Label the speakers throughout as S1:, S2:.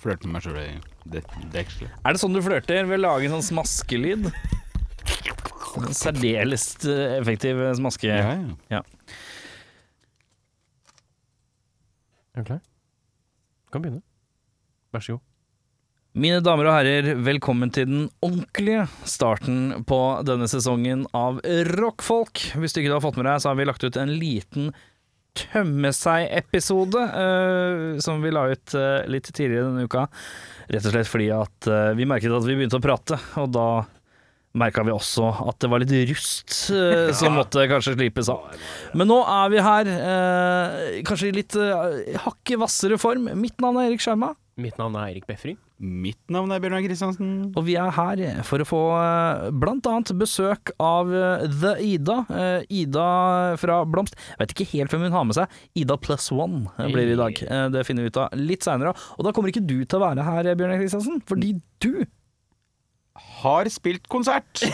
S1: flørte med meg sjøl i det- dekselet.
S2: Er det sånn du flørter? Ved å lage en sånn smaskelyd? En Særdeles eh, effektiv smaske.
S1: Ja, ja.
S3: Er du klar? Du kan begynne. Vær så god.
S2: Mine damer og herrer, velkommen til den ordentlige starten på denne sesongen av Rockfolk. Hvis du ikke har fått med deg, så har vi lagt ut en liten tømme-seg-episode, eh, som vi la ut eh, litt tidligere denne uka. Rett og slett fordi at eh, vi merket at vi begynte å prate, og da merka vi også at det var litt rust eh, som måtte kanskje slipes av. Men nå er vi her, eh, kanskje i litt eh, hakket hvassere form. Mitt navn er Erik Skjerma.
S3: Mitt navn er Erik Befring.
S1: Mitt navn er Bjørnar Kristiansen.
S2: Og vi er her for å få eh, blant annet besøk av eh, The Ida. Eh, Ida fra Blomst. Jeg vet ikke helt hvem hun har med seg. Ida plus one eh, blir det i dag. Eh, Det finner vi ut av litt seinere. Og da kommer ikke du til å være her, eh, Bjørnar Kristiansen, fordi du
S1: Har spilt konsert!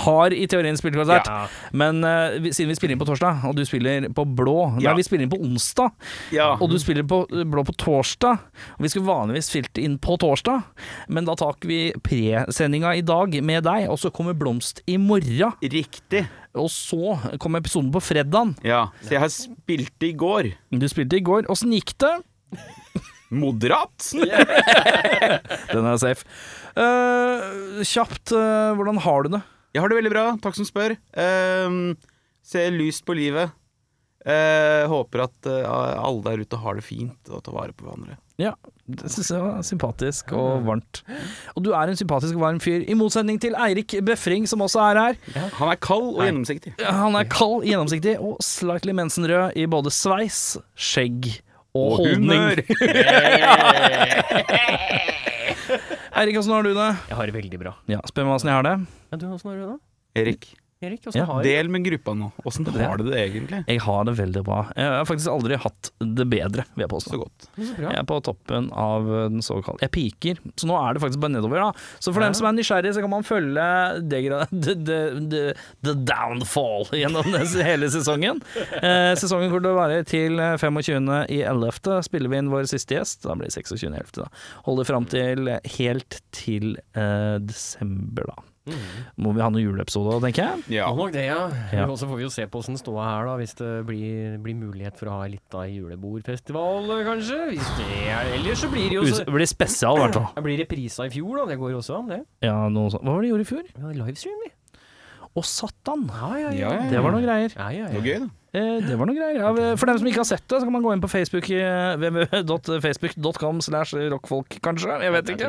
S2: har i teorien spilt konsert,
S3: Ja.
S2: men eh, vi- siden vi spiller inn på torsdag, og du spiller på blå
S1: Ja.
S2: Nei, vi spiller inn på onsdag,
S1: Ja.
S2: og du spiller på eh, blå på torsdag. Og vi skulle vanligvis spilt inn på torsdag, men da tar vi presendinga i dag med deg, og så kommer Blomst i morgen.
S1: Riktig.
S2: Og så kom episoden på fredagen.
S1: Ja. Så jeg har spilt i går.
S2: Du spilte i går. Åssen gikk det?
S1: Moderat!
S2: Den er safe. Eh, kjapt, eh, hvordan har du det?
S1: Jeg har det veldig bra, takk som spør. Ehm, ser lyst på livet. Eh, håper at eh, alle der ute har det fint og tar vare på hverandre.
S2: Ja, det syns jeg var sympatisk og varmt. Mm. Og du er en sympatisk og varm fyr, i motsetning til Eirik Befring, som også er her.
S1: Han er kald og gjennomsiktig.
S2: Han er kald, gjennomsiktig og slightly mensenrød i både sveis, skjegg og, holdning. Eirik, åssen har du det?
S3: Jeg har det veldig bra.
S2: Ja, Spør meg åssen jeg har det.
S3: Ja, du, Åssen har du det? da?
S1: Erik,
S3: Erik,
S2: Ja,
S3: åssen har du det?
S1: del med gruppa nå. Åssen har du det egentlig?
S2: Jeg har det veldig bra. Jeg har faktisk aldri hatt det bedre, vil jeg påstå.
S1: Så godt.
S3: Så bra.
S2: Jeg er på toppen av den såkalte Jeg piker, så nå er det faktisk bare nedover. da Så for dem som er nysgjerrig, så kan man følge degra- the, the, the, the downfall gjennom den hele sesongen. Eh, sesongen kommer til å være til 25. i 11. Spiller vi inn vår siste gjest. Da blir det 26. i 11. da Holder fram til eh, helt til eh, desember, da. Må vi ha noen juleepisode òg, tenker jeg.
S1: Ja.
S3: Må nok det, Mm. ja.
S2: Ja.
S3: Og så får vi jo se på åssen ståa er da, hvis det blir, blir mulighet for å ha litt av julebordfestival, kanskje. Hvis det er, ellers så blir det jo
S2: Us-
S3: så
S2: Det blir spesial, i hvert fall.
S3: Det blir reprisa i fjor, da. Det går jo også an, det.
S2: Ja, noe sånt. Hva var det de gjorde i fjor?
S3: Vi har livestream, vi.
S2: Å, satan!
S3: Ja, ja,
S1: Ja, ja.
S2: Det var noen greier.
S3: Ja, ja,
S1: Det var
S3: ja.
S1: gøy, da.
S2: Eh, Det var noe greier. Ja, for dem som ikke har sett det, så kan man gå inn på Facebook eh, www.facebook.com slash rockfolk, kanskje. Jeg vet ikke.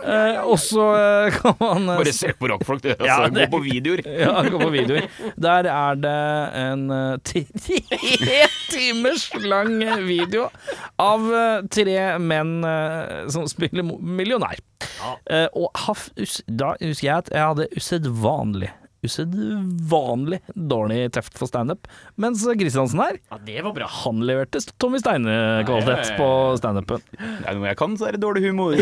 S2: Eh, Og så eh, kan man eh,
S1: Bare søk på rockfolk, du. Altså,
S2: Ja, det-
S1: Gå på videoer.
S2: ja, gå på videoer. Der er det en eh, ti- tre timers lang video av eh, tre menn eh, som spiller mo- millionær. Eh, Og har f- us- da husker jeg at jeg hadde usedvanlig Usedvanlig dårlig teft for standup, mens Kristiansen her
S3: ja, det var bra.
S2: han leverte Tommy Steine-kvalitet
S3: Nei.
S2: på standupen.
S1: Det er noe jeg kan, så er det dårlig humor.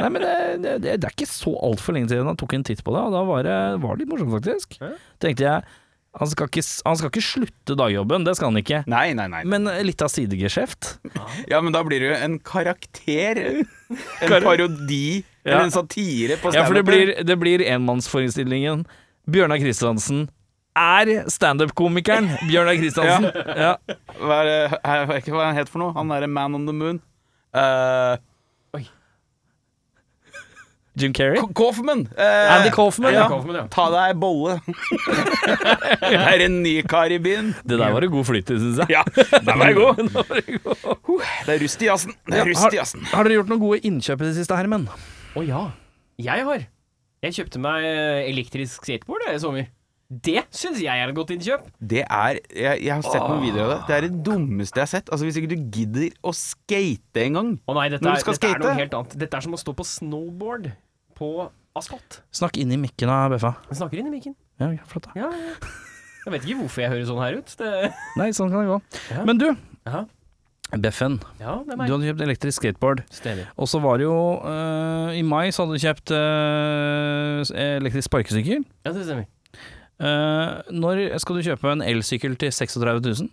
S2: Nei, men det, det, det er ikke så altfor lenge siden han tok en titt på det, og da var det, var det litt morsomt, faktisk.
S3: Ja.
S2: Tenkte jeg han skal, ikke, han skal ikke slutte dagjobben, det skal han ikke.
S1: Nei, nei, nei.
S2: Men litt av sidegeskjeft.
S1: Ja, men da blir det jo en karakter. En parodi. Eller en satire på
S2: Ja, for det
S1: standupen.
S2: blir, det blir enmannsforestillingen. Bjørnar Kristiansen er standup-komikeren Bjørnar Kristiansen. Ja.
S1: Hva er det jeg vet ikke hva han heter for noe? Han derre Man on the Moon. Eh,
S2: Jim Carrey.
S1: K- Kaufman! Eh,
S2: Andy Kaufman,
S1: ja.
S2: ja.
S3: Kaufman, ja.
S1: Ta deg en bolle. det er en ny kar i byen.
S2: Det der var det god flyt i, syns jeg.
S1: Ja, den var god.
S2: Det var det god.
S1: Det er rust i jassen. Det er rust
S2: Har,
S1: i jassen.
S2: har dere gjort noen gode innkjøp i det siste, Hermen?
S3: Å ja. Jeg har. Jeg kjøpte meg eh, elektrisk skateboard jeg, i sommer. Det syns jeg er et godt innkjøp.
S1: Det er Jeg, jeg har sett noen videoer av det. Det er det dummeste jeg har sett. Altså Hvis ikke du gidder å skate engang.
S3: Å nei, dette,
S1: Når du
S3: er,
S1: skal
S3: dette er noe
S1: skate?
S3: helt annet. Dette er som å stå på snowboard på asfalt.
S2: Snakk inn i mikken da, Beffa.
S3: Jeg snakker inn i mikken.
S2: Ja, ok, flott da.
S3: Ja, ja. Jeg vet ikke hvorfor jeg hører sånn her ut. Det,
S2: Nei, sånn kan det gå.
S3: Ja.
S2: Men du,
S3: ja.
S2: Beffen.
S3: ja, det
S2: Du
S3: er meg.
S2: hadde kjøpt elektrisk skateboard.
S3: Stener.
S2: Og så var det jo eh, I mai så hadde du kjøpt eh, elektrisk sparkesykkel.
S3: Ja, det stemmer.
S2: Eh, når skal du kjøpe en elsykkel til 36 000?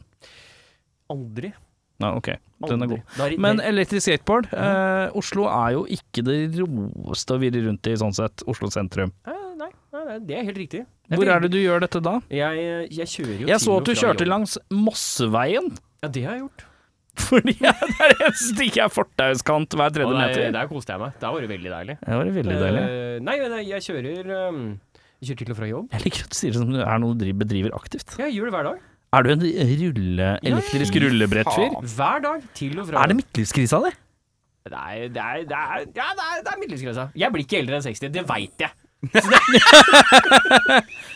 S3: Aldri.
S2: Nei, ok, den er
S3: Aldri.
S2: god.
S3: Da er det-
S2: Men
S3: det-
S2: elektrisk skateboard eh, Oslo er jo ikke det roeste å virre rundt i, sånn sett. Oslo sentrum.
S3: Eh, nei, nei, nei, det er helt riktig.
S2: Hvor er det du gjør dette da?
S3: Jeg, jeg kjører jo
S2: Jeg så
S3: til og
S2: at du
S3: fra
S2: kjørte
S3: jobb.
S2: langs Mosseveien,
S3: Ja, det har jeg gjort.
S2: fordi det er det eneste ikke er fortauskant hver
S3: Og
S2: tredje
S3: der,
S2: meter.
S3: der koste jeg meg. Der var det veldig deilig.
S2: Det var veldig deilig.
S3: Eh, nei, nei, jeg kjører ehm, Jeg kjører til og fra jobb.
S2: Jeg liker at du sier det som det er noe du driver- bedriver aktivt.
S3: Jeg gjør det hver dag.
S2: Er du en rulle, elektrisk rullebrettfyr?
S3: Hver dag, til og fra
S2: Er det midtlivskrisa di?
S3: jobb. Det er, det er, det er, ja, det er, det er middelskrensa. Jeg blir ikke eldre enn 60, det veit jeg.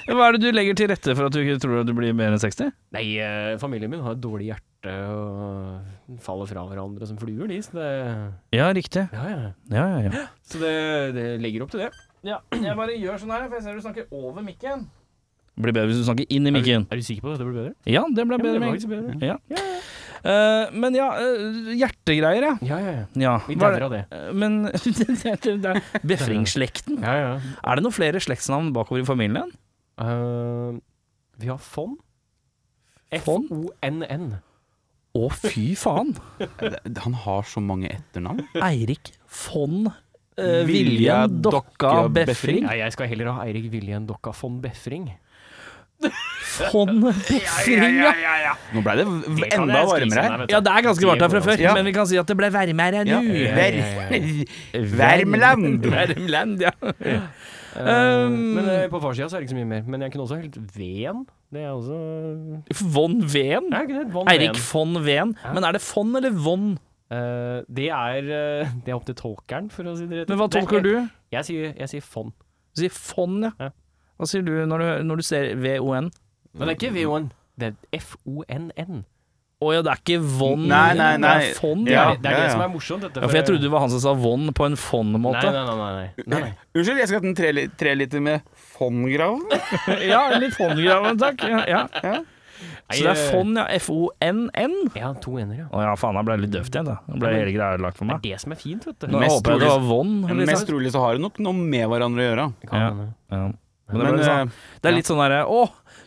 S2: Hva er det du legger til rette for at du ikke tror at du blir mer enn 60?
S3: Nei, eh, familien min har et dårlig hjerte og faller fra hverandre som fluer, de. Så det,
S2: Ja, riktig.
S3: ja, ja.
S2: Ja, ja, ja.
S3: Så det, det legger opp til det.
S2: jeg bare gjør sånn her, for jeg ser du snakker over mikken. Det blir bedre hvis du snakker inn i
S3: Er du,
S2: mikken.
S3: er du sikker på at dette blir bedre?
S2: Ja, det ble
S3: Ja,
S2: bedre.
S3: men det var
S2: med-
S3: ikke så bedre.
S2: Ja. Eh, men ja, eh, hjertegreier, ja.
S3: Ja, ja, ja.
S2: ja.
S3: Vi
S2: Hva er
S3: dauer av det.
S2: det- eh, Men Befringsslekten.
S3: Ja, ja.
S2: Er det noen flere slektsnavn bakover i familien?
S3: Eh, vi har Fonn.
S2: Fonn?
S3: F-O-N-N.
S2: Å, fy faen!
S1: Det- Han har så mange etternavn.
S2: Eirik von
S1: Vilja
S2: eh, Viljen Dokka
S1: Dokka
S2: Befring.
S3: Nei, jeg skal heller ha Eirik Viljen Dokka von Befring.
S2: Von Befring, ja!
S1: Nå ble det v- enda varmere her.
S2: Ja, det er ganske varmt her fra før,
S1: Ja.
S2: men vi kan si at det ble varmere
S1: Ja.
S2: nå.
S1: Ver- Vermland!
S2: Värmland, ja. Um,
S3: men eh, på farssida så er det ikke så mye mer. Men jeg kunne også helt Ven. Det er også
S2: Von Ven?
S3: Nei, jeg kunne hett von
S2: Eirik
S3: Ven.
S2: von Ven.
S3: Ja.
S2: Men er det von eller von?
S3: Eh, det, er, eh, det er opp til tolkeren, for å si det rett
S2: Men hva
S3: Det er-
S2: tolker du?
S3: Jeg sier, jeg sier von.
S2: Du sier von, ja.
S3: Ja.
S2: Hva sier du når du, når du ser VON?
S3: Men det er ikke V-O-N. Det er F-O-N-N.
S2: Å ja, det er ikke von,
S1: Nei, nei,
S2: det
S1: nei.
S2: er von.
S3: Det er,
S2: Ja.
S1: Ja,
S3: det, er
S1: ja,
S3: det
S1: ja.
S3: som er morsomt. Dette,
S2: Ja, for jeg trodde det var han som sa von på en
S3: Nei,
S2: von-måte.
S3: nei, nei. nei, nei. nei, nei.
S1: Unnskyld, jeg skal ha en tre- treliter med Fongrav.
S2: Ja, litt von-graven, takk. Ja, ja. Så det er von, ja. F-O-N-N.
S3: eh, Ja, to n-er, ja.
S2: Å ja, faen, jeg ble litt døvt igjen, da. Nå ble hele greia ødelagt for
S3: Det er
S2: meg.
S3: det som er fint, vet du.
S2: Nå
S1: Mest
S2: håper jeg det
S1: trolig-
S2: var von. Liksom.
S1: Mest trolig så har det nok noe med hverandre å gjøre.
S3: Det kan
S2: Ja.
S3: hende.
S2: ja. Men det, ble
S1: Men
S2: litt sånn,
S1: eh,
S2: det er litt sånn derre Å,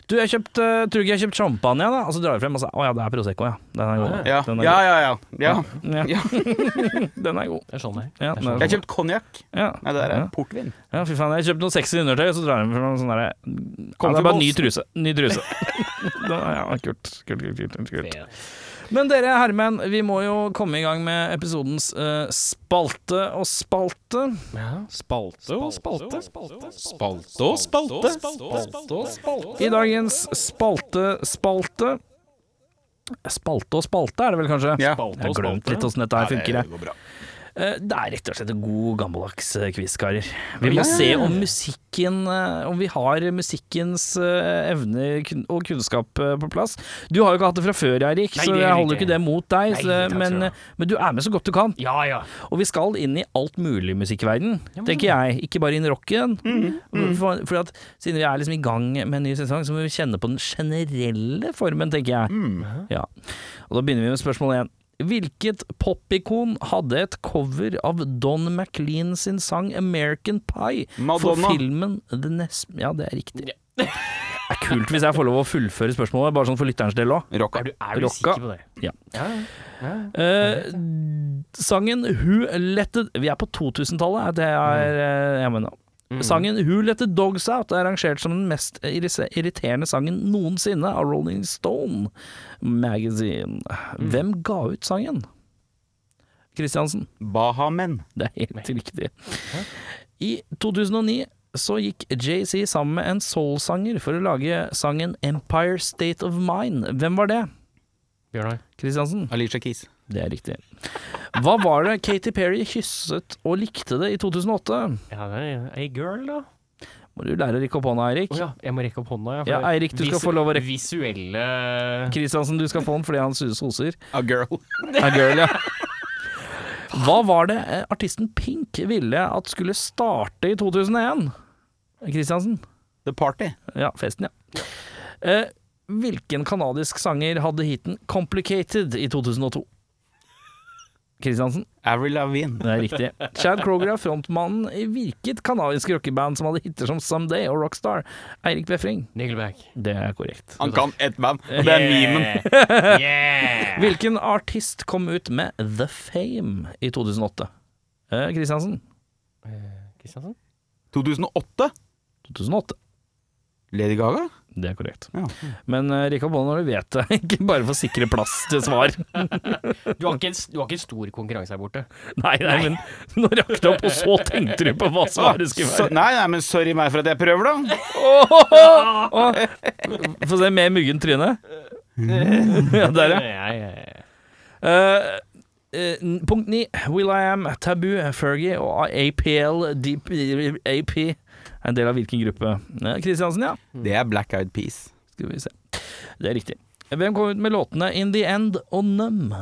S2: du, jeg kjøpt, eh, tror du ikke jeg har kjøpt champagne, da? Og så drar du frem og sier Å ja, det er Prosecco, ja. Den er god.
S1: ja,
S2: Den er
S1: ja, ja, ja, ja.
S2: god. Ja. Den er god.
S3: Det er sånn det er.
S2: Ja,
S1: Jeg
S2: den er
S3: Det er sånn.
S1: har
S2: god.
S1: kjøpt konjakk.
S2: Ja.
S1: Nei, det der
S2: ja.
S1: er eh, portvin.
S2: Ja, fy faen, jeg kjøpte noen sexy undertøy, og så drar jeg med noen sånne der
S1: Kom
S2: Ja, Det er
S1: til
S2: bare ny
S1: Bolsen.
S2: truse. Ny truse. da, ja, kult. Kult, kult, kult, kult, kult. Men dere herremenn, vi må jo komme i gang med episodens eh, spalte og spalte. Spalte og spalte.
S1: Spalte og spalte.
S2: I dagens spalte, spalte Spalte og spalte er det vel kanskje?
S1: Ja.
S2: Jeg har glemt litt åssen dette her funker. jeg. Eh, Det er rett og slett en god gammeldags eh, quiz, karer. Vi må se om musikken eh, Om vi har musikkens eh, evner kun- og kunnskap eh, på plass. Du har jo ikke hatt det fra før, Eirik,
S3: Nei,
S2: så
S3: det er
S2: jeg holder jo
S3: riktig.
S2: ikke det mot deg.
S3: Nei,
S2: Så,
S3: takk skal du
S2: men, eh,
S3: ha.
S2: men du er med så godt du kan.
S3: Ja, ja.
S2: Og vi skal inn i alt mulig musikkverden, tenker jeg. Ikke bare inn i rocken. For, for at, siden vi er liksom i gang med en ny sesong, så må vi kjenne på den generelle formen, tenker jeg. Ja. Og da begynner vi med spørsmål én. Hvilket popikon hadde et cover av Don McLean sin sang 'American Pie'
S1: Madonna.
S2: for filmen The Nest... Ja, det er riktig. Det er kult hvis jeg får lov å fullføre spørsmålet, bare sånn for lytterens del òg.
S1: Rocka.
S3: Er du, er du
S2: Rocka.
S3: sikker på det?
S2: Ja.
S3: ja. ja.
S2: Eh, sangen Who Let The Vi er på 2000-tallet, er det er eh, jeg mener. Sangen Who Let The Dogs Out er rangert som den mest irri- irriterende sangen noensinne av Rolling Stone Magazine. Hvem ga ut sangen? Kristiansen.
S1: Bahamenn.
S2: Det er helt riktig. I 2009 så gikk JC sammen med en soulsanger for å lage sangen Empire State of Mind. Hvem var det?
S3: Bjørnar.
S2: Kristiansen?
S1: Alicia Keys.
S2: Det er riktig. Hva var det Katy Perry kysset og likte det i 2008?
S3: Ja, det er ei girl, da.
S2: Må du lære å rekke opp hånda, Eirik.
S3: Å ja, jeg må rekke opp hånda. for
S2: Ja, Eirik, du skal
S3: visu-
S2: få lov å rekke-
S3: Visuelle
S2: Kristiansen, du skal få den fordi han suger soser.
S1: A girl.
S2: A girl, ja. Hva var det eh, artisten Pink ville at skulle starte i 2001? Kristiansen?
S1: The Party.
S2: Ja, festen, ja. Eh, hvilken kanadisk sanger hadde hiten 'Complicated' i 2002? Kristiansen.
S1: Avril Lavigne.
S2: Det er riktig. Chad Kroger er frontmannen i virket kanadisk rockeband som hadde hiter som Someday og Rockstar. Eirik Befring.
S3: Nickelback.
S2: Det er korrekt.
S1: Han kan ett band, og det er memen.
S3: yeah!
S2: Hvilken artist kom ut med The Fame i 2008? Eh, Kristiansen.
S3: Kristiansen?
S1: 2008?
S2: 2008.
S1: Lady Gaga?
S2: Det er korrekt.
S1: Ja.
S2: Men uh, rikk opp hånda når du vet det, ikke bare for å sikre plass til svar.
S3: Du har ikke, en s- du har ikke en stor konkurranse her borte.
S2: Nei, nei, men nå rakk du opp, og så tenkte du på hva svaret skulle
S1: Så,
S2: være.
S1: nei, nei, men sorry meg for at jeg prøver, da.
S2: Åh, Få se mer muggen tryne.
S1: Eh.
S2: Ja, der, ja.
S3: Ja, ja, ja.
S2: Eh, eh, punkt ni. Will I Am, Tabu, Fergie og APL Deep, AP er en del av hvilken gruppe? Eh, Kristiansen, ja.
S1: Det er Black Eyed Peas.
S2: Skal vi se. Det er riktig. Hvem kom ut med låtene In The End og Numb?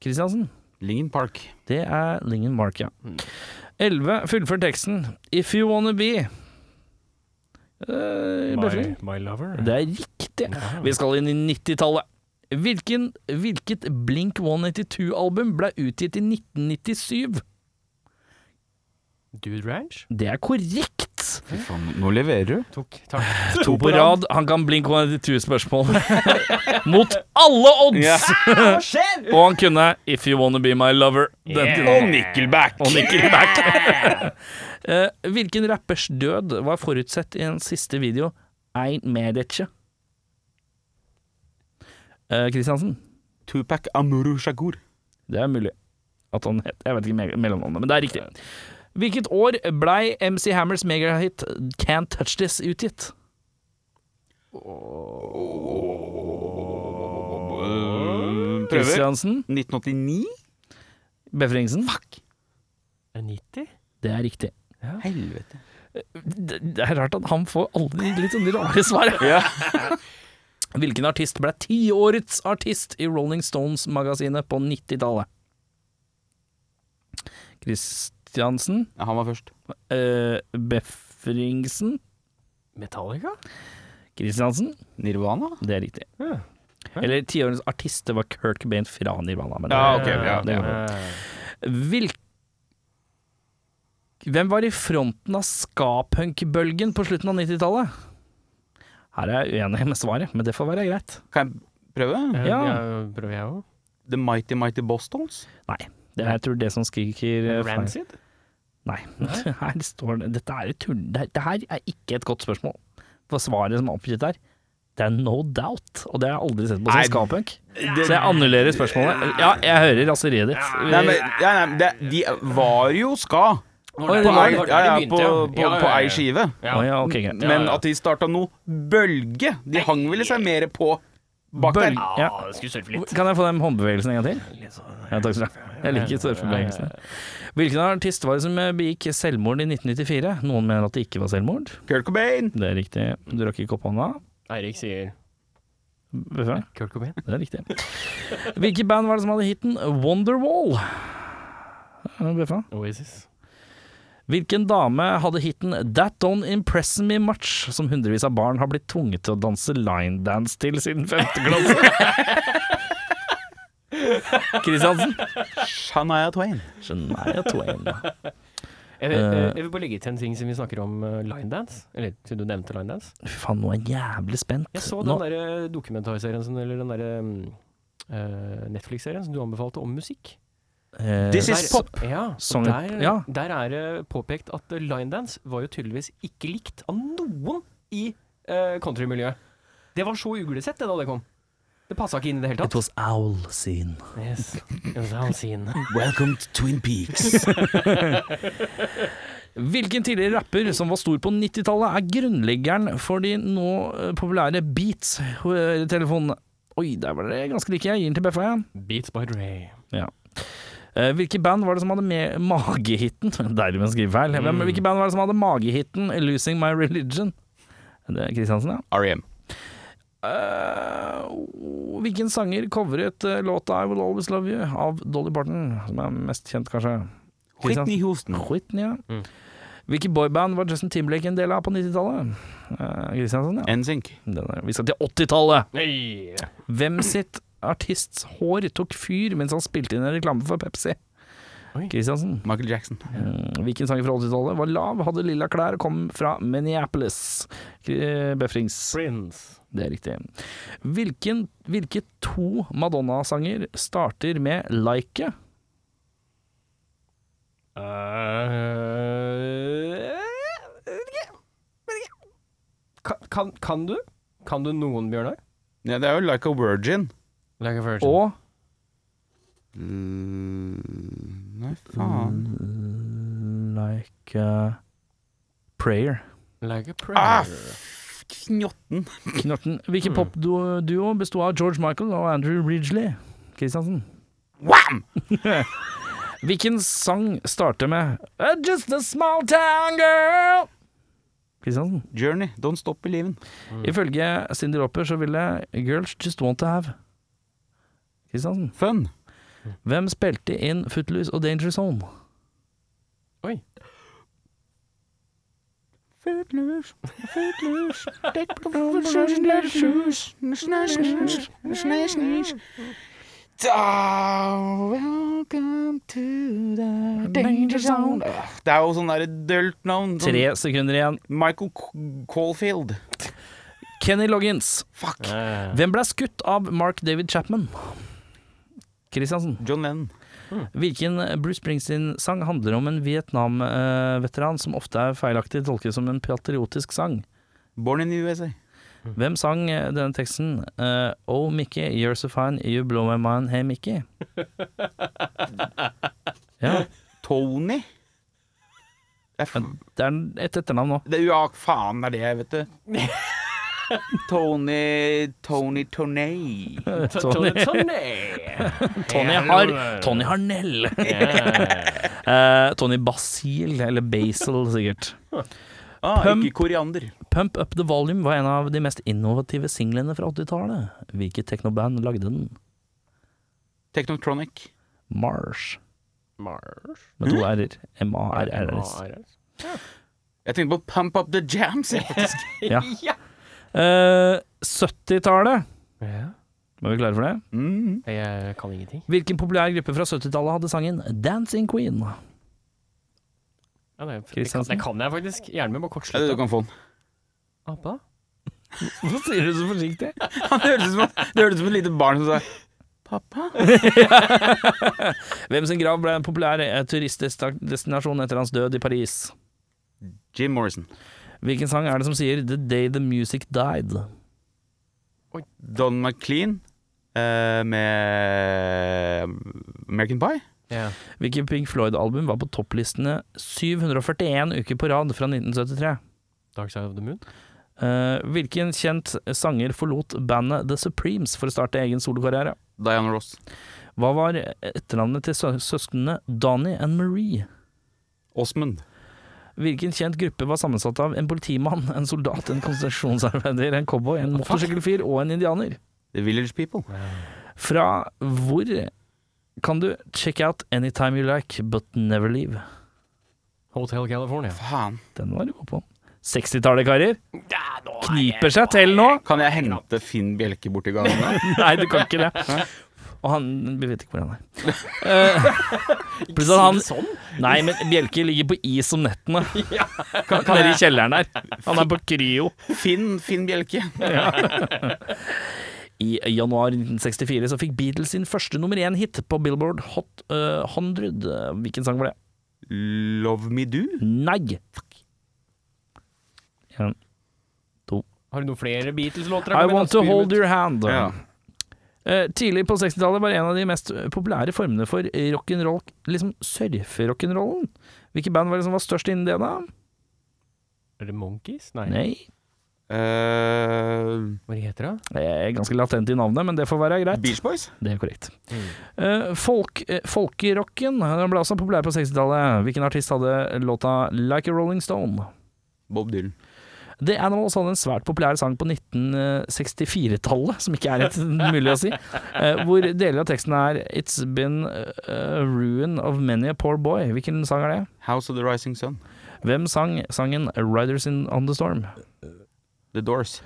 S2: Kristiansen?
S1: Lingen Park.
S2: Det er Lingen Mark, ja.
S3: Mm.
S2: 11. Fullfør teksten. If you wanna be Eh, Bøfling.
S3: lover.
S2: Det er riktig. Vi skal inn i 90-tallet. Hvilken- Hvilket Blink 182-album ble utgitt i 1997?
S3: Dude Ranch?
S2: Det er korrekt!
S1: Fy faen, nå leverer du.
S3: Tok, takk.
S2: To på rad. Han kan Blink 182-spørsmål. Mot alle odds!
S1: Ja.
S3: Hva skjer?
S2: Og han kunne If You Wanna Be My Lover. Den
S3: Yeah.
S1: Og Nickelback.
S2: Og Nickelback. Eh, Hvilken rappers død var forutsett i den siste video? Ein Medici. Eh, Kristiansen?
S1: Tupac Amuru Shakur.
S2: Det er mulig at han het Jeg vet ikke me- mellomnavnet, men det er riktig. Hvilket år blei MC Hammers megahit Can't Touch This utgitt?
S1: Mm, Prøver.
S2: Kristiansen?
S1: 1989?
S2: Befringsen?
S3: 90?
S2: Det er riktig.
S1: Helvete.
S2: Det, det er rart at han får alle de litt sånne rare svar.
S1: Ja.
S2: Hvilken artist ble tiårets artist i Rolling Stones-magasinet på 90-tallet? Kristiansen?
S1: Ja, Han var først.
S2: Eh, Befringsen?
S3: Metallica?
S2: Kristiansen?
S1: Nirvana?
S2: Det er riktig.
S3: Ja.
S2: Eller tiårens artist, det var Kirk Bain fra Nirvana. Men det,
S1: Ja, ok,
S3: Eh,
S1: ja,
S2: det er Hvil... Hvem var i fronten av ska-punk-bølgen på slutten av 90-tallet? Her er jeg uenig med svaret, men det får være greit.
S1: Kan jeg prøve?
S3: ja. Prøver jeg òg.
S1: The Mighty Mighty Bostons?
S2: Nei. Det er, jeg tror det som skriker eh, feil.
S3: Rancid?
S2: Nei. Her står det Dette er, et tull, det, her- det her er ikke et godt spørsmål. For svaret som er oppgitt der, det er no doubt. Og det har jeg aldri sett på
S1: Nei,
S2: som ska-punk. Så jeg annullerer spørsmålet. Ja, jeg hører raseriet ditt.
S1: Nei, men, ja, nei, men det, de var jo ska.
S2: Å,
S1: På
S2: det var-
S1: ei, ja, ja, på, på, på ei skive.
S2: Å ja, ok, greit.
S1: Men at de starta noe bølge De hang vel seg mer på bak der.
S2: Bølge.
S3: Ja, det skulle surfe litt.
S2: Kan jeg få den håndbevegelsen en gang til?
S3: Litt sånn.
S2: Ja, takk skal du ha. Jeg liker surfebevegelsene. Hvilken artist var det som eh, begikk selvmord i 1994? Noen mener at det ikke var selvmord.
S1: Kurt Cobain.
S2: Det er riktig. Du rakk ikke opp hånda.
S3: Eirik sier
S2: Befra.
S3: Kurt Cobain.
S2: Det er riktig. Hvilket band var det som hadde hiten Wonderwall? Befra.
S3: Oasis.
S2: Hvilken dame hadde hiten That Don't Impress Me Much, som hundrevis av barn har blitt tvunget til å danse linedance til siden femte klasse? Kristiansen?
S1: Shania Twain.
S2: Shania Twain.
S3: Jeg vil,
S2: Eh.
S3: jeg vil bare legge til en ting siden vi snakker om eh, linedance. Eller siden du nevnte linedance.
S2: Fy faen, nå er jeg jævlig spent.
S3: Jeg så
S2: Nå-
S3: den der eh, dokumentarserien som, eller den derre eh, Netflix-serien som du anbefalte om musikk.
S2: Eh,
S1: This
S3: Der-
S1: is pop.
S3: Ja,
S2: Song-
S3: og der,
S2: ja.
S3: der er det påpekt at eh, linedance var jo tydeligvis ikke likt av noen i eh, countrymiljøet. Det var så uglesett det da det kom. Det passa ikke inn i det hele
S2: It
S3: tatt.
S2: was owl scene.
S3: Yes. Yes, I'll see it.
S1: Welcome to Twin Peaks.
S2: Hvilken tidligere rapper som var stor på 90-tallet, er grunnleggeren for de nå eh, populære Beats-telefonene? Oi, der var det ganske like. Jeg gir den til Beffa, jeg.
S3: Beats by Dre.
S2: Eh, Hvilke band var det som hadde med magehitten Deilig med en skrivefeil.
S3: Mm.
S2: Hvem- Hvilke band var det som hadde magehitten 'Losing My Religion'? Det er Kristiansen, ja.
S1: R.E.M.
S2: Eh, og hvilken sanger covret eh, låta 'I Will Always Love You' av Dolly Parton, som er mest kjent, kanskje? Kristiansen?
S1: Whitney Houston.
S2: Whitney, ja.
S3: Mm.
S2: Hvilke boyband var Justin Timberlake en del av på 90-tallet? Eh, Kristiansen, ja.
S3: Mm.
S1: NSYNC.
S2: Den er, vi skal til 80-tallet.
S3: Hey.
S2: Hvem sitt artists hår tok fyr mens han spilte inn en reklame for Pepsi.
S3: Oi.
S2: Kristiansen.
S1: Michael Jackson.
S2: Mm, Hvilken sang fra 80-tallet var lav, hadde lilla klær og kom fra Minneapolis? Kri- Befrings.
S3: Prince.
S2: Det er riktig. Hvilken, hvilke to Madonna-sanger starter med 'like'?
S3: Uh, Kan, kan, kan du? Kan du noen, Bjørnar?
S1: Ja, det er jo Like a Virgin.
S3: Like a virgin.
S2: Og
S1: Mm, nei, faen.
S2: Like a prayer.
S3: Like a prayer.
S1: Ah, f- Knotten.
S2: Knorten. Hvilken popduo besto av George Michael og Andrew Ridgeley? Kristiansen.
S1: Wham!
S2: Hvilken sang starter med «Uh, 'Just a small town girl'? Kristiansen.
S1: Journey. Don't stop believing.
S2: Ifølge Cindy Lauper så ville 'Girls Just Want To Have'. Kristiansen.
S1: Fun.
S2: Hvem spilte inn 'Footloose' og 'Danger Zone'?
S3: Oi.
S1: Footloose, footloose, Welcome to the danger zone Det er jo sånn der dølt navn. sånn
S2: Tre sekunder igjen.
S1: Michael C- Caulfield.
S2: Kenny Loggins.
S1: Fuck.
S3: Eh,
S2: Hvem ble skutt av Mark David Chapman? Kristiansen.
S1: John Lennon.
S2: Hvilken Bruce Springsteen-sang handler om en Vietnam-veteran som ofte er feilaktig tolket som en patriotisk sang?
S1: Born in the USA.
S2: Hvem sang eh, denne teksten? Eh, oh Mickey, you're so fine, you blow my mind, hey Mickey. Ja,
S1: Tony. Det er, f-
S2: det er et etternavn nå.
S1: det er ja, faen det er det, vet du. Tony Tony Tornay.
S2: Tony,
S3: Tony.
S2: Tony, har, Tony Harnell. Eh, Tony Basil, eller Basil sikkert.
S1: Ah,
S2: Pump.
S1: ikke koriander.
S2: Pump Up The Volume var en av de mest innovative singlene fra 80-tallet. Hvilket teknoband lagde den?
S1: Technotronic.
S2: Marsh.
S3: Mars.
S2: Med to r-er. M-A-R-R-S.
S1: Jeg tenkte på Pump Up The Jams. jeg, faktisk.
S2: Ja.
S3: Ja.
S2: Eh, 70-tallet.
S3: ja.
S2: Var vi klare for det?
S1: Mm.
S3: Jeg kan ingenting.
S2: Hvilken populær gruppe fra 70-tallet hadde sangen 'Dancing Queen'?
S3: Ja, det, det, kan,
S2: Kristiansen?
S3: det kan jeg faktisk. Hjernen min må
S1: Ja, du
S3: kortslutte.
S1: kan få den.
S3: Abba?
S2: Hvorfor sier du så forsiktig?
S1: Det hørtes ut som, det hørtes ut som et lite barn som sa Pappa?
S2: Hvem sin grav ble en populær eh, turistdestinasjon etter hans død i Paris?
S1: Jim Morrison.
S2: Hvilken sang er det som sier 'The Day The Music Died'?
S1: Don McLean eh, med American Pie.
S3: Ja.
S2: Hvilket Pink Floyd-album var på topplistene 741 uker på rad fra 1973?
S3: Dark Side of the Moon?
S2: Eh, hvilken kjent sanger forlot bandet The Supremes for å starte egen solokarriere?
S1: Diana Ross.
S2: Hva var etternavnet til sø- søsknene Donnie and Marie?
S1: Osmond.
S2: Hvilken kjent gruppe var sammensatt av en politimann, en soldat, en konsentrasjonsarbeider, en cowboy, en motorsykkelfyr og en indianer?
S1: The Village People.
S2: Fra hvor kan du check out anytime you like, but never leave?
S3: Hotel California.
S1: Faen.
S2: Den var du god på. 60-tallet, karer.
S3: Ja, nå er jeg-
S2: Kniper seg til nå.
S1: Kan jeg hente Finn Bjelke borti gangen? da?
S2: Nei, du kan ikke det. Og han Vi vet ikke hvor han er. Eh, Pluss at han
S3: Sånn?
S2: Nei, men Bjelke ligger på is om nettene.
S1: Kan, kan
S2: Nede i
S1: jeg
S2: kjelleren der. Han er på kryo.
S1: Finn Finn Bjelke.
S2: I januar 1964 så fikk Beatles sin første nummer én hit på Billboard Hot eh, 100. Eh, Hvilken sang var det?
S1: Love Me Do.
S2: Nei! Fuck. En.
S3: Har du noen flere Beatles-låter?
S2: I Want To Hold Your Hand.
S1: Ja.
S2: Eh, tidlig på 60-tallet var en av de mest populære formene for rock'n'roll liksom surferock'n'rollen. Hvilke band var det som var størst innen det, da?
S3: Er det Monkeys? Nei.
S2: Nei,
S1: Eh,
S3: Hva heter det?
S2: det er ganske latent i navnet, men det får være greit.
S1: Beach Boys.
S2: Det er korrekt.
S3: Mm.
S2: Eh, folk, eh, folkerocken den ble også populær på 60-tallet. Hvilken artist hadde låta 'Like a Rolling Stone'?
S1: Bob Dylan.
S2: The Animals hadde en svært populær sang på 1964-tallet, som ikke er et mulig å si, eh, hvor deler av teksten er 'It's been a ruin of many a poor boy'. Hvilken sang er det?
S1: House of the Rising Sun.
S2: Hvem sang sangen 'Riders in on the Storm'?
S1: The Doors.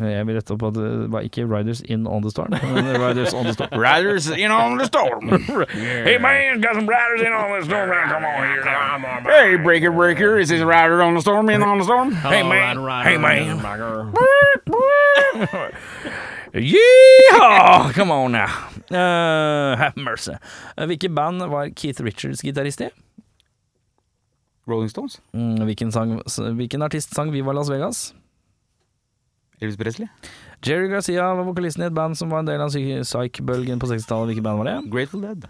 S2: Jeg vil rette opp at det var ikke Riders in on the storm, men Riders on the storm.
S1: Riders in on the storm.
S2: Hey man, got some Riders in on the storm, man, come on here. Come on, man.
S1: Hey, breaker, breaker. Is this rider on the storm? In on the storm?
S2: Hey man, hey man. Yeehaw! Come on now. Uh, have mercy. Eh, Hvilket band var Keith Richards gitarist i?
S1: Rolling Stones?
S2: Mm, Hvilken, sang, s- hvilken artist sang Viva Las Vegas?
S1: Elvis Presley?
S2: Jerry Garcia var vokalisten i et band som var en del av psy- psych-bølgen på 60-tallet. Hvilket band var det?
S1: Grateful Dead?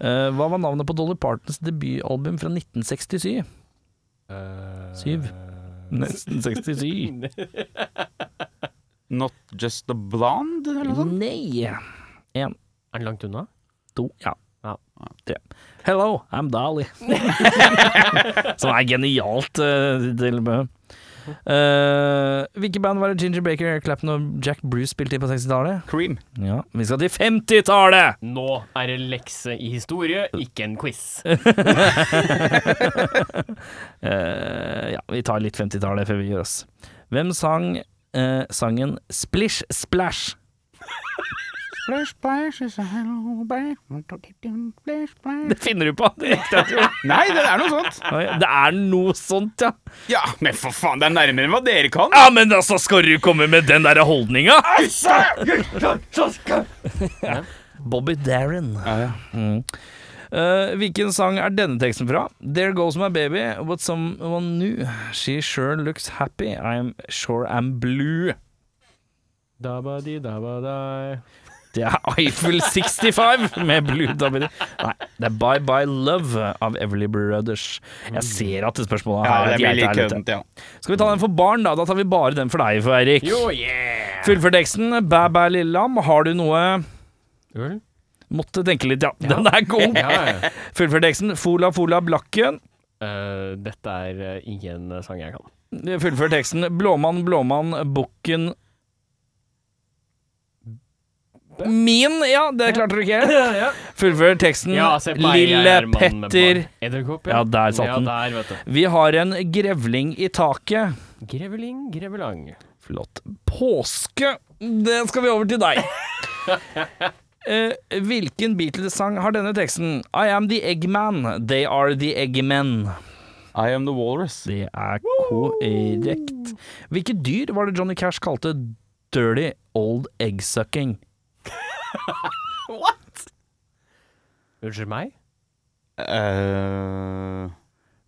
S2: Eh, hva var navnet på Dolly Partons debutalbum fra 1967?
S3: Eh,
S2: Syv. Nesten 67.
S1: Not Just a Blonde? Eller noe sånt?
S2: Nei.
S3: Er den langt unna?
S2: To. Ja.
S3: Ja.
S2: Tre. Hello, I'm Dolly. Som er genialt eh, tilbehør. Eh, hvilke band var det Ginger Baker, Eric Clapton og Jack Bruce spilte i på 60-tallet?
S1: Cream.
S2: Ja, vi skal til 50-tallet!
S3: Nå er det lekse i historie, ikke en quiz.
S2: Eh, ja, vi tar litt 50-tallet før vi gir oss. Hvem sang eh, sangen Splish Splash?
S1: Splash, splash, is a hello back. Splash, splash.
S2: Det finner du på! Det er riktig at du-
S1: Nei, det er noe sånt.
S2: Oi, Det er noe sånt, ja.
S1: Ja, men for faen, det er nærmere enn hva dere kan.
S2: Ja, men altså, skal du komme med den derre holdninga? Bobby Darren.
S1: Ja, ja.
S2: Mm. Eh, hvilken sang er denne teksten fra? There goes my baby, what someone knew. She sure looks happy, I'm sure I'm blue.
S3: Dabadi, dabadai.
S2: Det er Eiffel 65 med Blue Dabidi. Nei, det er Bye Bye Love av Everly Brothers. Jeg ser at det spørsmålet
S1: ja
S2: her
S1: det
S2: er
S1: blir
S2: greit
S1: litt
S2: her,
S1: køddent, ja.
S2: vet du. Skal vi ta den for barn, da? Da tar vi bare den for deg, for Eirik.
S3: Jo, yeah!
S2: Fullfør teksten. Bæ bæ lille lam, har du noe
S3: Øl?
S2: Måtte tenke litt, ja. Den er god.
S3: Ja, ja.
S2: Fullfør teksten. Fola fola blakken.
S3: Eh, dette er eh, ingen sang jeg kan.
S2: Fullfør teksten. Blåmann, blåmann, bukken Min, ja, det klarte du ikke.
S3: ja.
S2: Fullfør teksten. Mm. Lille Petter.
S3: Edderkopp,
S2: Ja, der satt den.
S3: Ja, der, vet du.
S2: Vi har en grevling i taket.
S3: Greveling, grevelang.
S2: Flott. Påske. Det skal vi over til deg. Eh, hvilken Beatles-sang har denne teksten? I am the Eggman, they are the Eggmen.
S1: I am the walrus.
S2: Det er korrekt. Hvilke dyr var det Johnny Cash kalte dirty old eggsucking?
S3: Unnskyld meg?
S1: Eh,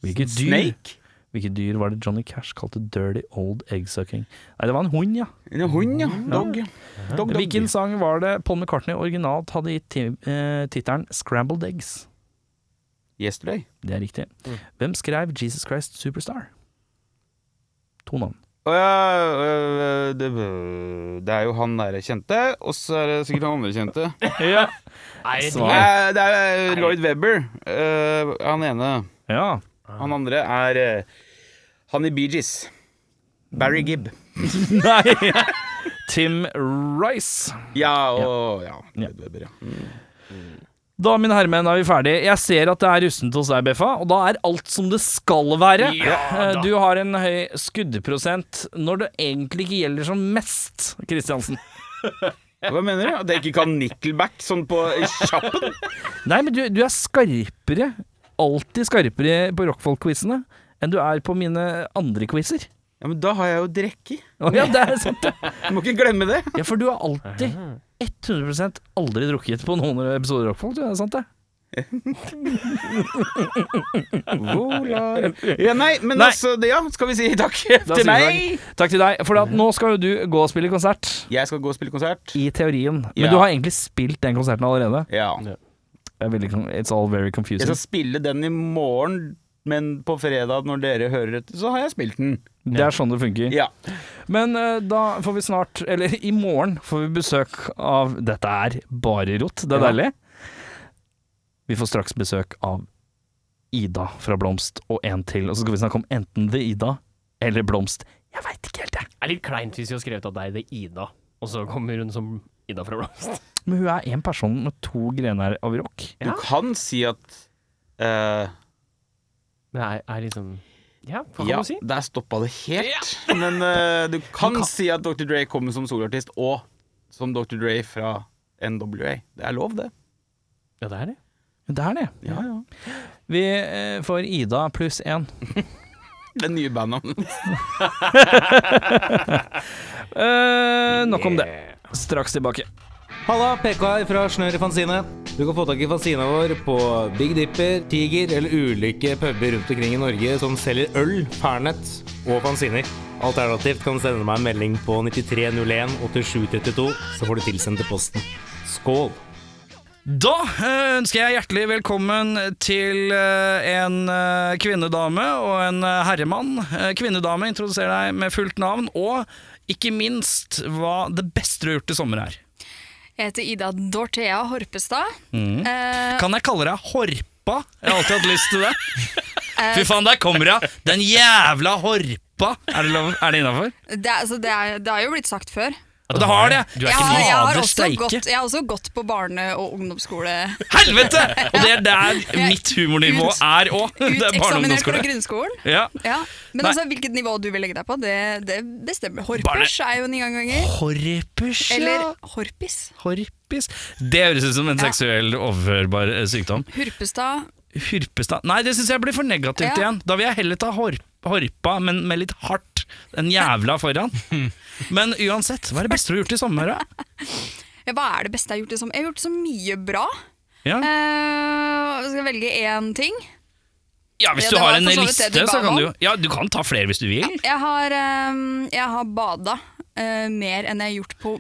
S2: Hvilke dyr,
S1: Snake?
S2: Hvilke dyr var det Johnny Cash kalte dirty old eggsucking? Nei, det var en hund, ja.
S1: En hund, Mm, ja. Dog. Dog, dog.
S2: Hvilken sang var det Paul McCartney originalt hadde gitt ti- eh, tittelen Scrambled Eggs?
S1: Yesterday.
S2: Det er riktig. Hvem skrev Jesus Christ Superstar? To navn.
S1: Å ja, øh, det, det er jo han der kjente, og så er det sikkert han andre kjente.
S3: Er det
S2: Svar.
S1: Eh, det er Lloyd Webber, eh, han ene.
S2: Ja.
S1: Han andre er eh, han i Bee Gees. Barry Gibb.
S2: Nei! Tim Rice.
S1: Ja, og ja.
S2: Ja.
S1: Lloyd Webber, ja.
S2: Da, mine herremenn, er vi ferdige. Jeg ser at det er rustent hos deg, Beffa, og da er alt som det skal være.
S3: Ja, da.
S2: Eh, du har en høy skuddprosent når det egentlig ikke gjelder som mest, Kristiansen.
S1: Hva mener du? At jeg ikke kan Nickelback sånn på kjappen?
S2: Nei, men du, du er skarpere, alltid skarpere på rockfolk-quizene enn du er på mine andre quizer.
S1: Ja, men da har jeg jo drikke.
S2: Å Ja, det er sant.
S1: Du må ikke glemme det.
S2: Ja, for du har alltid 100 aldri drukket på noen episoder av Rockfolk, du, er det sant det?
S1: Volar. Ja, nei, men
S2: Nei.
S1: altså, det, ja, skal vi si takk
S2: Da
S1: til
S2: sier vi
S1: meg?
S2: takk. Takk til deg, for at
S3: Mhm.
S2: nå skal jo du gå og spille konsert.
S1: Jeg skal gå og spille konsert.
S2: I teorien. Men
S1: Ja.
S2: du har egentlig spilt den konserten allerede.
S1: Ja.
S2: Det er veldig, kon- liksom, it's all very
S1: Jeg
S2: confusing.
S1: skal spille den i morgen, men på fredag når dere hører dette, så har jeg spilt den.
S2: Det er sånn det funker.
S1: Ja.
S2: Men eh, da får vi snart, eller i morgen, får vi besøk av Dette er bare rot, det er
S1: Ja.
S2: deilig. Vi får straks besøk av Ida fra Blomst og en til, og så skal vi snakke om enten The Ida eller Blomst. Jeg veit ikke helt, jeg.
S3: er litt kleint hvis vi har skrevet at det er det Ida, og så kommer hun som Ida fra Blomst.
S2: Men hun er én person med to grener av rock.
S1: Du kan si at eh,
S3: Det er, er liksom
S4: Ja, hva kan
S5: Ja,
S4: du si?
S5: der stoppa det helt. Men eh, du kan,
S4: Du kan-
S5: si at Dr. Dre kommer som soloartist, og som Dr. Dre fra NWA. Det er lov, det.
S4: Ja, det er det.
S2: Det er det.
S5: Ja, ja.
S2: Vi eh, får Ida pluss én.
S5: Det nye bandet.
S2: Eh, nok om det. Straks tilbake.
S6: Halla, PK her fra Snør i Fanzine. Du kan få tak i fanzina vår på Big Dipper, Tiger eller ulike puber rundt omkring i Norge som selger øl, Fernet og fanziner. Alternativt kan du sende meg en melding på 9301 8732, så får du tilsendt til posten. Skål!
S2: Da eh, ønsker jeg hjertelig velkommen til eh, en eh, kvinnedame og en eh, herremann. Eh, Kvinnedame, introduser deg med fullt navn, og ikke minst hva det beste du har gjort i sommer er.
S7: Jeg heter Ida Dorthea Horpestad. Eh,
S2: Kan jeg kalle deg Horpa? Jeg har alltid hatt lyst til det.
S7: Eh.
S2: Fy faen, der kommer hun! Den jævla Horpa! Er det, lov- er det innafor?
S7: det, er- altså, det, er, det har jo blitt sagt før.
S2: Det har det! Du er
S7: Jeg
S2: ikke
S7: har, jeg, har
S2: fader
S7: også
S2: steike.
S7: gått, jeg har også gått på barne- og ungdomsskole.
S2: Helvete! Og det er der mitt humornivå er òg. Det er
S7: Uteksaminert fra
S2: barneungdomsskole.
S7: grunnskolen.
S2: Ja.
S7: Ja. Men
S2: Nei.
S7: altså, hvilket nivå du vil legge deg på, det, det bestemmer. Horpers
S2: Barne-
S7: er jo ni ganger.
S2: Horpers,
S7: Eller horpis.
S2: Horpis? Det høres ut som en
S7: Ja.
S2: seksuell overførbar eh, sykdom.
S7: Hurpestad.
S2: Hurpestad Nei, det syns jeg blir for negativt
S7: Ja.
S2: igjen. Da vil jeg heller ta hor horpa, men med litt hardt. Den jævla foran. Men uansett, hva er det beste du har gjort i sommer? da?
S7: Ja, hva er det beste jeg har gjort? i sommer? Jeg har gjort så mye bra.
S2: Ja.
S7: Eh, skal jeg velge én ting?
S2: ja, hvis
S7: Ja,
S2: du
S7: det var
S2: har en
S7: for så vidt
S2: liste,
S7: det du ba
S2: så kan du
S7: om.
S2: jo Ja, du kan ta flere hvis du vil.
S7: Jeg har, eh, jeg har bada eh, mer enn jeg har gjort på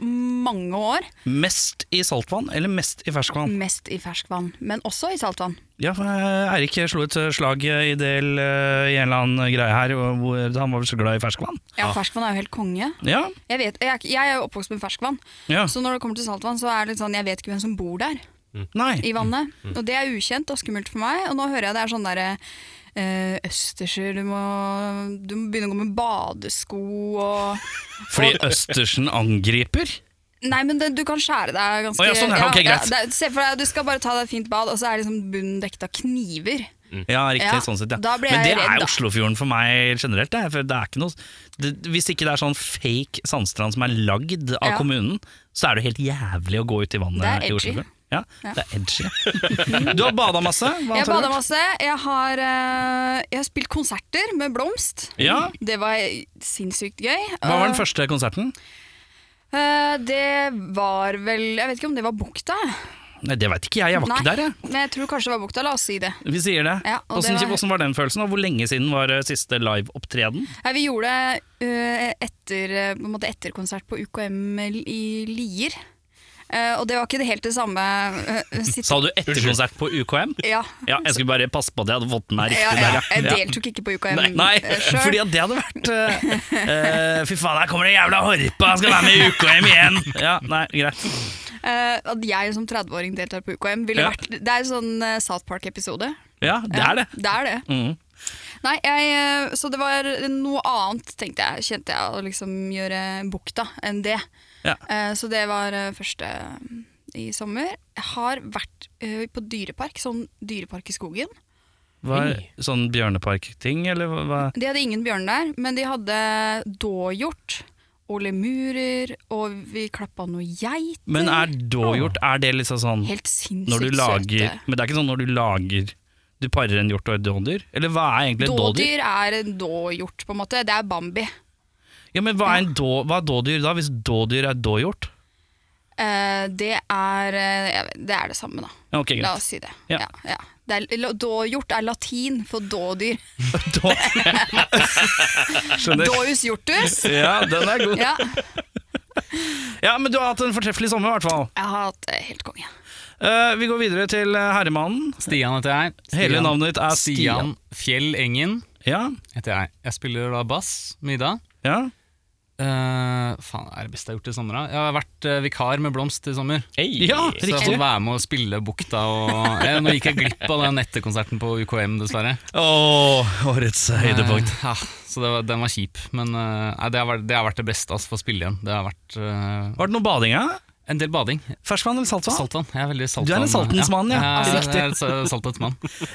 S7: mange år.
S2: Mest i saltvann, eller mest i ferskvann?
S7: Mest i ferskvann, men også i saltvann.
S2: Ja, for eh, Eirik slo et eh, slag eh, i del eh, i en eller annen greie her, og hvor han var vel så glad i ferskvann.
S7: Ja, Ferskvann er jo helt konge.
S2: Ja,
S7: Jeg, vet, jeg, er ikke- jeg er jo oppvokst med ferskvann,
S2: ja.
S7: så når det kommer til saltvann, så er det litt sånn, jeg vet ikke hvem som bor der
S2: Nei.
S7: i vannet.
S2: Mm.
S7: Og det er ukjent og skummelt for meg. Og nå hører jeg det er sånn derre eh, Østersjø, du må, du må begynne å gå med badesko og
S2: Fordi Østersen angriper?
S7: Nei, men det, du kan skjære deg ganske
S2: Å ja, sånn, ja, ok, greit.
S7: det er- Se for deg, du skal bare ta deg et fint bad, og så er liksom bunnen dekket av kniver.
S2: Ja, riktig.
S7: Ja,
S2: sånn sett, ja.
S7: da blir
S2: Men det
S7: jeg redd,
S2: er
S7: da.
S2: Oslofjorden for meg generelt. Det, for det er ikke noe, det, hvis ikke det er sånn fake sandstrand som er lagd av
S7: Ja.
S2: kommunen, så er det jo helt jævlig å gå ut i
S7: Det
S2: vannet
S7: er
S2: i
S7: edgy.
S2: Oslofjorden. Ja, det er edgy. Du har bada masse. Hva
S7: Jeg
S2: annet har
S7: bada
S2: du gjort?
S7: masse. Jeg har, eh, jeg har spilt konserter med Blomst.
S2: Ja.
S7: Det var sinnssykt gøy.
S2: Hva var den første konserten?
S7: Eh, det var vel Jeg vet ikke om det var Bukta.
S2: Nei, Det veit ikke jeg, jeg var ikke
S7: Nei,
S2: der. jeg.
S7: Men jeg tror kanskje det var Bukta. La oss si det.
S2: Vi sier det.
S7: Ja, og det
S2: Åssen
S7: var-
S2: var... den følelsen, og hvor lenge siden var eh, siste liveopptreden?
S7: Nei, vi gjorde det eh, etter, eh, på en måte etterkonsert på UKM i Lier. Eh, og det var ikke det helt det samme eh, sitt-
S2: Sa du etterkonsert på UKM?
S7: Ja.
S2: Ja, jeg skulle bare passe på at jeg hadde fått den her
S7: Ja,
S2: riktig
S7: ja, Eh,
S2: der,
S7: jeg deltok ikke på UKM
S2: Nei, nei
S7: eh, sjøl.
S2: fordi at det hadde vært eh, eh, Fy faen, her kommer den jævla horpa! Han skal være med i UKM igjen! Ja, nei, greit.
S7: Eh, at jeg som 30-åring deltar på UKM, ville
S2: Ja.
S7: vært Det er en sånn eh, South Park-episode.
S2: Ja, det er det.
S7: Det er det.
S2: Mhm.
S7: Nei, jeg, eh, så det var noe annet, tenkte jeg, kjente jeg, å liksom gjøre bukta enn det.
S2: Ja.
S7: Eh, Så det var eh, første i sommer. Jeg har vært eh, på dyrepark, sånn dyrepark i skogen.
S2: Var sånn Bjørnepark-ting, eller hva? hva-
S7: De hadde ingen bjørn der, men de hadde dåhjort og lemurer, og vi klappa noe geit.
S2: Men er dåhjort Er det liksom sånn
S7: Helt sinnssykt
S2: når du lager
S7: søte.
S2: Men det er ikke sånn når du lager Du parer en hjort og et dådyr? Eller hva er egentlig et dådyr?
S7: Dådyr er en dåhjort, på en måte. Det er Bambi.
S2: Ja, men hva er, en då, hva er dådyr da, hvis dådyr er dåhjort?
S7: Eh, Det er, eh, jeg vet- det er det samme, da.
S2: Ja, ok,
S7: La
S2: greit.
S7: oss si det.
S2: Ja.
S7: Ja. Ja, Det er, la- dåhjort er latin for dådyr.
S2: Da- Skjønner.
S7: Dåhus hjortus.
S2: Ja, den er god.
S7: Ja,
S2: Ja, men du har hatt en fortreffelig sommer, i hvert fall.
S7: jeg har hatt eh, helt konge.
S2: Eh, vi går videre til eh, herremannen.
S1: Stian heter jeg.
S2: Hele
S1: Stian-
S2: navnet ditt er
S1: Stian
S2: Stian.
S1: Fjell Engen
S2: Ja,
S1: heter jeg. Jeg spiller da bass med Ida.
S2: ja.
S1: Eh, faen, hva er det beste jeg har gjort i sommer? da? Jeg har vært eh, vikar med Blomst i sommer.
S2: ja
S1: Så jeg har
S2: riktig.
S1: fått være med å spille Bukta og Eh, Nå gikk jeg glipp av den etterkonserten på UKM, dessverre.
S2: Åh, årets høydepunkt.
S1: Eh, ja, så det var, den var kjip. Men eh, nei, det, har vært, det har vært det beste altså, for å spille igjen. Det har vært eh,
S2: Var det noe bading, ja?
S1: En del bading.
S2: Ferskvann eller saltvann?
S1: Saltvann. Jeg er veldig saltvann.
S2: Du er en saltens mann, ja.
S1: Jeg er-
S2: Riktig.
S1: jeg er en saltets mann.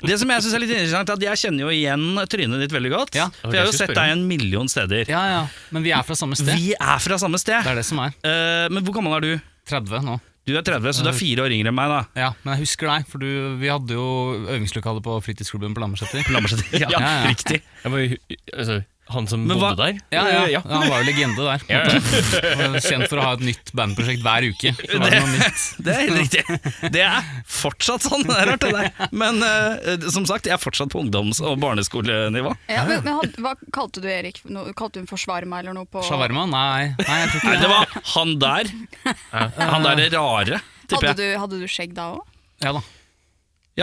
S2: Det som jeg synes er litt interessant, er at jeg kjenner jo igjen trynet ditt veldig godt.
S1: Ja.
S2: For jeg har jo
S1: Jeg
S2: sett
S1: skulle
S2: deg en million steder.
S1: Ja, ja. Men vi er fra samme sted.
S2: Vi er fra samme sted.
S1: Det er det som er.
S2: Eh, men hvor gammel er du?
S1: 30 nå.
S2: Du er 30, så du er fire år yngre enn meg, da.
S1: Ja, Men jeg husker deg, for du, vi hadde jo øvingslokale på fritidsklubben på Lammerseter.
S2: Lammerset. Ja,
S1: Ja, ja.
S2: Riktig.
S3: Jeg var jo, altså, han som
S2: Men hva-
S3: bodde der?
S1: Ja, ja,
S3: Ja.
S1: ja. Han var jo legende der. på en måte. Han var Kjent for å ha et nytt bandprosjekt hver uke. Så var det noe nytt.
S2: Det er helt riktig. Det er fortsatt sånn. Det er rart, det der. Men eh, som sagt, jeg er fortsatt på ungdoms- og barneskolenivå.
S7: Ja, men, men had- hva kalte du Erik? No, kalte hun for svarma eller noe på
S1: Shawarma? Nei, nei jeg tror
S2: Nei,
S1: ikke
S2: det var han der. Han der er rare,
S7: Hadde
S2: tipper jeg.
S7: du, hadde du skjegg da òg?
S1: Ja da.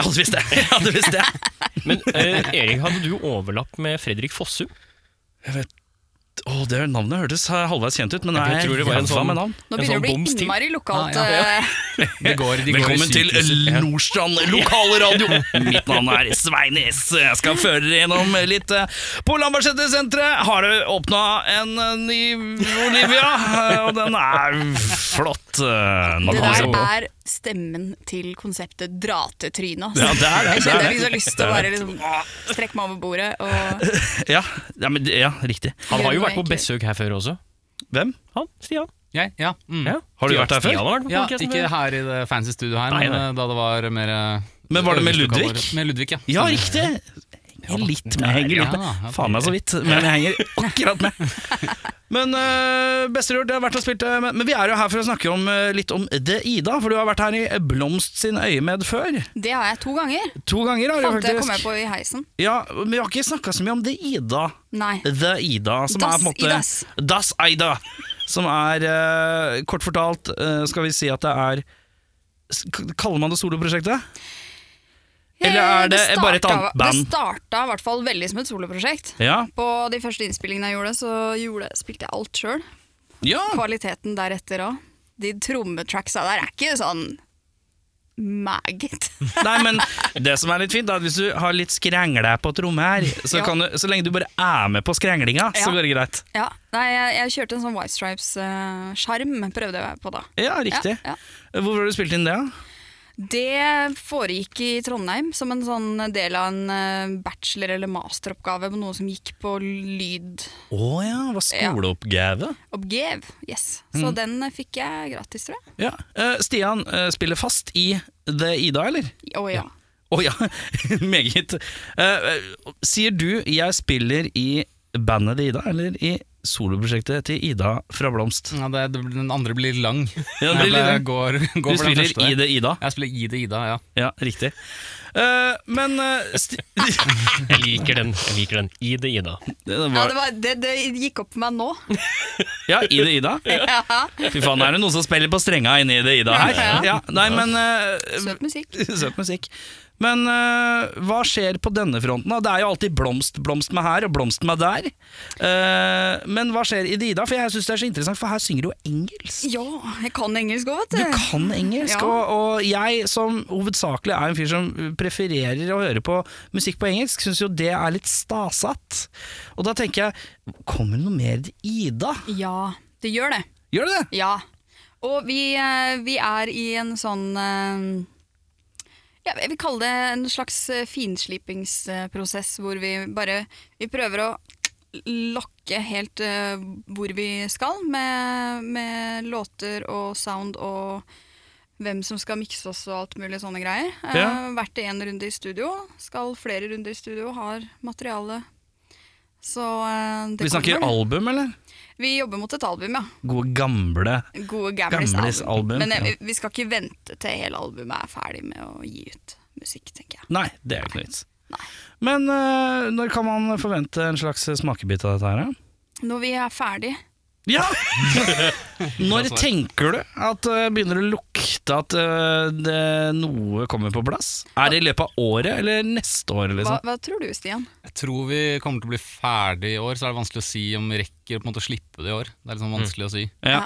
S2: Jeg hadde visst det. Jeg hadde visst det.
S3: Men eh, Erik, hadde du overlapp med Fredrik Fossum?
S2: Å, det navnet hørtes halvveis kjent ut, men nei,
S3: Jeg tror det var en
S2: jævla
S3: sånn-
S2: med navn.
S7: Nå
S3: En
S7: begynner
S3: sånn
S7: det å
S3: boms
S7: bli
S3: til.
S7: innmari lokalt.
S1: Ja,
S7: eh,
S1: Det går, de går i
S2: Velkommen til
S1: sykehuset.
S2: Nordstrand lokalradio! Mitt navn er Sveinis. Jeg skal føre dere gjennom litt. eh, På Lambertseter-senteret har det åpna en eh, ny Olivia, eh, og den er flott. eh, Nå
S7: Det
S2: kan vi se
S7: der
S2: på.
S7: er stemmen til konseptet dratetryne. altså.
S2: Ja, det er det.
S7: Jeg
S2: Det er
S7: kjenner jeg fikk så lyst til å bare liksom strekke meg over bordet og
S2: Ja, ja, men, det- ja riktig.
S3: Han har jo vært på
S7: Egentlig.
S3: besøk her før også.
S2: Hvem?
S3: Han, Stian.
S1: Jeg? Ja. Mm.
S3: Ja.
S2: Har du
S3: Stian-
S2: vært her før?
S3: Stian har vært på
S1: Ja,
S3: podcasten
S1: ikke
S3: før.
S1: her i det fancy studioet her,
S3: Nei,
S1: men eh, da det var mer eh,
S2: Men var det med Ludvig?
S1: øvingslokaler. Med Ludvig, ja.
S2: Ja, riktig! Jeg henger litt med. Jeg henger
S1: Ja,
S2: litt med.
S1: ok.
S2: Faen meg så vidt, men jeg henger akkurat med. Men øh, Besterud, det har vært og spilt øh, Men men vi er jo her for å snakke om, øh, litt om The Ida, for du har vært her i Blomst sin øyemed før.
S7: Det har jeg to ganger.
S2: To ganger har du
S7: Fant jeg, kom jeg
S2: faktisk
S7: på i heisen.
S2: Ja, Men vi har ikke snakka så mye om The Ida.
S7: Nei.
S2: The Ida, som
S7: Das
S2: er på en måte
S7: Idas.
S2: Das Ida. Som er, øh, kort fortalt, øh, skal vi si at det er s- k- Kaller man det soloprosjektet? Eller er det
S7: starta-
S2: bare et annet band?
S7: Det starta i hvert fall veldig som et soloprosjekt.
S2: Ja.
S7: På de første innspillingene jeg gjorde, så gjorde, spilte jeg alt sjøl.
S2: ja.
S7: Kvaliteten deretter òg. De trommetracksa der er ikke sånn maggot.
S2: Nei, men det som er litt fint, er at hvis du har litt skrengle på tromme her, så,
S7: Ja.
S2: kan du, så lenge du bare er med på skrenglinga, så
S7: Ja.
S2: går det greit.
S7: Ja, nei, jeg, jeg kjørte en sånn White Stripes-skjerm, prøvde jeg på da.
S2: Ja, riktig.
S7: Ja, ja.
S2: Hvor har du spilt inn det? da?
S7: Det foregikk i Trondheim som en sånn del av en eh, bachelor- eller masteroppgave på noe som gikk på lydoppgave.
S2: Å ja, var skoleoppgave?
S7: Yes.
S2: Mm.
S7: Så den eh, fikk jeg gratis, tror jeg.
S2: Ja. Eh, Stian eh, spiller fast i The Ida, eller?
S7: Å ja.
S2: Å ja, meget. Eh, eh, sier du 'jeg spiller i bandet The Ida', eller i soloprosjektet til Ida fra Blomst?
S1: Ja, det, det, den andre blir lang.
S2: Ja, det blir
S1: Jeg
S2: litt-
S1: Mm. Går, går for
S2: Du
S1: den
S2: spiller
S1: første
S2: i
S1: der.
S2: The Ida?
S1: Jeg spiller i det Ida, ja.
S2: Ja, riktig. Eh, men eh, sti
S3: Jeg liker den. jeg liker den. Ide Ida.
S2: det var,
S7: ja det, var, det, det gikk opp for meg nå.
S2: Ja, i det Ida. Fy faen, er det noen som spiller på strenga inni det Ida her?
S7: Ja.
S2: Ja, nei, men eh,
S7: Søt musikk.
S2: Søt musikk. Men eh, hva skjer på denne fronten? da? Det er jo alltid blomst, blomst med her og blomst med der. Eh, men hva skjer i det Ida? For jeg syns det er så interessant, for her synger du jo engelsk.
S7: Ja, jeg kan engelsk òg, vet
S2: Du
S7: du.
S2: kan engelsk,
S7: Ja.
S2: og, og jeg som hovedsakelig er en fyr som prefererer å høre på musikk på engelsk, syns jo det er litt stasatt. Og da tenker jeg, kommer det noe mer i Ida?
S7: Ja, det gjør det.
S2: Gjør det det?
S7: Ja. Og vi, eh, vi er i en sånn eh, ja, Jeg vil kalle det en slags eh, finslipingsprosess eh, hvor vi bare Vi prøver å lokke helt eh, hvor vi skal med, med låter og sound og hvem som skal mikse oss og alt mulig sånne greier. Eh,
S2: Ja.
S7: vært i én runde i studio. Skal flere runder i studio, har materiale. Så eh, det
S2: Vi snakker
S7: kommer.
S2: album, eller?
S7: Vi jobber mot et album, ja.
S2: Gode gamle
S7: Gode gamlis,
S2: Gamles
S7: album.
S2: album.
S7: Men eh,
S2: ja.
S7: vi- vi skal ikke vente til hele albumet er ferdig med å gi ut musikk, tenker jeg.
S2: Nei, det er jo ikke noe vits.
S7: Nei.
S2: Men eh, når kan man forvente en slags smakebit av dette her? da?
S7: Når vi er ferdig
S2: Ja! når tenker du at det begynner å lukte at eh, det, noe kommer på plass? Er det i løpet av året eller neste år,
S7: hva,
S2: liksom?
S7: hva tror du, Stian?
S1: Jeg tror vi kommer til å bli ferdig i år, så er det vanskelig å si om vi rekker å på en måte slippe det i år. Det er litt sånn vanskelig å si.
S2: Ja.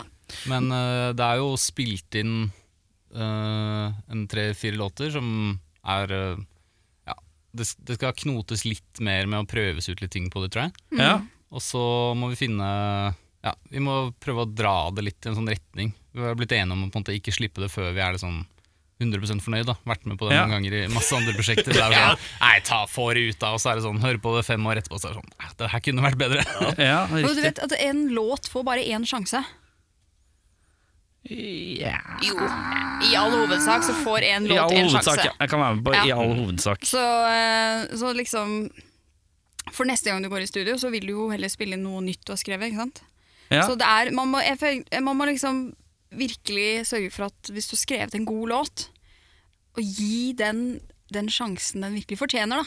S1: Men eh, det er jo spilt inn eh, en tre-fire låter som er eh, Ja, det, det skal
S7: Mm.
S1: knotes litt mer med å prøves ut litt ting på det, tror jeg.
S2: Ja.
S1: Og så må vi finne ja, vi må prøve å dra det litt i en sånn retning. Vi har blitt enige om å på en måte ikke slippe det før vi er liksom 100 fornøyd. da Vært med på det
S2: Ja.
S1: mange ganger i masse andre prosjekter. Det er jo sånn, Nei, ta få det ut, da. Og så er det sånn, hører på det fem år etterpå, så er det sånn «Nei, Det her kunne vært bedre.
S2: Ja,
S7: Og du
S2: riktig.
S7: vet at en låt får bare én sjanse. Jo, i all hovedsak så får en
S2: I
S7: låt
S2: all
S7: én
S2: hovedsak.
S7: sjanse.
S2: ja. Jeg kan være med på i
S7: Ja.
S2: all hovedsak.
S7: Så, eh, så liksom For neste gang du går i studio, så vil du jo heller spille noe nytt du har skrevet. ikke sant?
S2: Ja.
S7: Så det er, man må, jeg, føl- man må liksom virkelig sørge for at hvis du har skrevet en god låt, å gi den den sjansen den virkelig fortjener. da.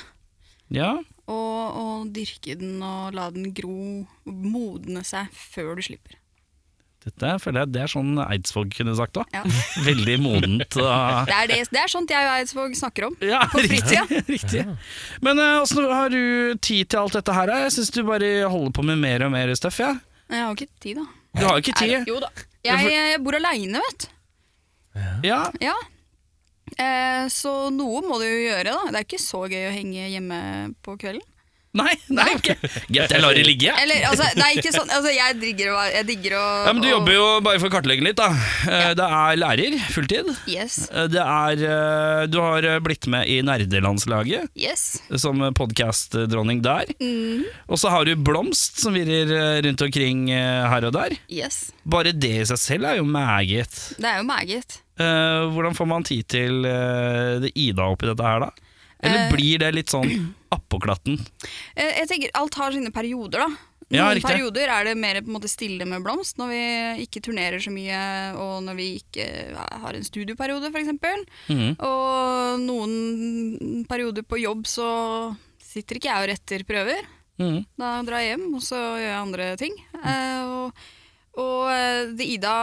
S2: ja.
S7: Og, og dyrke den og la den gro, modne seg før du slipper.
S2: Dette føler jeg det er sånn Eidsvåg kunne sagt òg.
S7: Ja.
S2: Veldig modent. Og
S7: Det er, det, det er sånt jeg og Eidsvåg snakker om.
S2: ja,
S7: På fritida.
S2: riktig. Men eh, åssen har du tid til alt dette her? eh? Jeg syns du bare holder på med mer og mer stuff. Ja.
S7: Jeg har jo ikke tid, da.
S2: Du har jo ikke
S7: Er-
S2: tid.
S7: jo da. Jeg, jeg bor aleine, vet du.
S2: Ja.
S7: Ja. Eh, så noe må du jo gjøre, da. Det er ikke så gøy å henge hjemme på kvelden.
S2: Nei, nei, ok. Greit, jeg lar det ligge. jeg.
S7: Eller, altså, det er ikke sånn Altså, jeg digger å være- Jeg digger å
S2: Ja, men du jobber jo bare for å kartlegge litt, da. Eh, Det er lærer, fulltid.
S7: å- Yes.
S2: Eh, Det er eh, Du har eh, blitt med i nerdelandslaget
S7: Yes. Mm,
S2: som podkastdronning der. Og så har du Blomst som virrer eh, rundt omkring eh, her og der.
S7: Yes.
S2: Bare det i seg selv er jo meget.
S7: Det er jo meget.
S2: Eh, hvordan får man tid til eh, det Ida oppi dette her, da? Eller
S7: Eh,
S2: blir det litt sånn appåklatten?
S7: Eh, jeg tenker Alt har sine perioder, da. Noen
S2: Ja, riktig.
S7: perioder er det mer på en måte stille med blomst, når vi ikke turnerer så mye, og når vi ikke eh, har en studioperiode, f.eks.
S2: Mhm.
S7: Og noen perioder på jobb så sitter ikke jeg og retter prøver.
S2: Mhm.
S7: Da drar jeg hjem, og så gjør jeg andre ting.
S2: Mm.
S7: Eh, og og eh, det Ida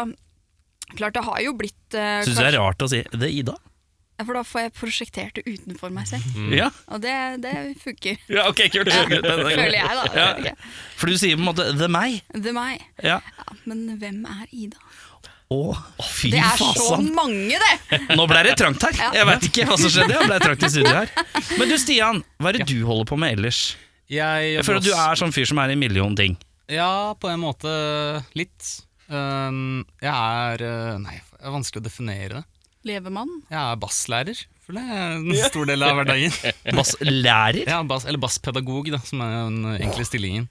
S7: Klart det har jo blitt eh,
S2: Syns du det er rart å si 'det er Ida'?
S7: kanskje- For da får jeg prosjektert det utenfor meg selv.
S1: Mm.
S2: Ja.
S7: Og det, det funker,
S2: ja, ok, kult.
S7: føler jeg, da. Jeg vet ikke.
S2: For du sier på en måte 'the meg'.
S7: Det er meg.
S2: Ja.
S7: Ja, men hvem er Ida?
S2: Å, fy
S7: Det er så
S2: fasan.
S7: mange, det!
S2: Nå ble det trangt her.
S7: Ja.
S2: Jeg veit ikke hva som skjedde. Jeg ble trangt i studio her. Men du Stian, hva er det du holder på med ellers?
S1: Jeg,
S2: Jeg føler at du er sånn fyr som er i en million ting.
S1: Ja, på en måte litt. Um, jeg er eh, Nei, det er vanskelig å definere det.
S7: Levemann.
S1: Jeg er basslærer, for det er en stor del av hverdagen.
S2: Basslærer?
S1: Ja, bass, eller basspedagog, da, som er den enkle stillingen.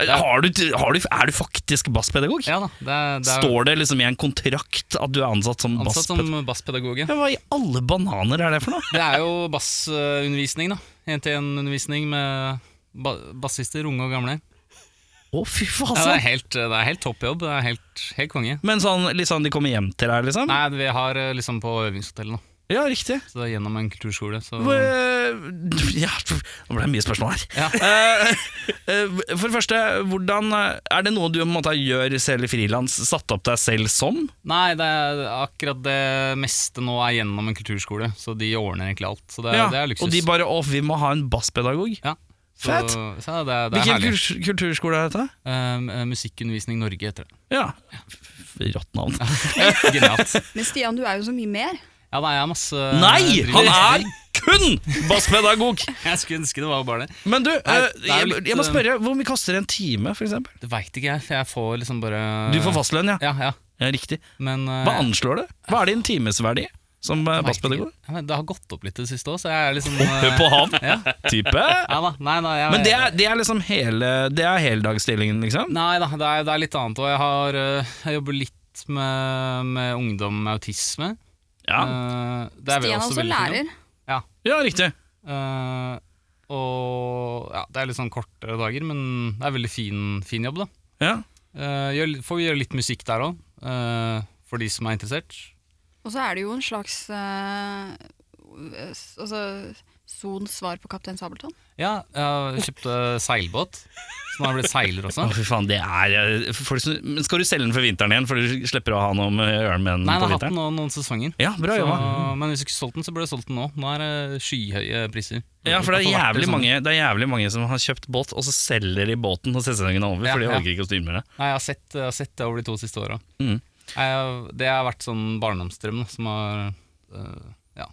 S2: Har du, har du, er du faktisk basspedagog?
S1: Ja da, det er, det er
S2: Står det liksom i en kontrakt at du er ansatt som
S1: ansatt som
S2: basspedagog?
S1: basspedagog. ja.
S2: Ja, hva i alle bananer er det for noe?
S1: Det er jo bassundervisning, da. En-til-en-undervisning med ba bassister, unge og gamle.
S2: Å, fy
S1: Ja, det, er
S2: faen.
S1: helt, det er helt topp jobb. Det er helt, helt konge.
S2: Men sånn, litt sånn de kommer hjem til deg, liksom?
S1: Nei, Sånn. vi har eh, liksom på øvingshotellet nå,
S2: Ja, riktig.
S1: så det er gjennom en kulturskole. Så
S2: Hvor, eh, ja, nå ble det mye spørsmål her.
S1: Ja.
S2: Eh, eh, for det første, hvordan, eh, er det noe du på en måte gjør selv i frilans? Satt opp deg selv som?
S1: Nei, det er akkurat det meste nå er gjennom en kulturskole, så de ordner egentlig alt. Så det,
S2: Ja,
S1: det er luksus.
S2: Og de bare 'å, vi må ha en basspedagog'.
S1: ja. så,
S2: Fett.
S1: Så det, er- det er
S2: Hvilken
S1: herlig.
S2: kul- kulturskole er dette?
S1: Eh, Musikkundervisning Norge heter det.
S2: Ja, f- Rått navn.
S1: Genialt.
S7: Men Stian, du er jo så mye mer.
S1: Ja, nei, jeg har masse
S2: Nei!
S1: driver-
S2: Han er kun basspedagog!
S1: Jeg skulle ønske det var bare det.
S2: Men du,
S1: Nei,
S2: eh,
S1: det er jo
S2: jeg,
S1: litt,
S2: jeg må
S1: eh,
S2: spørre, hvor mye koster en time, f.eks.?
S1: Det veit ikke jeg, for jeg får liksom bare
S2: Du får fastlønn, ja.
S1: Ja, ja.
S2: ja. Riktig.
S1: Men eh,
S2: Hva anslår du? Hva er din timesverdi som eh,
S1: jeg vet ikke.
S2: basspedagog?
S1: Ja, men det har gått opp litt det siste òg, så jeg er liksom
S2: Hør
S1: eh,
S2: på han!
S1: ja.
S2: Type.
S1: ja da. Nei da. Jeg,
S2: Men det er, det er liksom hele Det er heldagsstillingen, liksom?
S1: Nei da, det er, det er litt annet òg. Jeg, har, eh, jeg jobber litt med, med ungdom med autisme.
S2: Ja,
S1: Eh, det er vel
S7: Stian er også
S1: veldig fint.
S7: lærer.
S2: ja riktig.
S1: Eh, og ja, det er litt sånn kortere dager, men det er veldig fin, fin jobb, da.
S2: Ja.
S1: Eh, gjør, får vi gjøre litt musikk der òg, for de som er interessert.
S7: Og så er det jo en slags eh, s- Altså Sons svar på Kaptein Sabeltann.
S1: Ja, jeg kjøpte seilbåt, så nå har jeg blitt seiler
S2: Å,
S1: også.
S2: fy faen, det er eh, for folk som, Men skal du selge den for vinteren igjen, for du slipper å ha noe med øren med den
S1: Nei, jeg
S2: på
S1: har hatt den
S2: vinteren?
S1: nå noen sesonger.
S2: Ja,
S1: Så,
S2: bra
S1: eh,
S2: jobba.
S1: men hvis du ikke solgte den, så burde jeg solgt den nå. Nå er det skyhøye priser.
S2: Ja, for det er,
S1: Jeg har vært i
S2: jævlig
S1: sånn-
S2: mange, det er jævlig mange som har kjøpt båt, og så selger de båten når sesongen er over,
S1: Ja,
S2: for de
S1: ja.
S2: orker ikke å styre med det.
S1: Nei, jeg har sett, jeg har sett det over de to siste åra.
S2: Mm.
S1: Det har vært sånn barndomsdrøm da, som har eh, ja.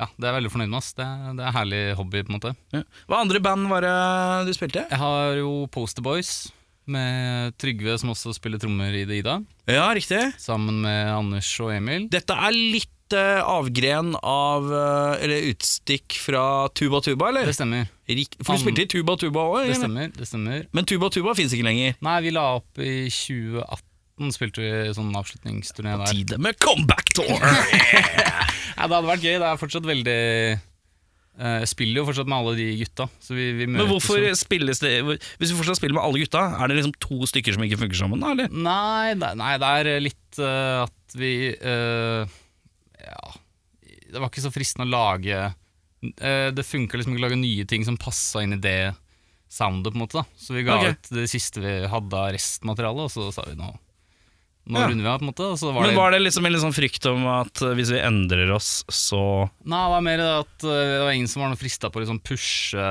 S1: ja, det er jeg veldig fornøyd med. Ass. Det, er, det er en herlig hobby, på en måte.
S2: Ja. Hva andre band var det du spilte?
S1: Jeg har jo Poster Boys med Trygve, som også spiller trommer i det Ida,
S2: Ja, riktig.
S1: sammen med Anders og Emil.
S2: Dette er litt eh, avgren av eh, Eller utstikk fra Tuba Tuba, eller?
S1: Det stemmer.
S2: Rik- For du spilte i Tuba Tuba
S1: Det
S2: òg?
S1: stemmer, det stemmer.
S2: Men Tuba Tuba fins ikke lenger.
S1: Nei, vi la opp i 2018, spilte vi sånn avslutningsturné der.
S2: Tide med comeback tour!
S1: Nei, det hadde vært gøy. Det er fortsatt veldig eh, Jeg spiller jo fortsatt med alle de gutta. Så vi, vi
S2: Men
S1: møtes
S2: hvorfor
S1: jo.
S2: spilles det hvor- Hvis vi fortsatt spiller med alle gutta, er det liksom to stykker som ikke funker sammen? sånn, da, eller?
S1: Nei, nei, nei, det er litt eh, at vi eh, Ja Det var ikke så fristende å lage eh, Det funka liksom ikke å lage nye ting som passa inn i det soundet, på en måte. da Så vi ga
S2: Ok.
S1: ut det siste vi hadde av restmaterialet, og så sa vi nå Nå
S2: Ja.
S1: runder vi av, på en måte. Og så var
S2: Men
S1: det,
S2: var det liksom en litt sånn frykt om at eh, hvis vi endrer oss, så
S1: Nei, det var mer det at eh, det var ingen som var noe frista på å liksom pushe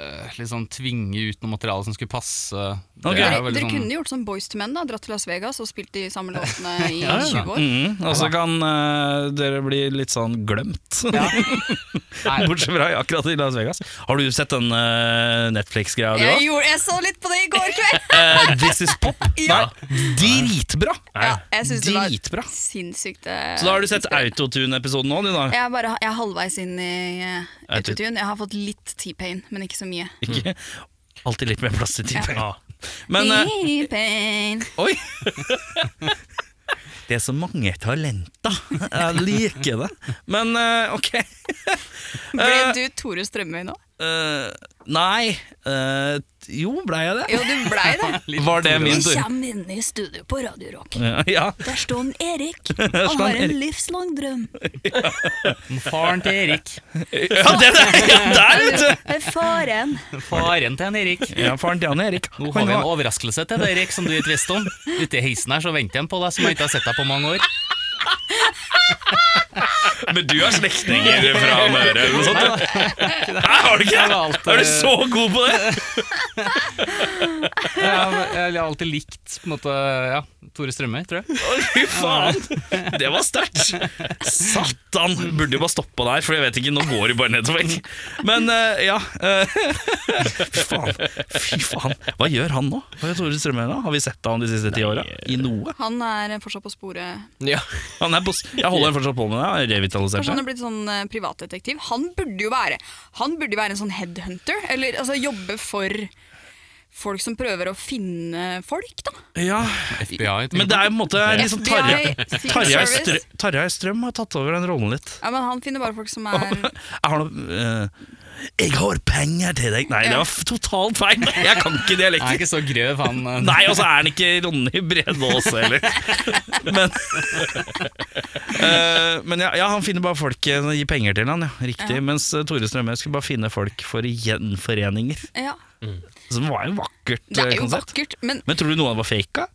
S1: eh, Liksom tvinge ut noe materiale som skulle passe. Det er
S2: Ok.
S7: Dere,
S1: jo veldig
S7: dere
S1: sånn-
S7: kunne gjort som Boys to Men, da. Dratt til Las Vegas og spilt de samme låtene i
S1: Ja, ja.
S7: 20 år.
S2: mm, Og så kan eh, dere bli litt sånn glemt.
S1: Nei.
S2: Bortsett fra akkurat i Las Vegas. Har du sett den eh, Netflix-greia du
S7: Jeg,
S2: òg?
S7: gjorde, jeg så litt på det i går kveld!
S2: Eh, This is pop.
S7: Ja.
S2: Nei, dritbra!
S7: Ja, jeg syns det var
S2: Dritbra.
S7: sinnssykt eh,
S2: Så da har du sett Autotune-episoden nå, du da?
S7: Jeg er, bare, jeg er halvveis inn i eh,
S2: Autotune.
S7: autotune. Jeg har fått litt T-pain, men ikke så mye.
S2: Ikke? Alltid litt mer plass til typen. Men eh,
S7: T-pain
S2: oi! Det er så mange talenter. Jeg liker det. Men eh, ok.
S7: Ble du Tore Strømøy nå?
S2: Eh, nei eh, Jo, blei jeg det?
S7: Jo, du blei det.
S2: Var det min tur?
S7: Kjem inn i studio på Radio Rock.
S2: Ja.
S7: Der står han Erik.
S2: står
S7: Han
S2: han
S7: har en
S2: Erik.
S7: livslang drøm.
S1: Faren til Erik.
S2: ja, det der, ja, der vet
S7: Det er Faren.
S1: Faren til han Erik.
S2: du! Ja, faren til han Erik.
S1: Nå har vi en
S2: Han var-
S1: overraskelse til deg, Erik, som du ikke visste om. Ute i heisen her så venter han på deg, som jeg ikke har sett deg på mange år.
S2: Men du har slektninger fra Møre eller noe sånt? du? Hæ, har du
S1: Jeg
S2: ikke?
S1: har alltid,
S2: Er du så god på det?
S1: jeg har, jeg har alltid likt på en måte, ja, Tore Strømøy, tror jeg.
S2: Å, Fy faen! Det var sterkt! Satan! Burde jo bare stoppa der, for jeg vet ikke, nå går det bare nedover. Men eh, ja eh, Fy faen. Fy faen. Hva gjør han nå? Hva gjør Tore Strømøy nå? Har vi sett han de siste ti åra? I noe?
S7: Han er fortsatt på sporet.
S2: Han er på, s- jeg holder fortsatt på med det. Han
S7: Kanskje
S2: Revitalisert
S7: han
S2: seg.
S7: er blitt sånn eh, privatdetektiv. Han burde jo være Han burde jo være en sånn headhunter. Eller altså jobbe for folk som prøver å finne folk, da.
S2: Ja,
S1: FBI,
S2: men det er på en måte litt sånn Tarjei
S7: FBI, Secret
S2: Tarjei
S7: Service.
S2: Strø- Tarjei Strøm har tatt over den rollen litt.
S7: Ja, men han finner bare folk som er
S2: Jeg har noe eh, Jeg har penger til deg! Nei, det var f- totalt feil! Jeg kan ikke
S1: Han er
S2: dialekter.
S1: ikke så grøv, han. eh,
S2: Nei, og så er han ikke Ronny Bredås heller. Men, Eh, men ja, ja, han finner bare folk eh, gir penger til han, ja. Riktig. Mens eh, Tore Strømøy skulle bare finne folk for gjenforeninger.
S7: Ja,
S2: Som var jo vakkert
S7: det er
S2: eh,
S7: jo
S2: konsept.
S7: vakkert, men
S2: Men tror du noen av det var fake? da?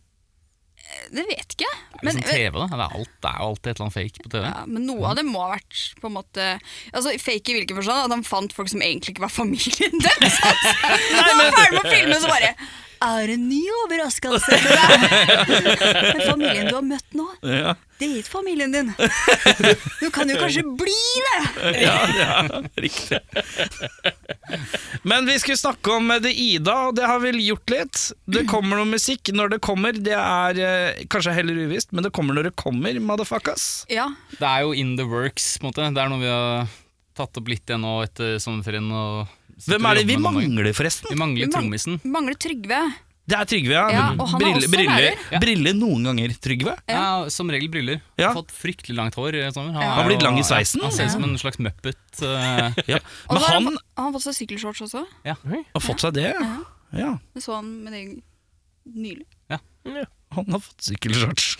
S7: det vet ikke jeg.
S1: Men,
S7: Men,
S2: sånn
S1: liksom TV, da. Det er, alt, det er jo alltid et eller annet fake på TV.
S7: ja, men noe av det må ha vært på en måte Altså fake i hvilken forstand? At han fant folk som egentlig ikke var familien deres. Altså. Han var ferdig med å filme, så bare er en ny overraskelse til deg. Men familien du har møtt nå,
S2: Ja,
S7: det er ikke familien din. Du kan jo kanskje bli det!
S2: ja, ja riktig. Men vi skulle snakke om eh, det Ida, og det har vi gjort litt. Det kommer noe musikk når det kommer. Det er eh, kanskje heller uvisst, men det kommer når det kommer, motherfuckers.
S7: Ja,
S1: Det er jo in the works, på en måte. Det er noe vi har tatt opp litt igjen nå etter sommerferien. Og sitter
S2: Hvem er det
S1: og
S2: vi
S1: jobber med noen dager.
S2: mangler,
S1: Vi
S2: forresten?
S7: vi
S1: mangler
S7: mang-
S1: trommisen.
S7: Mangler Trygve.
S2: Det er Trygve, ja.
S7: Ja, og han er
S2: brille,
S7: også
S2: brille,
S7: lærer.
S1: Ja.
S2: brille noen ganger, Trygve.
S1: Ja, som regel briller.
S2: Ja.
S1: Har fått fryktelig langt hår. i sommer. Han,
S7: Ja.
S1: er
S2: Han har blitt
S1: jo-
S2: lang i sveisen.
S1: Han ser ut som en slags muppet. eh,
S2: Ja.
S7: Og
S2: Men
S7: så har
S2: han
S7: han, fa- har han fått seg sykkelshorts også.
S2: har fått seg det. Ja,
S7: Det så han med det nylig.
S2: han har fått sykkelshorts.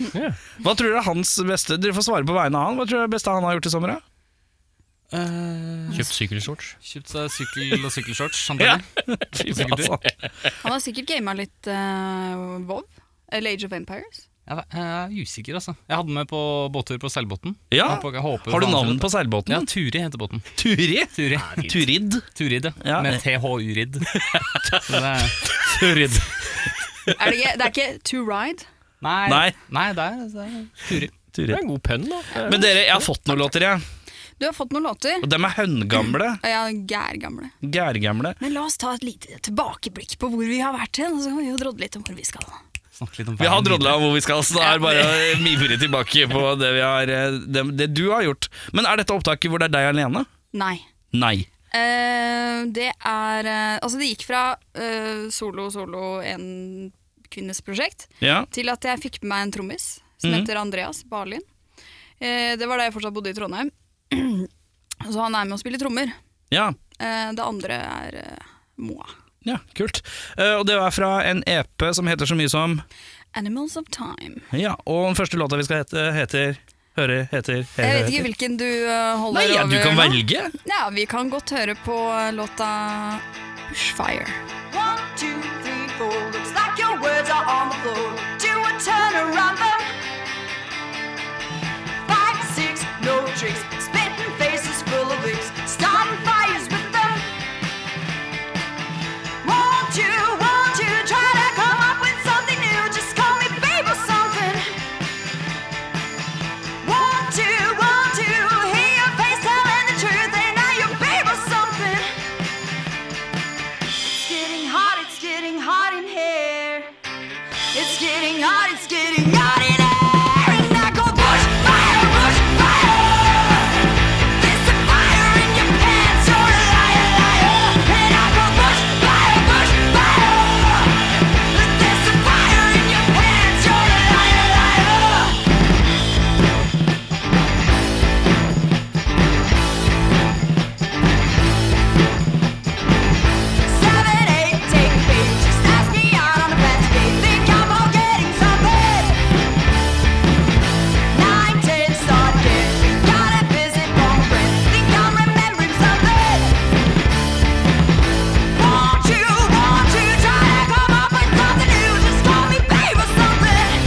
S2: Hva tror dere er hans beste Dere får svare på vegne av han. Hva tror dere er det beste han har gjort i sommer? da?
S1: eh,
S8: Kjøpt sykkelshorts.
S1: Kjøpt seg sykkel og sykkelshorts. Han
S2: Ja.
S1: ja.
S2: Fy
S1: Sikkert
S2: faen, altså.
S7: Han har sikkert gama litt uh, WoW. Eller Age of Empires.
S1: Jeg er usikker, altså. Jeg hadde den med på båttur på seilbåten.
S2: Ja.
S1: Jeg håper- jeg håper
S2: Har du
S1: faen
S2: navn
S1: ikke
S2: på
S1: det. Ja,
S2: seilbåten?
S1: Turi heter båten.
S2: Turi?
S1: Turi.
S2: Turid?
S1: Turid,
S2: Ja.
S1: ja. Med THU-ridd. Så det er- Turid.
S7: Er det, ikke, det er ikke To Ride?
S1: Nei,
S2: Nei.
S1: Nei det, er, det er Turi.
S8: Det er en god pønn, da.
S2: Men dere, jeg har fått noen låter, jeg.
S7: Du Du har fått noen låter.
S9: Og dem er høngamle.
S7: Ja, gærgamle.
S9: Gærgamle.
S7: Men la oss ta et lite tilbakeblikk på hvor vi har vært hen, og så kan vi jo drodle litt om hvor vi skal.
S1: Snakke litt om
S9: Vi har
S1: veien videre.
S9: drodla om hvor vi skal, så det er bare å mimre tilbake på det, vi har, eh, det, det du har gjort. Men er dette opptaket hvor det er deg alene?
S7: Nei.
S9: Nei.
S7: Eh, det er eh, Altså, det gikk fra eh, solo, solo, en kvinnes prosjekt,
S9: Ja.
S7: til at jeg fikk med meg en trommis som
S9: Mhm.
S7: heter Andreas Barlin. Eh, det var da jeg fortsatt bodde i Trondheim. Så han er med og spiller trommer.
S9: ja.
S7: Eh, det andre er eh, Moa.
S9: Ja, kult. Eh, og det er fra en EP som heter så mye som
S7: Animals of Time.
S9: Ja, og den første låta vi skal hete, heter Hører, heter, heter
S7: Jeg vet
S9: heter.
S7: ikke hvilken du eh, holder
S9: Nei, ja,
S7: over
S9: du kan
S7: nå.
S9: velge.
S7: Ja, vi kan godt høre på eh, låta Bushfire.
S10: One, two, three, four. Looks like your words are on the floor. Do a turn around them. Five, six, no tricks. Spitting faces full of licks. Starting fires with them. Won't you, won't you try to come up with something new? Just call me babe or something. Won't you, won't you hear your face telling the truth? And now you're babe or something. It's getting hot, it's getting hot in here. It's getting hot, it's getting hot in here. And I go bush fire, bush fire. There's a fire in your pants, you're a liar, liar. And I go bush fire, bush fire. There's a fire in your pants, you're a liar, liar. Seven, eight, take me. Just ask me out on a fancy Think I'm forgetting something. Nine, ten, start dancing. Got a visit from a friend. Think I'm remembering something. Won't you, won't you try to come up with something new? Just call me babe or something.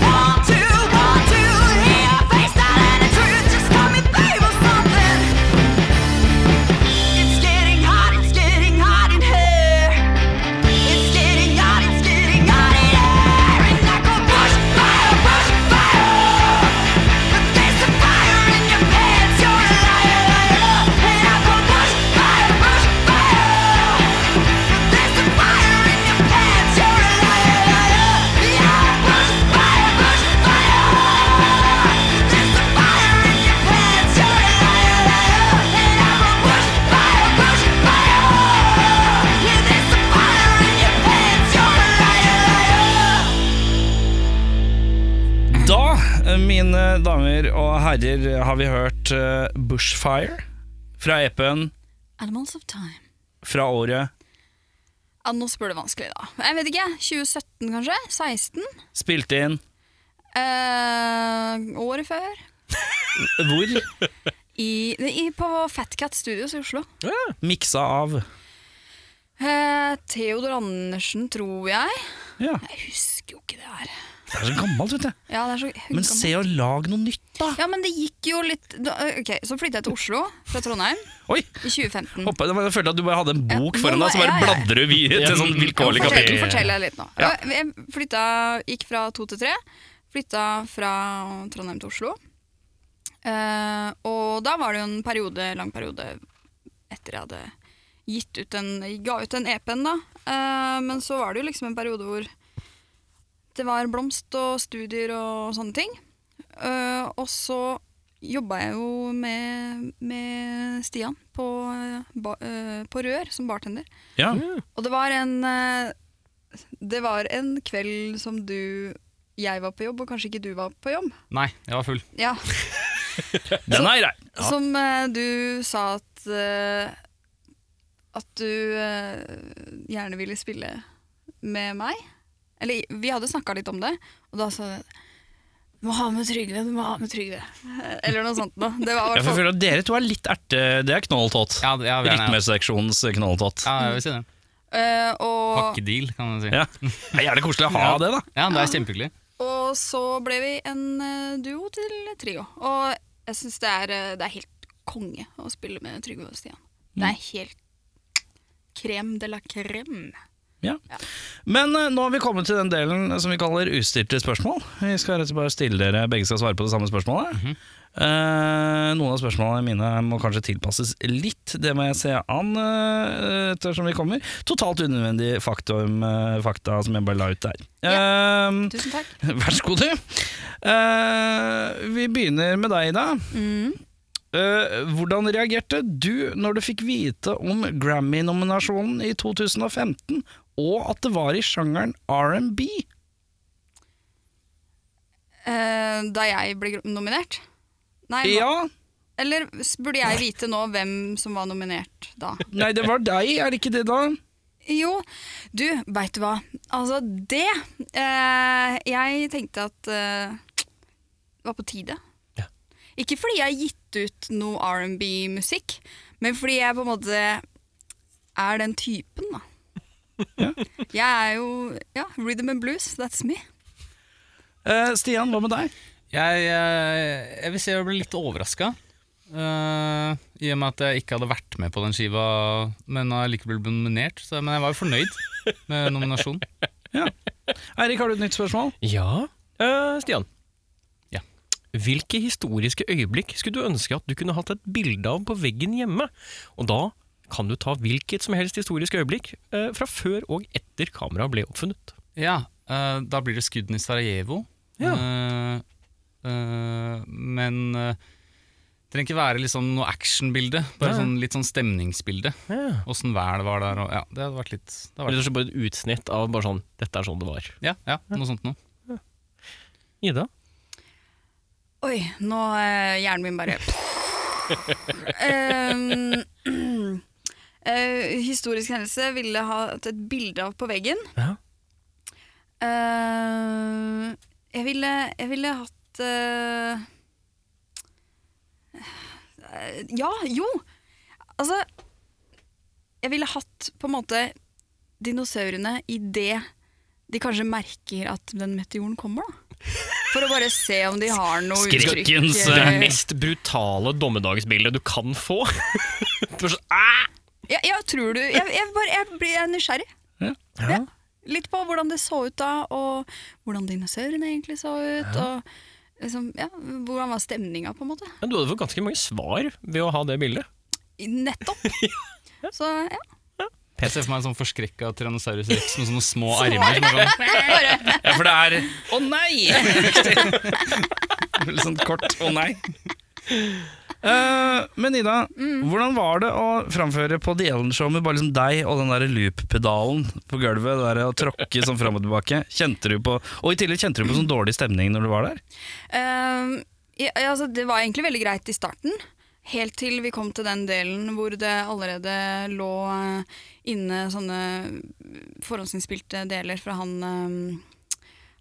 S10: Won't you, won't you hear a face telling the truth? Just call me babe or something. It's getting hot, it's getting hot in here. It's getting hot, it's getting hot in here. And I go push fire, push fire. But there's a fire in your pants, you're a liar, liar. And I go push fire, push fire. But there's a fire in your pants, you're a liar, liar. Yeah, push fire, push fire. There's a fire in your pants, you're a liar, liar. And I go push fire, push fire. Yeah, there's a fire in your pants, you're a liar, liar.
S9: Da, eh, mine damer og herrer, har vi hørt eh, Bushfire fra EP-en
S7: Animals of Time.
S9: fra året
S7: Ja, nå spør du vanskelig, da. Jeg vet ikke. 2017, kanskje? 16?
S9: spilt inn
S7: Eh, året før?
S9: hvor?
S7: I, i, på Fatcat Studios i Oslo.
S9: Miksa av
S7: Eh, Theodor Andersen, tror jeg.
S9: Ja,
S7: Jeg husker jo ikke det her.
S9: det er så gammelt, vet du.
S7: Ja, det er så
S9: Men
S7: gammelt.
S9: se og lag noe nytt, da.
S7: Ja, men det gikk jo litt da, eh, Ok, så flytta jeg til Oslo fra Trondheim
S9: Oi,
S7: i 2015.
S9: hoppa, jeg følte at du bare hadde en bok
S7: Ja,
S9: foran
S7: nå
S9: deg, så bare
S7: er jeg-
S9: bladrer du videre til sånn vilkårlig
S7: Jo, fortell,
S9: kapittel.
S7: fortell deg litt nå. Jeg flytta, gikk fra to til tre. Flytta fra Trondheim til Oslo. Eh, og da var det jo en periode, lang periode etter jeg hadde gitt ut en, ga ut den EP-en, da. Eh, men så var det jo liksom en periode hvor det var blomst og studier og sånne ting. Eh, og så jobba jeg jo med, med Stian på, eh, ba, eh, på Rør som bartender.
S9: Ja.
S7: Og det var en eh, Det var en kveld som du Jeg var på jobb, og kanskje ikke du var på jobb.
S1: Nei, jeg var full.
S7: Ja,
S9: Den er grei.
S7: Som eh, du sa at eh, At du eh, gjerne ville spille med meg. Eller vi hadde snakka litt om det, og da sa du du må ha med Trygve, du må ha med Trygve. Eller noe sånt noe. Det var i
S9: Jeg
S7: hvert fall
S9: føler at dere to er litt erte... Det er knolltått.
S1: Ja, det- ja, vi er nede.
S9: Rytmeseksjonens knolltått.
S1: Ja, jeg vil si det.
S7: Eh, og,
S1: Pakkedeal, kan man si.
S9: Ja. Det er jævlig koselig å ha det, da.
S1: Ja, det er kjempehyggelig.
S7: og så ble vi en eh, duo til trio. Og jeg syns det, er, eh, det er helt konge Mm. å spille med Trygve og Stian. Det er helt krem de la krem.
S11: Ja.
S2: Men eh, nå har vi kommet til den delen som vi kaller ustilte spørsmål. Vi skal rett og slett bare stille dere, Begge skal svare på det samme spørsmålet.
S9: Mhm.
S2: Eh, noen av spørsmålene mine må kanskje tilpasses litt. Det må jeg se an uh, ettersom vi kommer. Totalt unødvendig faktum, eh, fakta som jeg bare la ut der. Eh,
S7: Tusen takk.
S2: vær så god, du. Eh, vi begynner med deg, Ida.
S7: Mm.
S2: Eh, hvordan reagerte du når du fikk vite om Grammy-nominasjonen i 2015, og at det var i sjangeren R&B?
S7: Eh, da jeg ble gr- nominert? Nei, nå-
S2: Ja,
S7: eller s- burde jeg vite nå hvem som var nominert da?
S2: nei, det var deg, er det ikke det, da?
S7: Jo, du, veit du hva. Altså, det eh, Jeg tenkte at eh, det var på tide.
S3: Ja.
S7: Ikke fordi jeg har gitt ut noe R&B-musikk, men fordi jeg på en måte er den typen, da. Jeg er jo ja, rhythm and blues, that's me.
S2: Eh, Stian, hva med deg?
S1: Jeg, eh, jeg vil si jeg ble litt overraska. eh, I og med at jeg ikke hadde vært med på den skiva, men allikevel ble nominert. Så, men jeg var jo fornøyd med nominasjonen.
S2: Eirik, har du et nytt spørsmål?
S3: Ja, eh, Stian.
S1: Ja.
S3: Hvilke historiske øyeblikk skulle du ønske at du kunne hatt et bilde av på veggen hjemme? Og da kan du ta hvilket som helst historisk øyeblikk eh, fra før og etter kameraet ble oppfunnet.
S1: Ja, eh, da blir det skuddene i Sarajevo. Eh, eh, men eh, det trenger ikke være liksom noe actionbilde, bare
S3: Nei.
S1: sånn, litt sånn stemningsbilde.
S3: Ja.
S1: Åssen vær det var der. Og, ja, det hadde vært litt det hadde
S3: Rett
S1: vært,
S3: og slett bare et utsnitt av bare sånn 'dette er sånn det var'.
S1: ja, ja, noe sånt noe.
S3: Ida?
S7: Oi, nå eh, hjernen min bare um, eh, Historisk hendelse ville ha hatt et bilde av på veggen.
S3: Ja.
S7: Eh, jeg, ville, jeg ville hatt eh, eh, Ja, jo! Altså Jeg ville hatt på en måte dinosaurene i det de kanskje merker at den meteoren kommer, da. For å bare se om de har noe uttrykk.
S3: Skrekkens
S7: eh,
S3: det mest brutale dommedagsbildet du kan få. Det var sånn, «Ah!»
S7: Ja, ja, tror du Jeg, jeg, bare, jeg blir nysgjerrig.
S2: Ja.
S7: Ja. Litt på hvordan det så ut da, og hvordan dinosaurene egentlig så ut. Og liksom, ja, hvordan var stemninga, på en måte.
S3: Men du hadde fått ganske mange svar ved å ha det bildet.
S7: Nettopp! Så ja.
S1: Jeg ser for meg en sånn forskrekka tyrannosaurus rex med sånne små armer. Som er sånn,
S2: Ja, for det er Å nei! Veldig sånn kort å nei. Eh, men Ida, hvordan var det å framføre på The Ellen Show med bare liksom deg og den der loop-pedalen på gulvet? Det der å tråkke sånn fram og tilbake. Kjente du på Og i tillegg kjente du på sånn dårlig stemning når du var der?
S7: Ehm, ja, ja, altså, det var egentlig veldig greit i starten. Helt til vi kom til den delen hvor det allerede lå eh, inne sånne eh, forhåndsinnspilte deler fra han, ehm,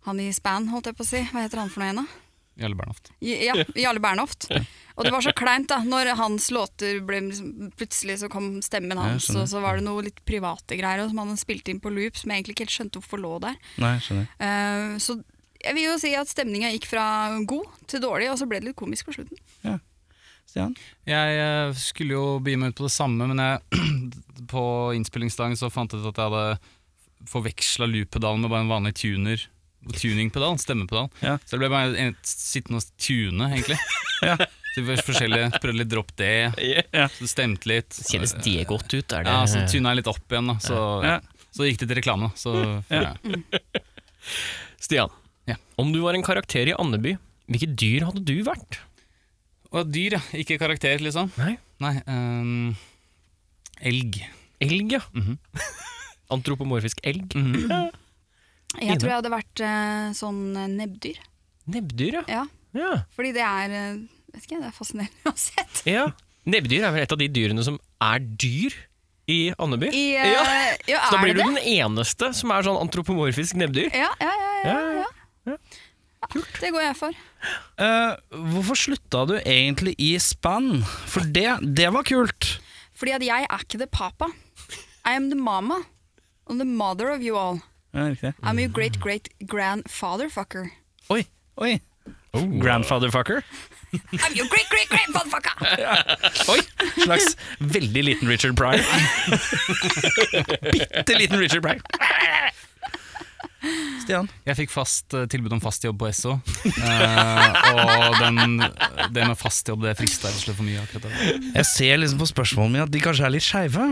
S7: han i Span, holdt jeg på å si. Hva heter han for noe igjen, da?
S1: Jarle Bernhoft.
S7: Ja, Jarle Bernhoft. Og det var så kleint, da. Når hans låter ble liksom, Plutselig så kom stemmen hans, og så var det noe litt private greier og som han hadde spilt inn på loop, som jeg egentlig ikke helt skjønte hvorfor lå der.
S2: Nei, skjønner.
S7: Eh, så jeg vil jo si at stemninga gikk fra god til dårlig, og så ble det litt komisk på slutten.
S2: Stian?
S1: Jeg eh, skulle jo begynne meg ut på det samme, men jeg, på innspillingsdagen så fant jeg ut at jeg hadde forveksla loop-pedalen med bare en vanlig tuner. Tuningpedal, stemmepedal.
S2: Ja.
S1: Så det ble bare en- sittende og tune, egentlig.
S2: Ja.
S1: Så vi var forskjellige, Prøvde litt drop D,
S2: Ja.
S1: så det stemte litt.
S3: Kjennes det godt ut? Er det?
S1: Ja, Så tuna jeg litt opp igjen, da. Så,
S2: Ja.
S1: så gikk det til reklame. da. Så, ja.
S3: Stian,
S1: Ja.
S3: om du var en karakter i Andeby, hvilket dyr hadde du vært?
S1: Og dyr, ja. Ikke karakter, liksom.
S3: Nei.
S1: Nei ehm, elg.
S3: Elg, ja.
S2: Mhm.
S3: Antropomorfisk elg.
S7: Jeg
S3: Ine?
S7: tror jeg hadde vært eh, sånn eh, nebbdyr.
S3: Nebbdyr, ja.
S7: Ja,
S3: ja.
S7: fordi det er eh, Vet ikke, det er fascinerende uansett.
S3: ja. Nebbdyr er vel et av de dyrene som er dyr i Andeby?
S7: I, eh,
S3: Ja.
S7: ja,
S3: Så da
S7: er
S3: blir du
S7: det det?
S3: den eneste som er sånn antropomorfisk nebbdyr.
S7: Ja, ja, ja. ja,
S3: Ja, ja,
S7: ja. ja. Det går jeg for.
S2: Eh, hvorfor slutta du egentlig i span? For det, det var kult.
S7: Fordi at jeg er ikke the papa. I am the mama. I'm the mother of you all.
S2: Ja, riktig.
S7: I'm your great great grandfather fucker.
S2: Oi. Oi.
S12: Grandfather fucker.
S7: I'm your great, great, great motherfucker!
S12: Oi! Slags veldig liten Richard Pryor. Bitte liten Richard Pryor. Stian?
S1: Jeg fikk fast, eh, tilbud om fast jobb på Esso. Eh, og den, det med fast jobb det frista rett og slett for mye. akkurat da.
S2: Jeg ser liksom på spørsmålene mine at de kanskje er litt skeive.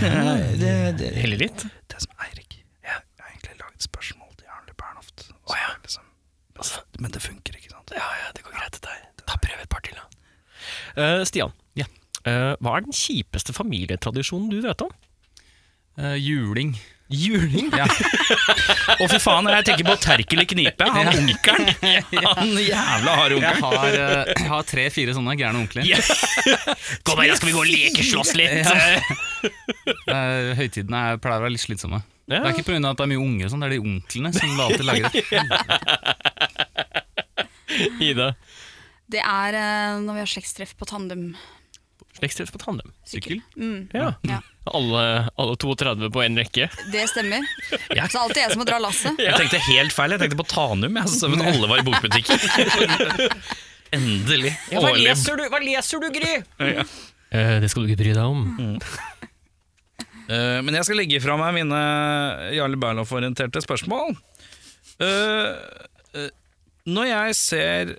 S2: Heller litt. Det som er Eirik Jeg har egentlig laget spørsmål til Arne Bernhoft. og så er det Liksom, men det funker, ikke sant?
S3: Ja, ja, det går greit, dette her. Ta prøv et par til, da. Eh, Stian, Eh, hva er den kjipeste familietradisjonen du vet om?
S1: Eh, juling.
S3: Juling?
S2: Å, fy faen, jeg tenker på Terkel i knipe. Han onkelen. Han jævla harde
S1: Jeg
S2: onkelen.
S1: har, eh, jeg har tre-fire sånne gærne onkler.
S2: Ja. Kom her, skal vi gå og lekeslåss litt?
S1: Eh, høytidene er, pleier å være litt slitsomme. Det er ikke pga. at det er mye unge, og sånn, det er de onklene som alltid lager det.
S3: Ida.
S7: Det er eh, når vi har slektstreff på tandem.
S3: Slektstreff på tandem.
S7: Sykkel? Mm,
S3: Ja.
S7: Ja.
S3: Alle, alle 32 på én rekke.
S7: det stemmer. Så det er alltid jeg som må dra lasset.
S2: Jeg tenkte helt feil. Jeg tenkte på Tanum. Jeg så at alle var i bokbutikken. Endelig. Årlig.
S3: du, Gry? Eh, det skal du ikke bry deg om.
S2: Eh, men jeg skal legge fra meg mine Jarle Berloff-orienterte spørsmål. Eh, eh, når jeg ser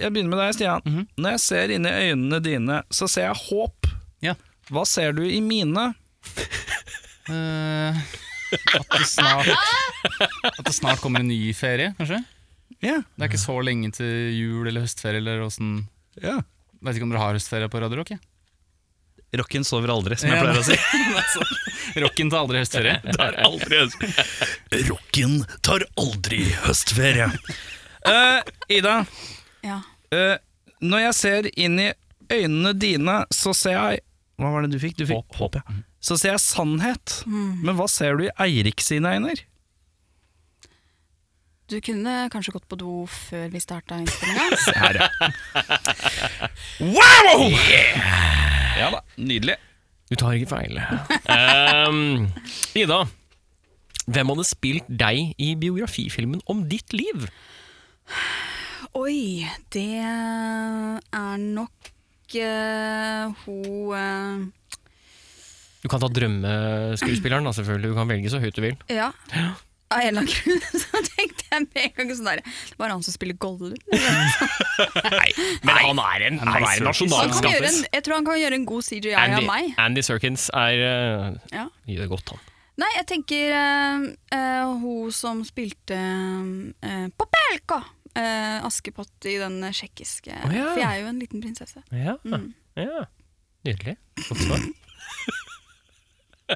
S2: Jeg begynner med deg, Stian.
S1: Mhm.
S2: Når jeg ser inn i øynene dine, så ser jeg håp.
S1: Ja.
S2: Hva ser du i mine?
S1: Eh, at, det snart, at det snart kommer en ny ferie, kanskje?
S2: Ja.
S1: Det er ikke så lenge til jul eller høstferie. eller hvordan...
S2: ja.
S1: Vet ikke om dere har høstferie på Radio Rock? jeg.
S2: Rocken sover aldri, som
S1: Ja.
S2: jeg pleier å si.
S1: Rocken tar aldri høstferie.
S2: tar aldri høstferie. Rocken tar aldri høstferie. Eh, Ida,
S7: Ja.
S2: eh, når jeg ser inn i øynene dine, så ser jeg Hva var det du fikk? Du fikk håp, ja. Så ser jeg sannhet. Men hva ser du i Eirik sine øyne?
S7: Du kunne kanskje gått på do før vi starta innspillinga.
S2: Wow! Ja da, nydelig.
S3: Du tar ikke feil. Ehm, Ida, hvem hadde spilt deg i biografifilmen om ditt liv?
S7: Oi, det er nok eh, hun eh,
S3: Du kan ta drømmeskuespilleren, da, selvfølgelig. Du kan velge så høyt du vil.
S7: eh, Ja. Av en eller annen grunn så tenkte jeg med en gang sånn der Det var han som spiller Gollum.
S3: Men han er en, han er en
S7: Han kan gjøre en,
S3: nasjonalskattis.
S7: jeg tror han kan gjøre en god CGI
S3: Andy,
S7: av meg.
S3: Andy Serkins er eh,
S7: Ja.
S3: gjør godt, han.
S7: Nei, jeg tenker eh, eh, hun som spilte uh, Popelka! eh, Askepott i den tsjekkiske
S3: ja.
S7: For jeg er jo en liten prinsesse.
S3: Ja, ja. Nydelig. Godt svar.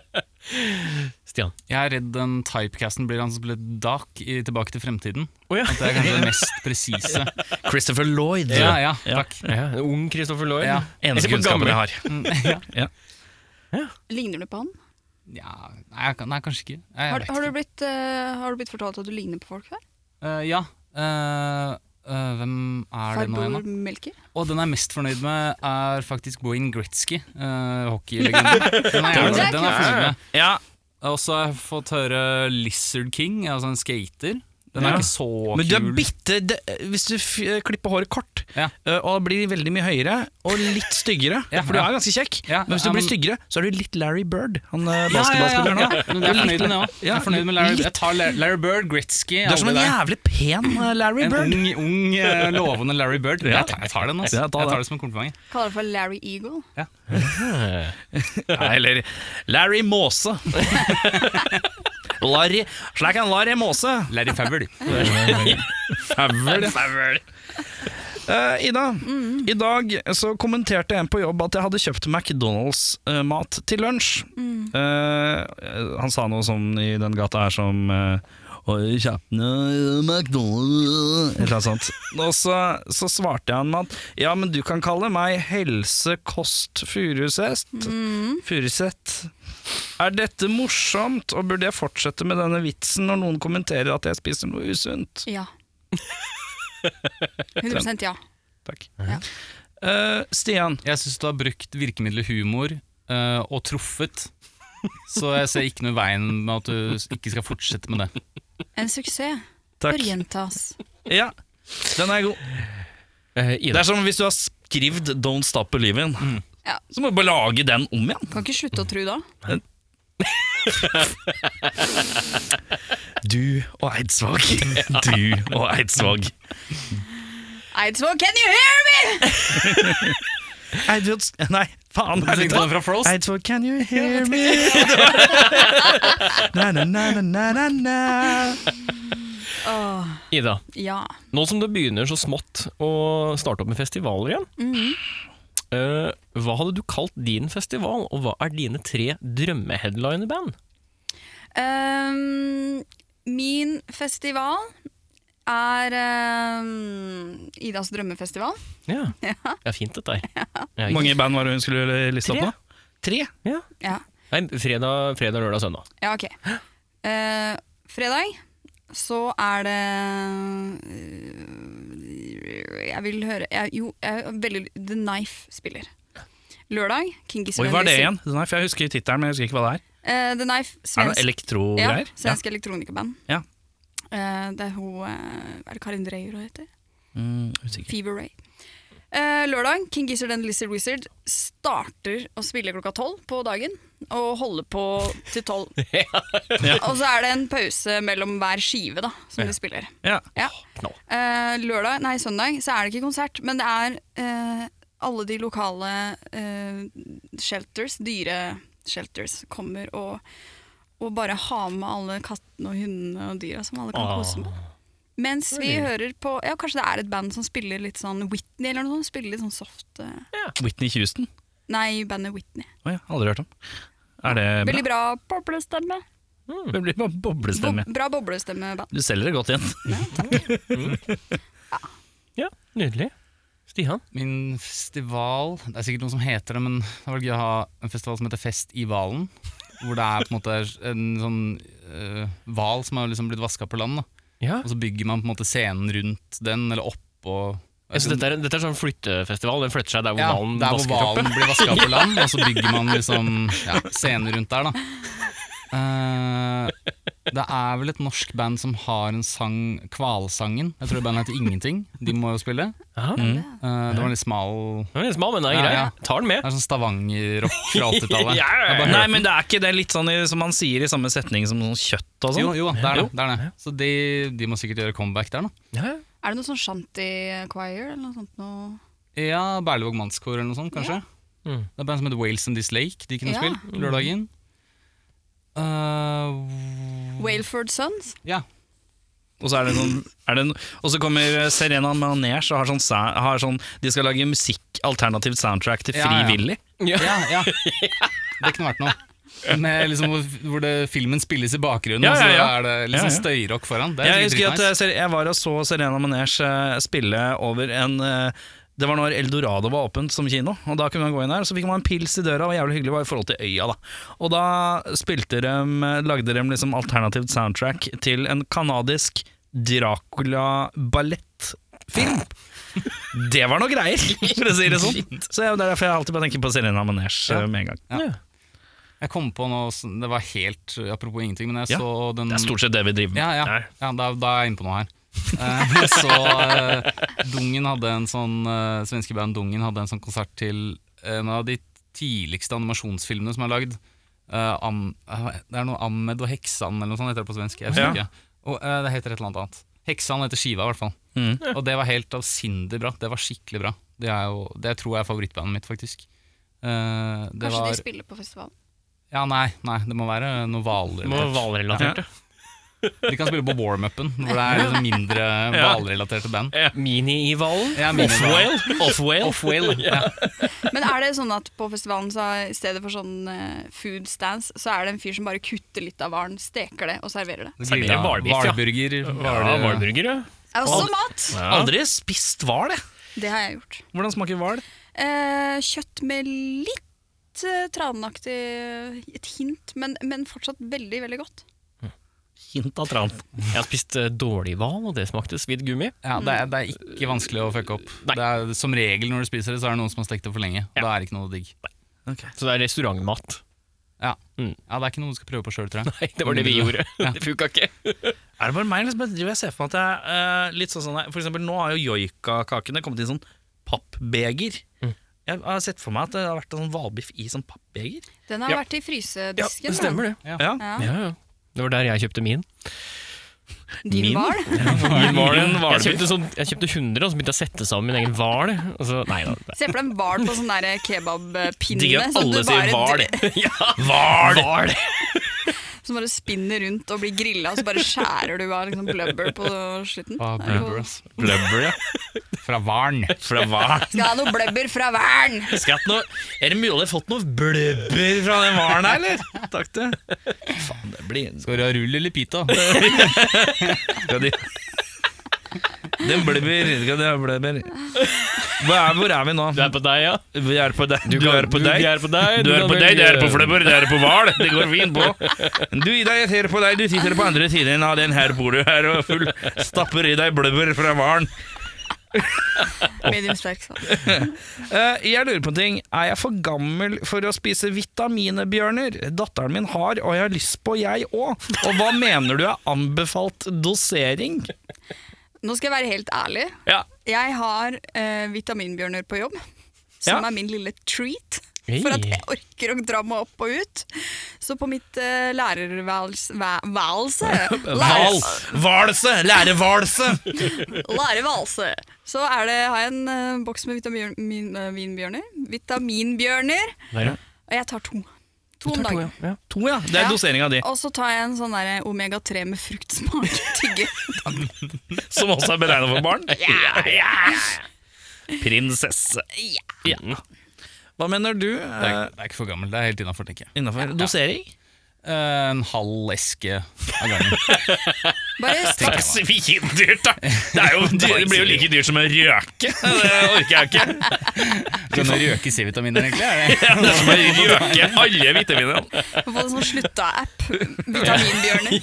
S3: Stian.
S1: Jeg er redd den typecasten blir han som ble Dark i Tilbake til fremtiden.
S3: Å ja.
S1: At det er kanskje det mest presise.
S2: Christopher Lloyd.
S1: Ja, ja, takk.
S3: Ja, en ung Christopher Lloyd.
S1: Ja. Mm,
S2: Eneste
S3: Eller på
S2: kunnskapen
S3: gammel.
S2: jeg har.
S7: Ligner du på han?
S1: Ja, nei, jeg kan- nei, kanskje ikke. Nei, Jeg
S7: Har,
S1: vet
S7: har, du
S1: ikke.
S7: blitt, eh, har du blitt fortalt at du ligner på folk før?
S1: Eh, ja. eh, eh, hvem er det nå igjen, da?
S7: Farbor Melker?
S1: Og den jeg er mest fornøyd med, er faktisk Wayne Gretzky. Uh, Hockeylegenden. Den er jeg
S7: Det er
S1: den er jeg fornøyd med.
S2: Ja,
S1: Og så har jeg fått høre Lizard King, altså en skater. Den
S2: Ja.
S1: er ikke så
S2: men du er
S1: kul.
S2: bitte det, Hvis du f klipper håret kort
S1: Ja.
S2: eh, og blir veldig mye høyere og litt styggere
S1: Ja,
S2: For du
S1: ja.
S2: er ganske kjekk,
S1: Ja,
S2: men hvis du
S1: ja,
S2: blir
S1: men-
S2: styggere, så er du litt Larry Bird. Han
S1: Ja,
S2: eh,
S1: ja, ja,
S2: basketballspilleren.
S1: ja. Men jeg er fornøyd med det òg. Jeg
S2: Ja,
S1: er fornøyd med Larry, jeg tar Larry, Larry Bird, Gretzky
S2: Du er som
S1: alle
S2: en
S1: der.
S2: jævlig pen eh, Larry
S1: En
S2: Bird.
S1: ung, ung eh, lovende Larry Bird. Jeg tar, jeg tar den, altså.
S2: Ja,
S1: Jeg
S2: ta
S1: tar
S2: den.
S1: det som en kompliment.
S7: Kaller det for Larry Eagle.
S2: Nei, eller Larry Måse. Larry Slik en Larry Måse.
S1: Larry Favre.
S2: Favl. Eh, Ida, i dag så kommenterte en på jobb at jeg hadde kjøpt McDonald's-mat til lunsj. Eh, han sa noe sånn i den gata her som eh, Oi, kjapne, McDonald's Et eller annet sånt. Og så, så svarte jeg han med at ja, men du kan kalle meg Helsekost Furusest. Furuset. Er dette morsomt, og burde jeg fortsette med denne vitsen når noen kommenterer at jeg spiser noe usunt?
S7: Ja. 100 ja.
S2: Takk.
S7: Ja.
S2: Eh, Stian,
S1: Jeg syns du har brukt virkemidlet humor eh, og truffet. Så jeg ser ikke noe i veien med at du ikke skal fortsette med det.
S7: En suksess.
S2: takk.
S7: Bør gjentas.
S2: Ja. Den er god.
S3: Eh,
S2: Det
S3: Ida.
S2: er som hvis du har skrevet 'Don't Stop Believing',
S7: Ja.
S2: så må du bare lage den om igjen.
S7: Kan ikke slutte å tro da.
S2: Du og Eidsvåg. Du og Eidsvåg.
S7: Eidsvåg, can you hear me?!
S2: Eidsvåg Nei, faen. er det-
S1: Tenkte han fra Frost?
S2: Eidsvåg, can you hear me? na, na, na, na, na, na.
S7: Åh,
S3: Ida,
S7: ja.
S3: nå som det begynner så smått å starte opp med festivaler igjen, eh, hva hadde du kalt din festival, og hva er dine tre drømmeheadlinerband?
S7: Ehm, min festival er ehm, Idas drømmefestival.
S3: Ja. ja, fint dette her. Ja,
S2: Hvor mange band var det hun skulle liste opp nå? Tre.
S7: Ja,
S3: Nei, fredag, fredag, lørdag, søndag.
S7: ja ok. Eh, fredag så er det eh, Jeg vil høre jeg, Jo, jeg, er veldig, The Knife spiller. Lørdag, Kinky
S2: Oi, hva er det igjen? Nei, for Jeg husker tittelen, men jeg husker ikke hva det er.
S7: Eh,
S2: Er
S7: The Knife,
S2: det noe
S7: svensk, ja,
S2: elektrogreier? Ja.
S7: svensk elektronikaband.
S2: Ja.
S7: Eh, det er hun eh, Er det Karin Dreyer hun heter?
S2: Mm, usikker.
S7: Fever Ray. Eh, lørdag, King Gizzard and Lizard Wizard starter å spille klokka tolv på dagen. Og holder på til tolv. Og så er det en pause mellom hver skive da, som de spiller.
S2: Ja.
S7: Ja. Eh, lørdag, nei søndag, så er det ikke konsert, men det er eh, alle de lokale eh, shelters, dyre-shelters, kommer og, og bare har med alle kattene og hundene og dyra som alle kan kose med. Mens vi hører på Ja, kanskje det er et band som spiller litt sånn Whitney eller noe sånt? Spiller litt sånn soft eh,
S2: Whitney Houston.
S7: Nei, bandet Whitney.
S2: Oi, aldri hørt om. Er det bra?
S7: Veldig bra boblestemme.
S2: Det blir bare
S7: Bo
S2: boblestemme.
S7: bra boblestemmeband.
S2: Du selger det godt igjen.
S3: Ja, nydelig. Stian?
S1: Min festival Det er sikkert noen som heter det, men det var gøy å ha en festival som heter Fest i Valen. Hvor det er på en måte en sånn eh, hval som har liksom blitt vaska på land. Da.
S3: Ja.
S1: Og så bygger man på en måte scenen rundt den, eller oppå
S3: Jeg synes dette, er, dette er sånn flyttefestival. Den flytter seg der hvor
S1: ja,
S3: hvalen
S1: der hvor
S3: vasker kroppen.
S1: hvalen blir vaska på land, og så bygger man liksom ja, scener rundt der, da. Eh, det er vel et norsk band som har en sang, Kvalsangen. Jeg tror bandet heter Ingenting. De må jo spille.
S3: Ja.
S1: Eh, det var en litt smal
S3: Den er litt smal, men den er
S1: Ja,
S3: grei.
S1: ja.
S3: Tar den med.
S1: Det er sånn Stavanger-rock fra 80-tallet.
S3: Ja, ja, ja.
S1: Jeg bare
S2: Nei,
S1: hørte-
S2: men det er ikke det er litt sånn i, som man sier i samme setning som sånn kjøtt og
S1: Jo,
S2: sånn.
S1: jo, det er det. det, er det. Så de, de må sikkert gjøre comeback der, da.
S7: Er det noe sånn shanty-choir eller noe sånt? Noe?
S1: Ja, Berlevåg Mannskor eller noe sånt, kanskje.
S3: Mm.
S1: Det er band som heter Wales and This Lake. De kunne
S7: Ja.
S1: spille lørdagen.
S7: Mm.
S1: Eh,
S7: Wailford Sons?
S1: ja.
S2: Og så er det sånn er det en, Og så kommer eh, Serena Manege og har sånn, sa- har sånn De skal lage musikk, alternativt soundtrack til
S1: Ja,
S2: Fri
S1: ja.
S2: Willy.
S1: ja, ja. Det kunne vært noe. Med liksom hvor, hvor det, filmen spilles i bakgrunnen,
S2: Ja, ja,
S1: og
S2: ja.
S1: så er det
S2: Ja, ja.
S1: liksom støyrock foran. Det er
S2: Jeg
S1: sikkert
S2: husker at
S1: dritnice.
S2: eh, Ser- jeg var og så Serena Manege eh, spille over en eh, det var når Eldorado var åpent som kino, og da kunne man gå inn her, så fikk man en pils i døra, og jævlig hyggelig var i forhold til øya da. Og da spilte de, lagde de liksom alternativt soundtrack til en kanadisk Dracula-ballettfilm. Det var noe greier, for å si det sånn. Så ja, det er derfor jeg alltid bare tenker på Serena Manege eh, med en gang.
S1: Jeg kom på noe, som- det var helt apropos ingenting, men jeg
S2: Ja,
S1: så den
S2: Det er stort sett det vi driver med.
S1: Ja, ja. ja da, da er jeg inne på noe her. Eh, så eh, Dungen hadde en sånn eh, svenske band Dungen hadde en sånn konsert til eh, en av de tidligste animasjonsfilmene som er lagd. Eh, Am, eh, det er noe Ahmed og Heksan eller noe sånt heter det på svensk. Jeg husker ikke. Og, eh, det heter et eller annet annet. Heksan heter skiva, i hvert fall.
S2: Mm.
S1: Og det var helt avsindig bra. Det var skikkelig bra. Det, er jo, det tror jeg er favorittbandet mitt, faktisk. Eh, det
S7: Kanskje de
S1: var
S7: spiller på festivalen?
S1: Ja, nei, nei, det må være noe
S3: Det må være
S1: hvalrelatert.
S3: hvalrelatert. ja.
S1: De kan spille på warm-upen, hvor det er liksom mindre hvalrelaterte band.
S3: Mini-i-hvalen.
S1: Ja, mine
S2: Off-whale? Off-whale?
S1: Off-whale. Ja.
S7: Men er det sånn at på festivalen så i stedet for sånn eh, food stands, så er det en fyr som bare kutter litt av varen, steker det og serverer det?
S3: Serverer hvalbiff, ja.
S1: sånn Hvalburger.
S3: Ja, hvalburger, ja.
S7: Er også mat!
S2: Aldri spist hval, jeg.
S7: Det har jeg gjort.
S2: Hvordan smaker hval?
S7: Eh, kjøtt med litt eh, tranaktig et hint, men, men fortsatt veldig, veldig godt.
S2: Hint av tran.
S3: Jeg har spist eh, dårlig hval, og det smakte svidd gummi.
S1: Ja, det, er, det er ikke vanskelig å fucke opp.
S3: Nei.
S1: Det er, som regel når du spiser det, så er det noen som har stekt det for lenge. Da er det ikke noe digg.
S3: Så det er restaurantmat.
S1: Ja.
S3: Mm.
S1: ja, det er ikke noe du skal prøve på sjøl, tror jeg.
S3: Nei, det var det vi
S1: Mm.
S3: gjorde. Det funka ikke.
S2: Er det bare meg, eller liksom, driver jeg ser for meg at jeg eh, litt sånn, sånn For eksempel, nå har jo joikakakene kommet i sånn pappbeger.
S3: Mm.
S2: Jeg har sett for meg at det har vært sånn hvalbiff i sånn pappbeger.
S7: Den har
S3: Ja.
S7: vært i frysedisken. den.
S3: Stemmer det.
S7: Ja.
S3: Ja, ja. Det var der jeg kjøpte min.
S7: Din
S2: Min?
S7: hval?
S2: Min var det en
S3: Jeg
S2: hvalbiff.
S3: kjøpte, sånn, jeg kjøpte 100, og så begynte jeg å sette sammen min egen hval. og så- Nei da.
S7: Se for deg en hval på sånn der kebabpinne.
S2: Digger at
S7: som du
S2: alle sier
S7: bare-
S2: hval. Hval!
S3: Hval!
S7: Som bare spinner rundt og blir grilla, og så bare skjærer du av liksom blubber på slutten.
S1: Fra
S7: Det er jo-
S1: Blubber, ass.
S2: Ah, Blubber, ja.
S1: Fra Varn.
S2: Fra hval.
S7: Skal ha noe blubber fra Vern!
S2: Skal jeg hatt noe- Er det mulig å ha fått noe blubber fra den hvalen her, eller? Takk, du. Faen, det blir
S1: Skal du ha rull eller pita?
S2: Skal de Den blubber. Skal de ha blubber? Hvor er, hvor er vi nå?
S3: Det er på deg, ja.
S2: Vi er på deg. Du,
S3: kan-
S2: er på deg.
S3: Du er på deg,
S2: Du er
S3: kan
S2: på deg,
S3: velge-
S2: det er på fløbber, det er på hval. Det går fint på. Du Ida, jeg ser på deg, du sitter på andre siden av den her bordet her og full stapper i deg blubber fra hvalen.
S7: Medium sterk sånn.
S2: Eh, jeg lurer på en ting. Er jeg for gammel for å spise vitaminebjørner? Datteren min har, og jeg har lyst på, jeg òg. Og hva mener du er anbefalt dosering?
S7: Nå skal jeg være helt ærlig.
S2: Ja.
S7: Jeg har eh, vitaminbjørner på jobb,
S2: Ja.
S7: som er min lille treat. For at jeg orker å dra meg opp og ut. Så på mitt uh, lærerværelse væ- Værelse?
S2: Val, valse! Lærevalse!
S7: Lærervalse. Så er det, har jeg en eh, boks med vitamin, min, eh, vinbjørner. Vitaminbjørner.
S3: Der, ja.
S7: Og jeg tar to. To om dagen.
S3: Ja.
S2: To, ja. Det er
S7: Ja.
S2: doseringa di,
S7: Og så tar jeg en sånn der omega-3 med fruktsmak. Tygge.
S2: som også er beregna for barn. Prinsesse. Hva mener du?
S1: Det er, det er ikke for gammel, det er helt innafor, tenker jeg.
S2: Innafor dosering?
S1: Eh, En halv eske av gangen.
S7: Bare
S1: tenker
S7: straks.
S1: jeg meg.
S2: Svindyrt, da! Det, er jo dyr, det blir jo like dyrt som en røke. Det orker jeg ikke.
S1: Kan du røke C-vitaminer, egentlig? Er det?
S2: Det er som å røke alle vitaminene.
S7: Få en sånn slutta-app. Vitaminbjørner.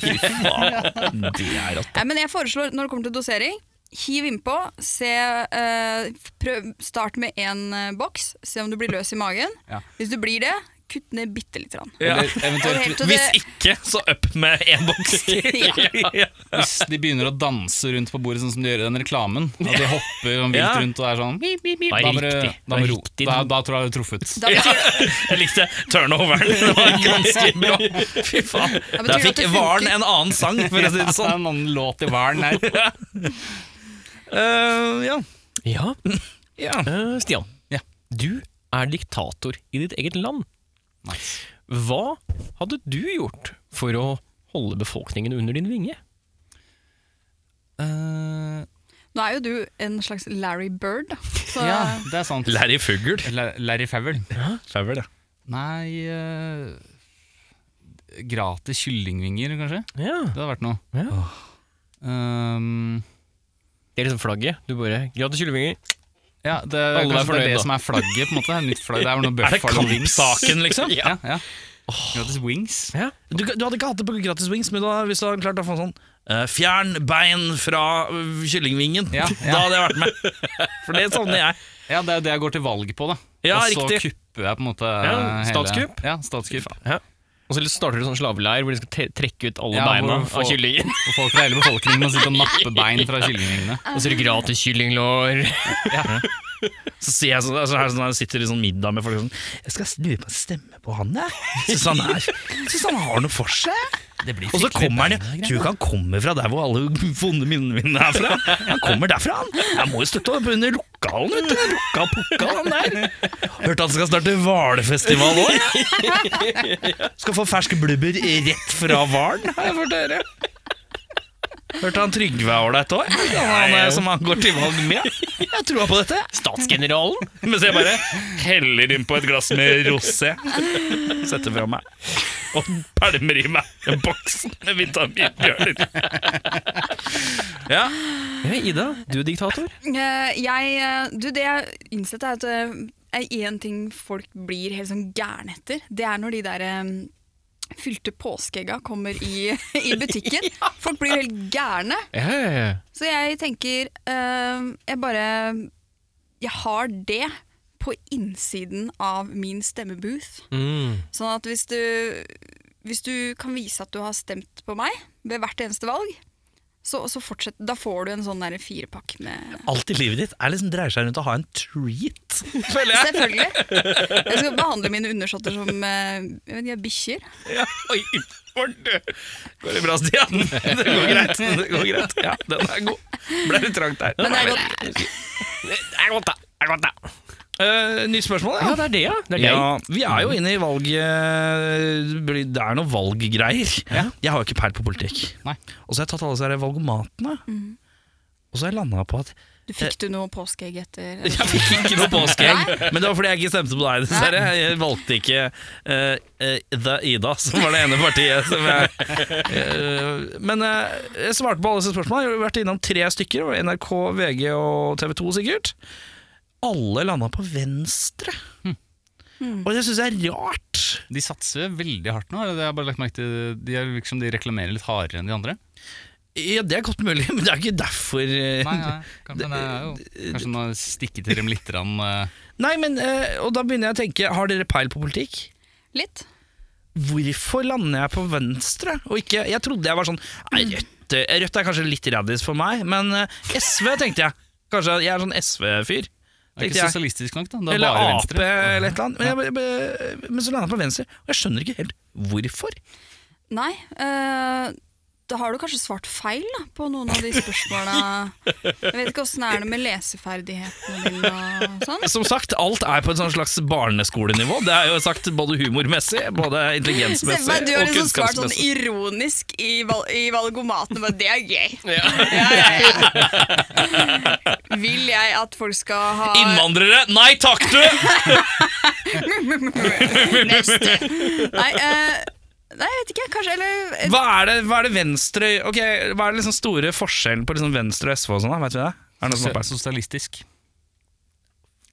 S2: Det er rått.
S7: Nei, men jeg foreslår, når det kommer til dosering, hiv innpå. Se, eh, prøv, start med én eh, boks, se om du blir løs i magen.
S1: Ja.
S7: Hvis du blir det, kutt ned bitte lite grann.
S2: Ja.
S1: Eller eventuelt
S7: Helt til
S2: Hvis
S7: det-
S2: ikke, så opp med én boks. Ja.
S1: hvis de begynner å danse rundt på bordet, sånn som de gjør i den reklamen. At de hopper sånn vilt
S2: Ja.
S1: rundt og er sånn bip, bip, bip,
S3: Det er
S1: da må du-
S3: riktig.
S1: Da, må
S3: Det er
S1: du-
S3: riktig.
S1: da, da tror jeg du har truffet.
S7: Da betyr,
S2: Jeg likte turnoveren. Det var ganske bra. Fy faen.
S7: da betyr
S2: Der
S7: det at
S2: fikk
S7: det
S2: Varen
S7: funker.
S2: en annen sang, for å si det
S1: Det er
S2: sånn.
S1: en annen låt i hvalen her.
S2: Eh, ja.
S3: ja.
S2: ja.
S3: Eh, Stian,
S1: Ja.
S3: du er diktator i ditt eget land.
S1: Nice.
S3: Hva hadde du gjort for å holde befolkningen under din vinge?
S1: Eh,
S7: Nå er jo du en slags Larry Bird, så
S1: ja, det er sant.
S2: Larry Fugl.
S1: La- Larry Favell.
S2: Fugl, ja.
S1: Nei eh, Gratis kyllingvinger, kanskje?
S3: Ja.
S1: Det hadde vært noe.
S3: Ja.
S2: Um,
S1: Ehm,
S3: Det er liksom flagget. Du bare Gratis kyllingvinger.
S1: ja, det,
S3: Alle er
S1: kanskje det er
S3: fornøyd,
S1: det
S3: da.
S1: som er flagget. på en måte Nytt flagg, Det er vel noe
S2: Er det
S1: Buffalo Wings.
S2: kampsaken, liksom?
S1: Ja, ja. Gratis wings.
S3: Ja.
S2: Du, du hadde ikke hatt det på gratis wings, men da, hvis du hadde klart å få sånn eh, Fjern bein fra øh, kyllingvingen.
S1: Ja, ja.
S2: Da hadde jeg vært med. For det savner jeg.
S1: Ja, det er det jeg går til valg på, da.
S2: Ja,
S1: og så
S2: riktig.
S1: kupper jeg på en måte
S3: Ja,
S1: hele-
S3: statskupp.
S1: Ja, statskupp.
S3: Og så starter du sånn slaveleir hvor de skal te- trekke ut alle
S1: Ja,
S3: beina
S1: hvor folk-
S3: av kyllingen.
S1: Og folk fra hele befolkningen må sitte og nappe bein fra kyllingvingene.
S3: Og så er det gratis kyllinglår.
S2: Så sier jeg sånn, altså, her, sånn her sitter i sånn middag med folk sånn Jeg skal lure på å stemme på han, jeg. Syns han, er- synes han har noe for seg. Og så kommer han jo Tror du ikke han kommer fra der hvor alle vonde minnene mine er fra? Han kommer derfra, han. Jeg må jo støtte opp under lokalen, vet du. Lokka pukka, han der. Hørte han skal starte hvalfestival òg, jeg. Skal få fersk blubber rett fra hvalen, har jeg fått høre. Hørte han Trygve er ålreit òg, som han går til valg med. Jeg tror på dette.
S3: Statsgeneralen.
S2: Mens jeg bare heller inn på et glass med rosé. Setter fra meg. Og pælmer i meg en boks med vitaminbjørner. Ja.
S3: Ja, Ida, du er diktator.
S7: Eh, jeg, eh, du, det jeg innsett er at én ting folk blir helt sånn gærne etter, det er når de der eh, fylte påskeegga kommer i, i butikken. Folk blir jo helt gærne.
S3: Ja, ja, ja.
S7: Så jeg tenker eh, Jeg bare Jeg har det på innsiden av min stemmebooth.
S3: Mm.
S7: Sånn at hvis du, hvis du kan vise at du har stemt på meg ved hvert eneste valg, så, så fortsett. Da får du en sånn der firepakk med
S2: Alt i livet ditt er liksom dreier seg rundt å ha en treat.
S7: Selvfølgelig! Jeg skal behandle mine undersåtter som eh, jeg vet ikke, bikkjer.
S2: Ja, oi, var det- Går det bra, Stian? Det går greit. Det går greit. Ja, den er god. Ble litt trangt der.
S7: Men det er godt.
S2: Eh, nytt spørsmål,
S3: Ja, det er det, ja. Det er det.
S2: Ja, vi er jo inne i valg eh, bli- Det er noen valggreier. Jeg har jo ikke peil på politikk.
S1: Nei.
S2: Og så har jeg tatt alle disse her valgomatene, og så har jeg landa på at
S7: Du fikk du noe påskeegg etter
S2: Jeg fikk ikke noe påskeegg, men det var fordi jeg ikke stemte på deg, dessverre. Jeg valgte ikke eh, eh, The Ida, som var det ene partiet som jeg eh, Men eh, jeg svarte på alle disse spørsmålene. Jeg har vært innom tre stykker, og NRK, VG og TV 2 sikkert. Alle landa på venstre.
S1: Hmm.
S2: Og det syns jeg er rart.
S1: De satser veldig hardt nå. Det har jeg bare lagt merke til De, er liksom, de reklamerer litt hardere enn de andre.
S2: Ja, det er godt mulig, men det er ikke derfor. eh,
S1: Nei, nei, kan- men det er jo Kanskje nå stikke til dem litt. Rann, eh,
S2: Nei, men eh, Og da begynner jeg å tenke, har dere peil på politikk?
S7: Litt.
S2: hvorfor lander jeg på venstre? Og ikke, jeg trodde jeg var sånn nei, Rødt, eh, Rødt er kanskje litt raddis for meg, men eh, SV tenkte jeg. Kanskje jeg er sånn SV-fyr.
S1: det er
S2: tenkte
S1: ikke
S2: jeg.
S1: sosialistisk nok, da. Det er
S2: Eller
S1: bare
S2: Ap
S1: venstre.
S2: eller et eller annet. Men, jeg, jeg- jeg- men så lander jeg på venstre, og jeg skjønner ikke helt hvorfor.
S7: Nei. eh, da har du kanskje svart feil da, på noen av de spørsmåla. Jeg vet ikke åssen det er det med leseferdighetene dine og sånn.
S2: Som sagt, alt er på et sånn slags barneskolenivå. Det er jo sagt både humormessig, både
S7: Se for meg,
S2: intelligensmessig
S7: du har
S2: og
S7: liksom svart sånn
S2: kunnskapsmessig.
S7: ironisk i, val i valgomaten. Bare, det er gøy. Ja, ja, ja. Vil jeg at folk skal ha
S2: Innvandrere, nei takk du!
S7: Neste. Nei, eh, nei, jeg vet ikke. Kanskje Eller eh,
S2: Hva er det, hva er det venstre Ok, hva er det liksom store forskjellen på liksom venstre og SV og sånn da, vet vi det? Er det noe som er
S1: Se- Sosialistisk.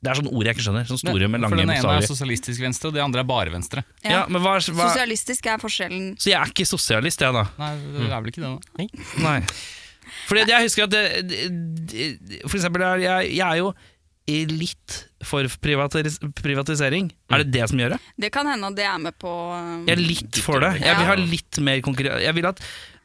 S2: Det er sånn ord jeg ikke skjønner. Sånn store med
S1: For
S2: lange
S1: den ene er
S2: bokstaver.
S1: sosialistisk venstre, og det andre er bare venstre.
S7: ja.
S2: Ja, men hva, hva,
S7: Sosialistisk er forskjellen.
S2: så jeg er ikke sosialist, jeg, da.
S1: Nei, det er vel ikke det, da.
S2: Nei. Fordi at jeg husker at det, det- det, For eksempel, er jeg, jeg er jo i litt for privatis privatisering. Er det det som gjør det?
S7: Det kan hende at det er med på eh,
S2: Jeg er litt for det. Jeg vil ha litt mer konkurranse. Jeg vil at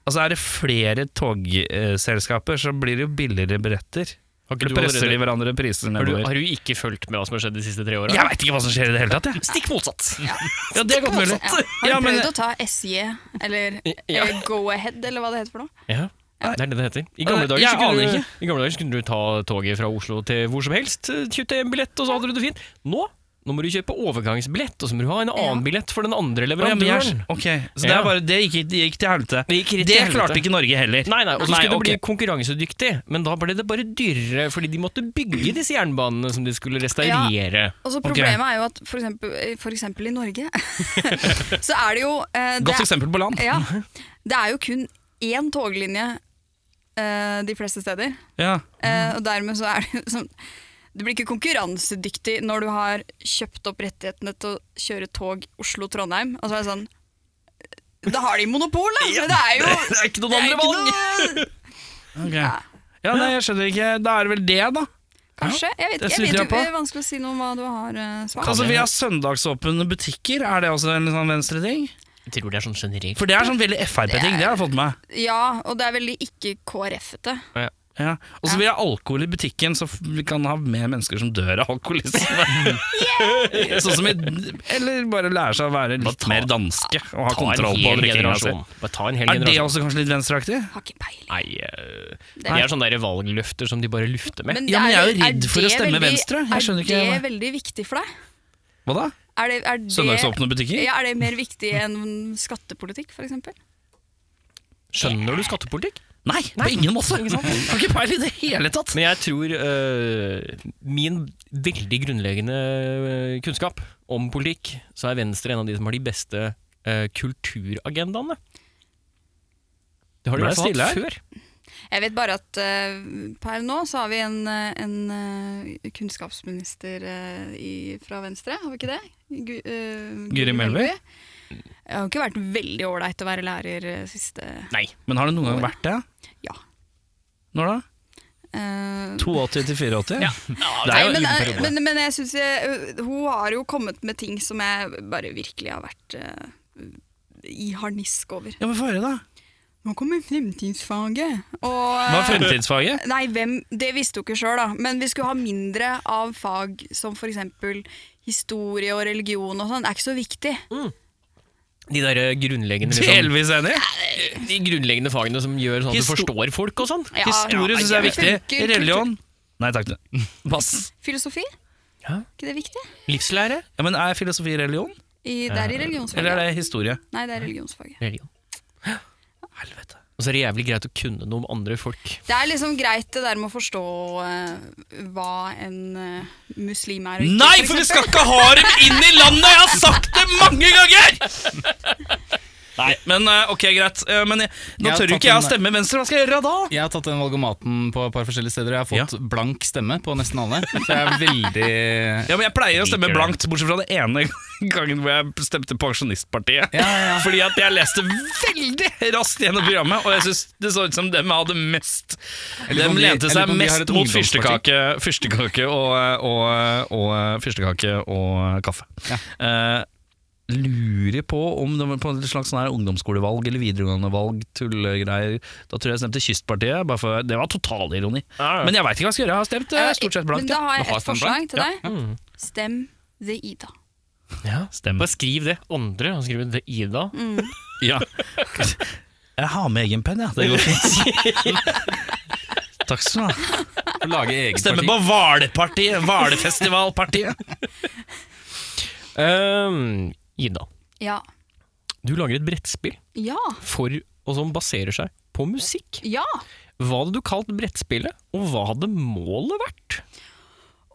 S2: Altså Er det flere togselskaper, så blir det jo billigere billetter. For
S3: Har, ikke du
S2: presser de
S3: allerede,
S2: hverandre priser
S3: har, du,
S2: nedover.
S3: har du ikke fulgt med hva som har skjedd de siste tre åra?
S2: Jeg veit ikke hva som skjer i det hele tatt, jeg.
S3: Stikk motsatt!
S2: Ja, det er godt mulig.
S7: Ja. Har du
S2: Ja, men-
S7: prøvd å ta SJ, eller
S3: Ja.
S7: eh, Go Ahead, eller hva det heter for noe?
S3: Ja. Det er det det heter. I gamle, dager,
S2: Jeg
S3: så kunne
S2: aner
S3: du,
S2: ikke.
S3: I gamle dager så kunne du ta toget fra Oslo til hvor som helst, eh, kjøpte en billett, og så hadde du det fint. Nå nå må du kjøpe overgangsbillett, og så må du ha en annen billett for den andre
S2: Å, ja, men jeg-
S3: leverandøren.
S2: Ok, Så det,
S3: Ja.
S2: er bare, det, gikk, det gikk til helvete.
S3: Det gikk rett til
S2: Det
S3: helvete.
S2: klarte ikke Norge heller.
S3: Nei, nei, og så
S2: Nei,
S3: skulle det bli
S2: ok.
S3: konkurransedyktig, men da ble det bare dyrere, fordi de måtte bygge disse jernbanene som de skulle restaurere.
S7: Og så Problemet er jo at for eksempel, eh, for eksempel i Norge Så er det jo eh, det,
S2: Godt eksempel på land.
S7: ja, det er jo kun én toglinje eh, de fleste steder.
S2: Ja. Mhm.
S7: Eh, og dermed så er det sånn Du blir ikke konkurransedyktig når du har kjøpt opp rettighetene til å kjøre tog Oslo-Trondheim. Og så er det sånn eh, Da har de monopol, da! Men det er jo
S2: Det er ikke noen
S7: det er ikke noe
S2: Ok. Ja, nei, jeg skjønner ikke. Da er det vel det, da.
S7: Kanskje. Jeg vet,
S2: Det
S7: jeg
S2: sitter
S7: vet jo
S2: jeg på.
S7: Det er vanskelig å si noe om hva du har eh, svart.
S2: Altså, Vi har søndagsåpne butikker. Er det også en litt sånn venstre-ting?
S3: Jeg tror det er sånn generelt.
S2: For det er sånn veldig Frp-ting. Det har jeg fått med meg.
S7: Ja, og det er veldig ikke KrF-ete.
S2: Ja. Og så vil jeg ha alkohol i butikken, så vi kan ha mer mennesker som dør av alkoholisme. sånn som i, Eller bare lære seg å være litt mer danske og ha kontroll på drikkinga si.
S3: Bare ta en hel
S2: Er det
S3: generasjon.
S2: også kanskje litt venstreaktig?
S7: Har ikke peiling.
S3: Nei, eh, det er sånne der valgløfter som de bare lufter med.
S2: Ja, men jeg er jo
S7: det-
S2: redd for å
S7: det
S2: stemme
S7: veldig-
S2: Venstre. Jeg skjønner ikke
S7: Er
S2: hva-
S7: det veldig viktig for deg?
S2: Hva da?
S7: Er det, er det,
S2: Søndagsåpne butikker?
S7: Ja, er det mer viktig enn skattepolitikk, for eksempel?
S3: Skjønner du skattepolitikk?
S2: Nei, på ingen måte! Har ikke peil i det hele tatt.
S3: Men jeg tror eh, min veldig grunnleggende eh, kunnskap om politikk, så er Venstre en av de som har de beste eh, kulturagendaene. Det har de i
S2: Ble
S3: hvert fall
S2: det
S3: hatt
S2: stille
S3: før.
S7: Jeg vet bare at eh, per nå så har vi en, eh, en eh, kunnskapsminister eh, i, fra Venstre, har vi ikke det? Gu, eh,
S2: Guri Melby?
S7: Det har jo ikke vært veldig ålreit å være lærer eh, siste
S2: Men har det noen gang vært det?
S7: Ja.
S2: Når da?
S7: Eh,
S13: 82 til 84? Ja.
S2: Det er jo
S7: nei,
S2: en
S7: men, eh,
S2: periode.
S7: men, men jeg synes jeg, hun har jo kommet med ting som jeg bare virkelig har vært eh, i harnisk over.
S13: men få høre, da.
S7: Nå kommer fremtidsfaget. Og, eh,
S2: Hva er fremtidsfaget?
S7: Nei, hvem, det visste hun ikke sjøl, da. Men vi skulle ha mindre av fag som f.eks. historie og religion og sånn. Det er ikke så viktig.
S3: De der eh, grunnleggende liksom,
S2: Delvis enig.
S3: De grunnleggende fagene som gjør sånn at du
S2: Histo-
S3: forstår folk og sånn.
S7: Ja,
S2: Historie
S7: ja,
S2: syns jeg er viktig.
S7: funker,
S2: Religion Nei takk. det. Pass.
S7: kultur- Filosofi?
S3: Ja.
S7: ikke det viktig?
S3: Livslære.
S2: Ja, men er filosofi religion,
S7: I, det er i
S2: eller
S7: religionsfaget.
S2: er det historie?
S7: Nei, det er religionsfaget.
S3: Religion. Og så er det jævlig greit å kunne noe om andre folk.
S7: Det er liksom greit det der med å forstå eh, hva en eh, muslim er. og ikke,
S2: Nei,
S7: for
S2: for vi skal
S7: eksempel.
S2: ikke ha dem inn i landet! Jeg har sagt det mange ganger! Nei, men eh, ok, greit. Eh, Men jeg, nå
S1: Jeg har
S2: tør jo
S1: tatt
S2: ikke jeg å
S1: en-
S2: stemme Venstre. Hva skal jeg gjøre da?
S1: Jeg har tatt den valgomaten på et par forskjellige steder, og jeg har fått blank stemme på nesten alle. Så jeg er veldig
S2: Ja, men Jeg pleier å stemme
S1: Liker det.
S2: blankt, bortsett fra den ene gangen hvor jeg stemte Pensjonistpartiet.
S1: Ja, ja.
S2: Fordi at jeg leste veldig raskt gjennom programmet, og jeg synes det så ut som dem hadde mest
S1: lurer på
S2: Dem
S1: om de-
S2: lente
S1: jeg lurer
S2: seg
S1: på om de har et
S2: mest mot
S1: ungdomsparti.
S2: fyrstekake, fyrstekake og, og, og fyrstekake og kaffe. Eh, lurer på om det var på et slags sånn her ungdomsskolevalg eller videregående valg, tullegreier. Da tror jeg jeg stemte Kystpartiet. Bare for, det var totalironi. Men jeg veit ikke hva jeg skal gjøre. Jeg har stemt eh, stort sett
S7: Men
S2: blankt. Ja.
S7: da
S2: Mm.
S7: har
S2: Da
S7: jeg
S2: har
S7: et
S2: jeg stemt
S7: forslag til
S2: blankt.
S7: deg. Stem The Ida.
S2: Stemmer.
S3: Bare skriv det. Andre har skrevet det. Ida.
S2: Ja. Jeg har med egen penn, jeg. Det går fint. Takk skal du ha.
S1: å lage eget
S2: Stemmer
S1: parti.
S2: på Hvalerpartiet! Hvalefestivalpartiet!
S3: Ehm, Ida,
S7: Ja.
S3: du lager et brettspill
S7: Ja.
S3: for, og som baserer seg på musikk.
S7: Ja.
S3: Hva hadde du kalt brettspillet, og hva hadde målet vært?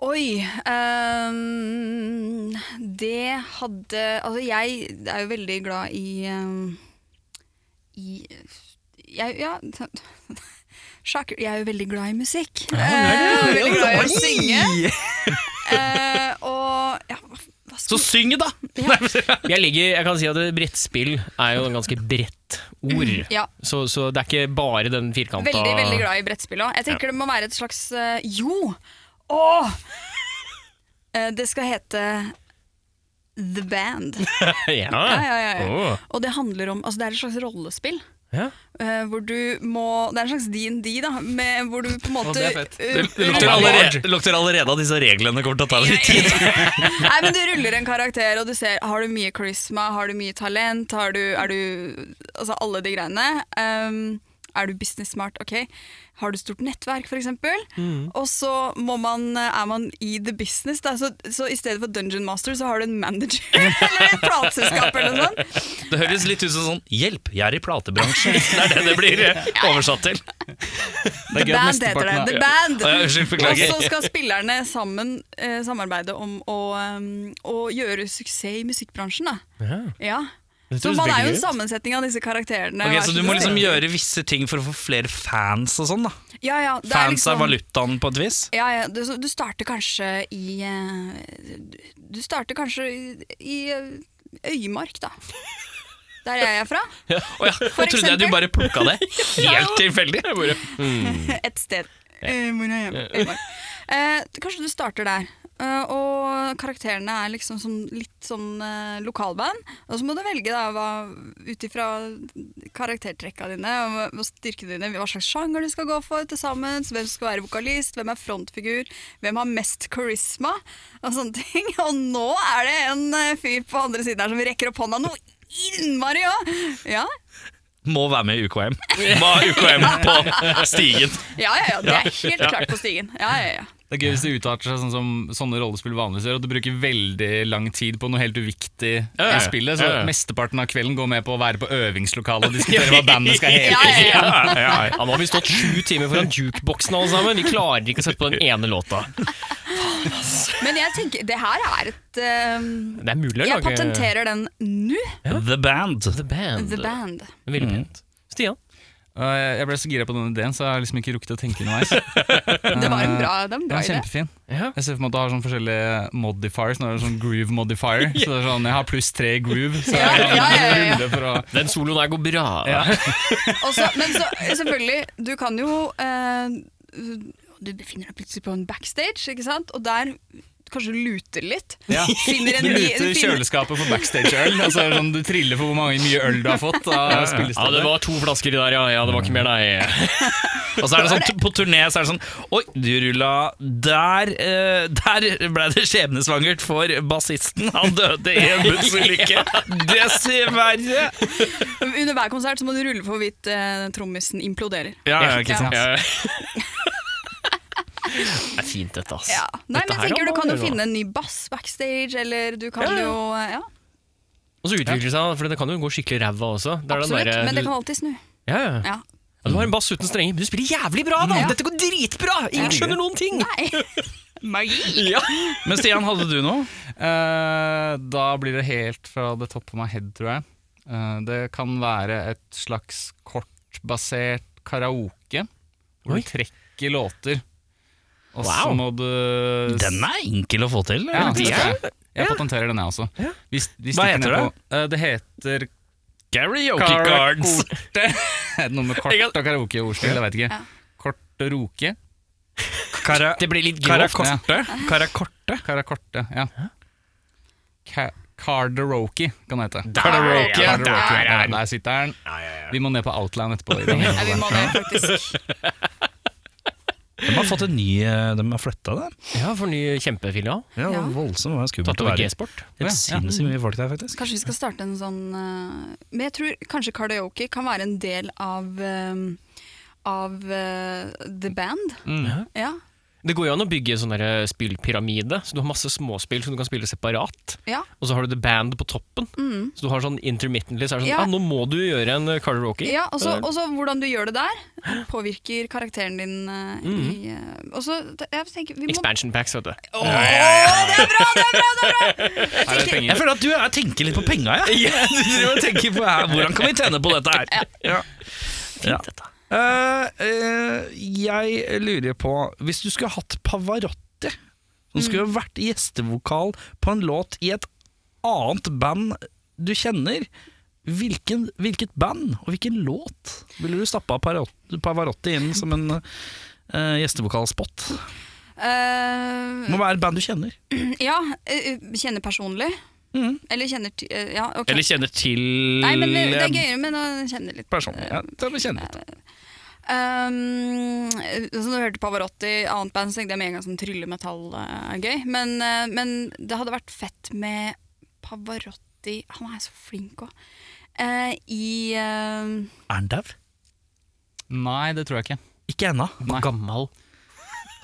S7: Oi. ehm, det hadde Altså, jeg er jo veldig glad i ehm, I jeg, Ja. t- Sjakker Jeg er jo veldig glad i musikk. Eh, og veldig glad i å synge. Eh, og ja, hva, hva
S2: Så
S7: skal
S2: syng, da!
S3: Jeg, ligger, jeg kan si at brettspill er jo en ganske bredt ord,
S7: ja,
S3: så, så det er ikke bare den firkanta
S7: Veldig, veldig glad i brettspill òg. Jeg tenker det må være et slags eh, Jo! Åh! Eh, det skal hete The Band. Ja,
S3: ja.
S7: ja, ja, ja.
S3: Åh.
S7: Og det handler om Altså, det er et slags rollespill.
S3: Ja.
S7: eh, hvor du må Det er en slags DND, da, med, hvor du på en måte
S1: det er fett.
S7: eh,
S2: Det lukter allerede, det lukter allerede av disse reglene kommer til å ta litt tid.
S7: Nei, men du ruller en karakter, og du ser Har du mye charisma, har du mye talent, har du, er du Altså alle de greiene. Um, er du business smart, ok. Har du stort nettverk, f.eks.? eksempel
S2: Mm.
S7: Og så må man, er man i the business, da. Så, så i stedet for dungeon master, så har du en manager eller et plateselskap eller noe sånt.
S2: Det høres litt ut som sånn 'hjelp, jeg er i platebransjen'. Det er det det blir eh, oversatt til.
S7: The Band heter det. The Band.
S2: Å, ja, Unnskyld,
S7: Og så
S2: beklager.
S7: skal spillerne sammen eh, samarbeide om å, eh, å gjøre suksess i musikkbransjen, da. Ja. Så
S3: høres
S7: man
S3: veldig
S7: er jo
S3: gøy
S7: en
S3: ut.
S7: sammensetning av disse karakterene.
S2: Ok,
S7: hver
S2: så du
S7: sin
S2: må liksom
S7: stil.
S2: gjøre visse ting for å få flere fans og sånn, da.
S7: ja, ja, det er
S2: Fans er
S7: liksom,
S2: valutaen på et vis.
S7: Ja, ja, du, du starter kanskje i eh, Du starter kanskje i, i eh, Øymark, da. Der er jeg fra.
S2: Å ja, nå trodde jeg du
S7: eksempel.
S2: bare plukka det helt tilfeldig.
S7: Et sted. Eh, Hvor er jeg? Øymark. Eh, kanskje du starter der. Eh, og karakterene er liksom sånn, litt sånn eh, lokalband. Og så må du velge da, hva- ut ifra karaktertrekka dine og hva- og styrkene dine, hva slags sjanger du skal gå for til sammen, hvem som skal være vokalist, hvem er frontfigur, hvem har mest charisma og sånne ting. Og nå er det en eh, fyr på andre siden her som rekker opp hånda noe innmari òg! Ja.
S2: Må være med i UKM. Må ha UKM på stigen.
S7: Ja, ja, ja, det er helt klart på stigen. Ja, ja, ja.
S1: Det er gøy hvis det utarter seg sånn som sånne rollespill vanligvis gjør, at du bruker veldig lang tid på noe helt uviktig i spillet. Så mesteparten av kvelden går med på å være på øvingslokalet og diskutere hva bandet skal hete.
S7: ja, ja, ja.
S3: Ja, nå har vi stått sju timer foran jukeboksen alle sammen. Vi klarer ikke å sette på den ene låta.
S7: Men jeg tenker, det her er et eh,
S3: Det er mulig å
S7: Jeg
S3: lage
S7: patenterer den nå.
S2: The Band.
S3: The Band. Mm.
S7: The Band.
S3: Veldig pent. Stian.
S1: Og jeg- Jeg ble så gira på den ideen, så jeg har liksom ikke rukket å tenke underveis. Det
S7: Det var
S3: Eh,
S7: en bra, det var en bra
S1: var
S7: idé.
S1: kjempefin.
S3: Ja.
S1: Jeg ser for meg at du har sånn forskjellige modifiers. Nå er det sånn groove modifier. Så det er sånn, Jeg har pluss tre i groove, så
S7: Ja,
S1: jeg
S7: ja, ja, ja.
S1: kan rulle for å
S3: Den soloen der går bra.
S1: Ja.
S7: Og så- men så, selvfølgelig, du kan jo eh, du befinner deg plutselig på en backstage, ikke sant? og der kanskje luter litt.
S1: Ja.
S7: Finner en
S1: Du
S7: ny-
S1: luter
S7: finner-
S1: kjøleskapet for backstage-øl. Altså, det er sånn, du triller for hvor mange mye øl du har fått. Av
S3: Ja, det
S1: spillestedet.
S3: var to flasker i der, ja. ja det var ikke mer, nei.
S2: Og så er det sånn, på turné så er det sånn Oi, du rulla Der, eh, der ble det skjebnesvangert for bassisten. Han døde i en bussulykke. Dessverre.
S7: Under hver konsert så må du rulle for hvorvidt eh, trommisen imploderer.
S2: Ja, ja,
S7: Ja.
S2: ikke sant.
S3: Ja. Det er fint, dette, ass.
S7: Ja. Nei, men
S3: Dette her
S7: jeg tenker
S3: har
S7: Du kan
S3: man
S7: jo
S3: gjort, da.
S7: finne en ny bass backstage, eller du kan
S3: Ja, ja.
S7: jo eh, ja,
S3: Og så utvikler det seg, for det kan jo gå skikkelig ræva også. Det er den
S7: Absolutt,
S3: derre-
S7: men det kan alltid snu.
S3: ja, ja.
S7: Ja.
S3: Ja, Du har en bass uten strenger, men du spiller jævlig bra, da!
S7: Ja.
S3: Dette går dritbra! Ingen skjønner noen ting!
S7: Nei. Magi!
S2: Men Stian, hadde du noe?
S1: Eh, da blir det helt fra det topp of my head, tror jeg. Eh, det kan være et slags kortbasert karaoke, hvor
S3: Oi.
S1: du trekker låter. Og så
S3: Wow.
S1: må du
S2: Den er enkel å få til.
S1: Ja,
S2: eller?
S1: det tror jeg. Jeg patenterer den, jeg også. Hvis- hvis du
S2: Hva
S1: kan
S2: heter
S1: gjøre på- Eh, det heter
S2: Karaoke cards.
S1: Karakorte. Noe med kort og karaokeordspill, jeg vet ikke. Kortoroke.
S2: Kara,
S3: Det blir litt grovt.
S2: karakorte? Karakorte?
S1: Karakorte, ja. Ka Carderoke kan det hete.
S2: Karaoke.
S1: Ja,
S2: Der er den.
S1: Der sitter den. Vi må ned på Outland etterpå. i dag.
S7: Nei, vi må det, faktisk.
S2: De har fått en ny eh, De har flytta det.
S3: Ja, for ny kjempefilial.
S2: Ja,
S7: Ja.
S2: Voldsomt det er skummelt
S3: Tatt
S2: å
S3: over
S2: være i.
S3: G-sport.
S2: Det er sinnssykt mye folk der, faktisk.
S7: Kanskje vi skal starte en sånn eh, Men jeg tror kanskje karaoke kan være en del av eh, av eh, The Band. Ja.
S3: Det går jo an å bygge sånn der spillpyramide, så du har masse småspill som du kan spille separat.
S7: ja.
S3: Og så har du The Band på toppen. Så du har sånn intermittently, så er det sånn
S7: Ja.
S3: ja. ah, nå må du gjøre en eh, karaoke.
S7: Ja, og så- og så hvordan du gjør det der, påvirker karakteren din eh, i eh, Og så jeg tenker vi må
S3: Expansion packs, vet du.
S7: Åh, det er bra, det er bra! det er bra!
S1: Her er det penger.
S2: Jeg føler at du er, tenker litt på penga, jeg. Du driver og tenker på her, hvordan kan vi tjene på dette her. Ja. Ja. Eh, eh, jeg lurer på Hvis du skulle hatt Pavarotti, som skulle
S7: Mm.
S2: vært gjestevokal på en låt i et annet band du kjenner, hvilken, hvilket band og hvilken låt ville du stappa Pavarotti Pavarotti inn som en eh, gjestevokalspot?
S7: Eh,
S2: Må være et band du kjenner.
S7: ja, eh, kjenner personlig.
S2: Mhm.
S7: Eller kjenner til Ja, ok.
S2: Eller kjenner til
S7: Nei, men det, det er
S2: en
S7: gøyere med å kjenne litt.
S2: person. Ja, til å kjenne litt.
S7: Um, så når du hørte Pavarotti, annet band, så tenkte jeg med en gang sånn tryllemetall eh, er gøy. Men, eh, men det hadde vært fett med Pavarotti Han er så flink òg. I eh,
S2: Er han dau?
S1: Nei, det tror jeg ikke.
S2: Ikke ennå.
S1: Nei.
S3: Gammal.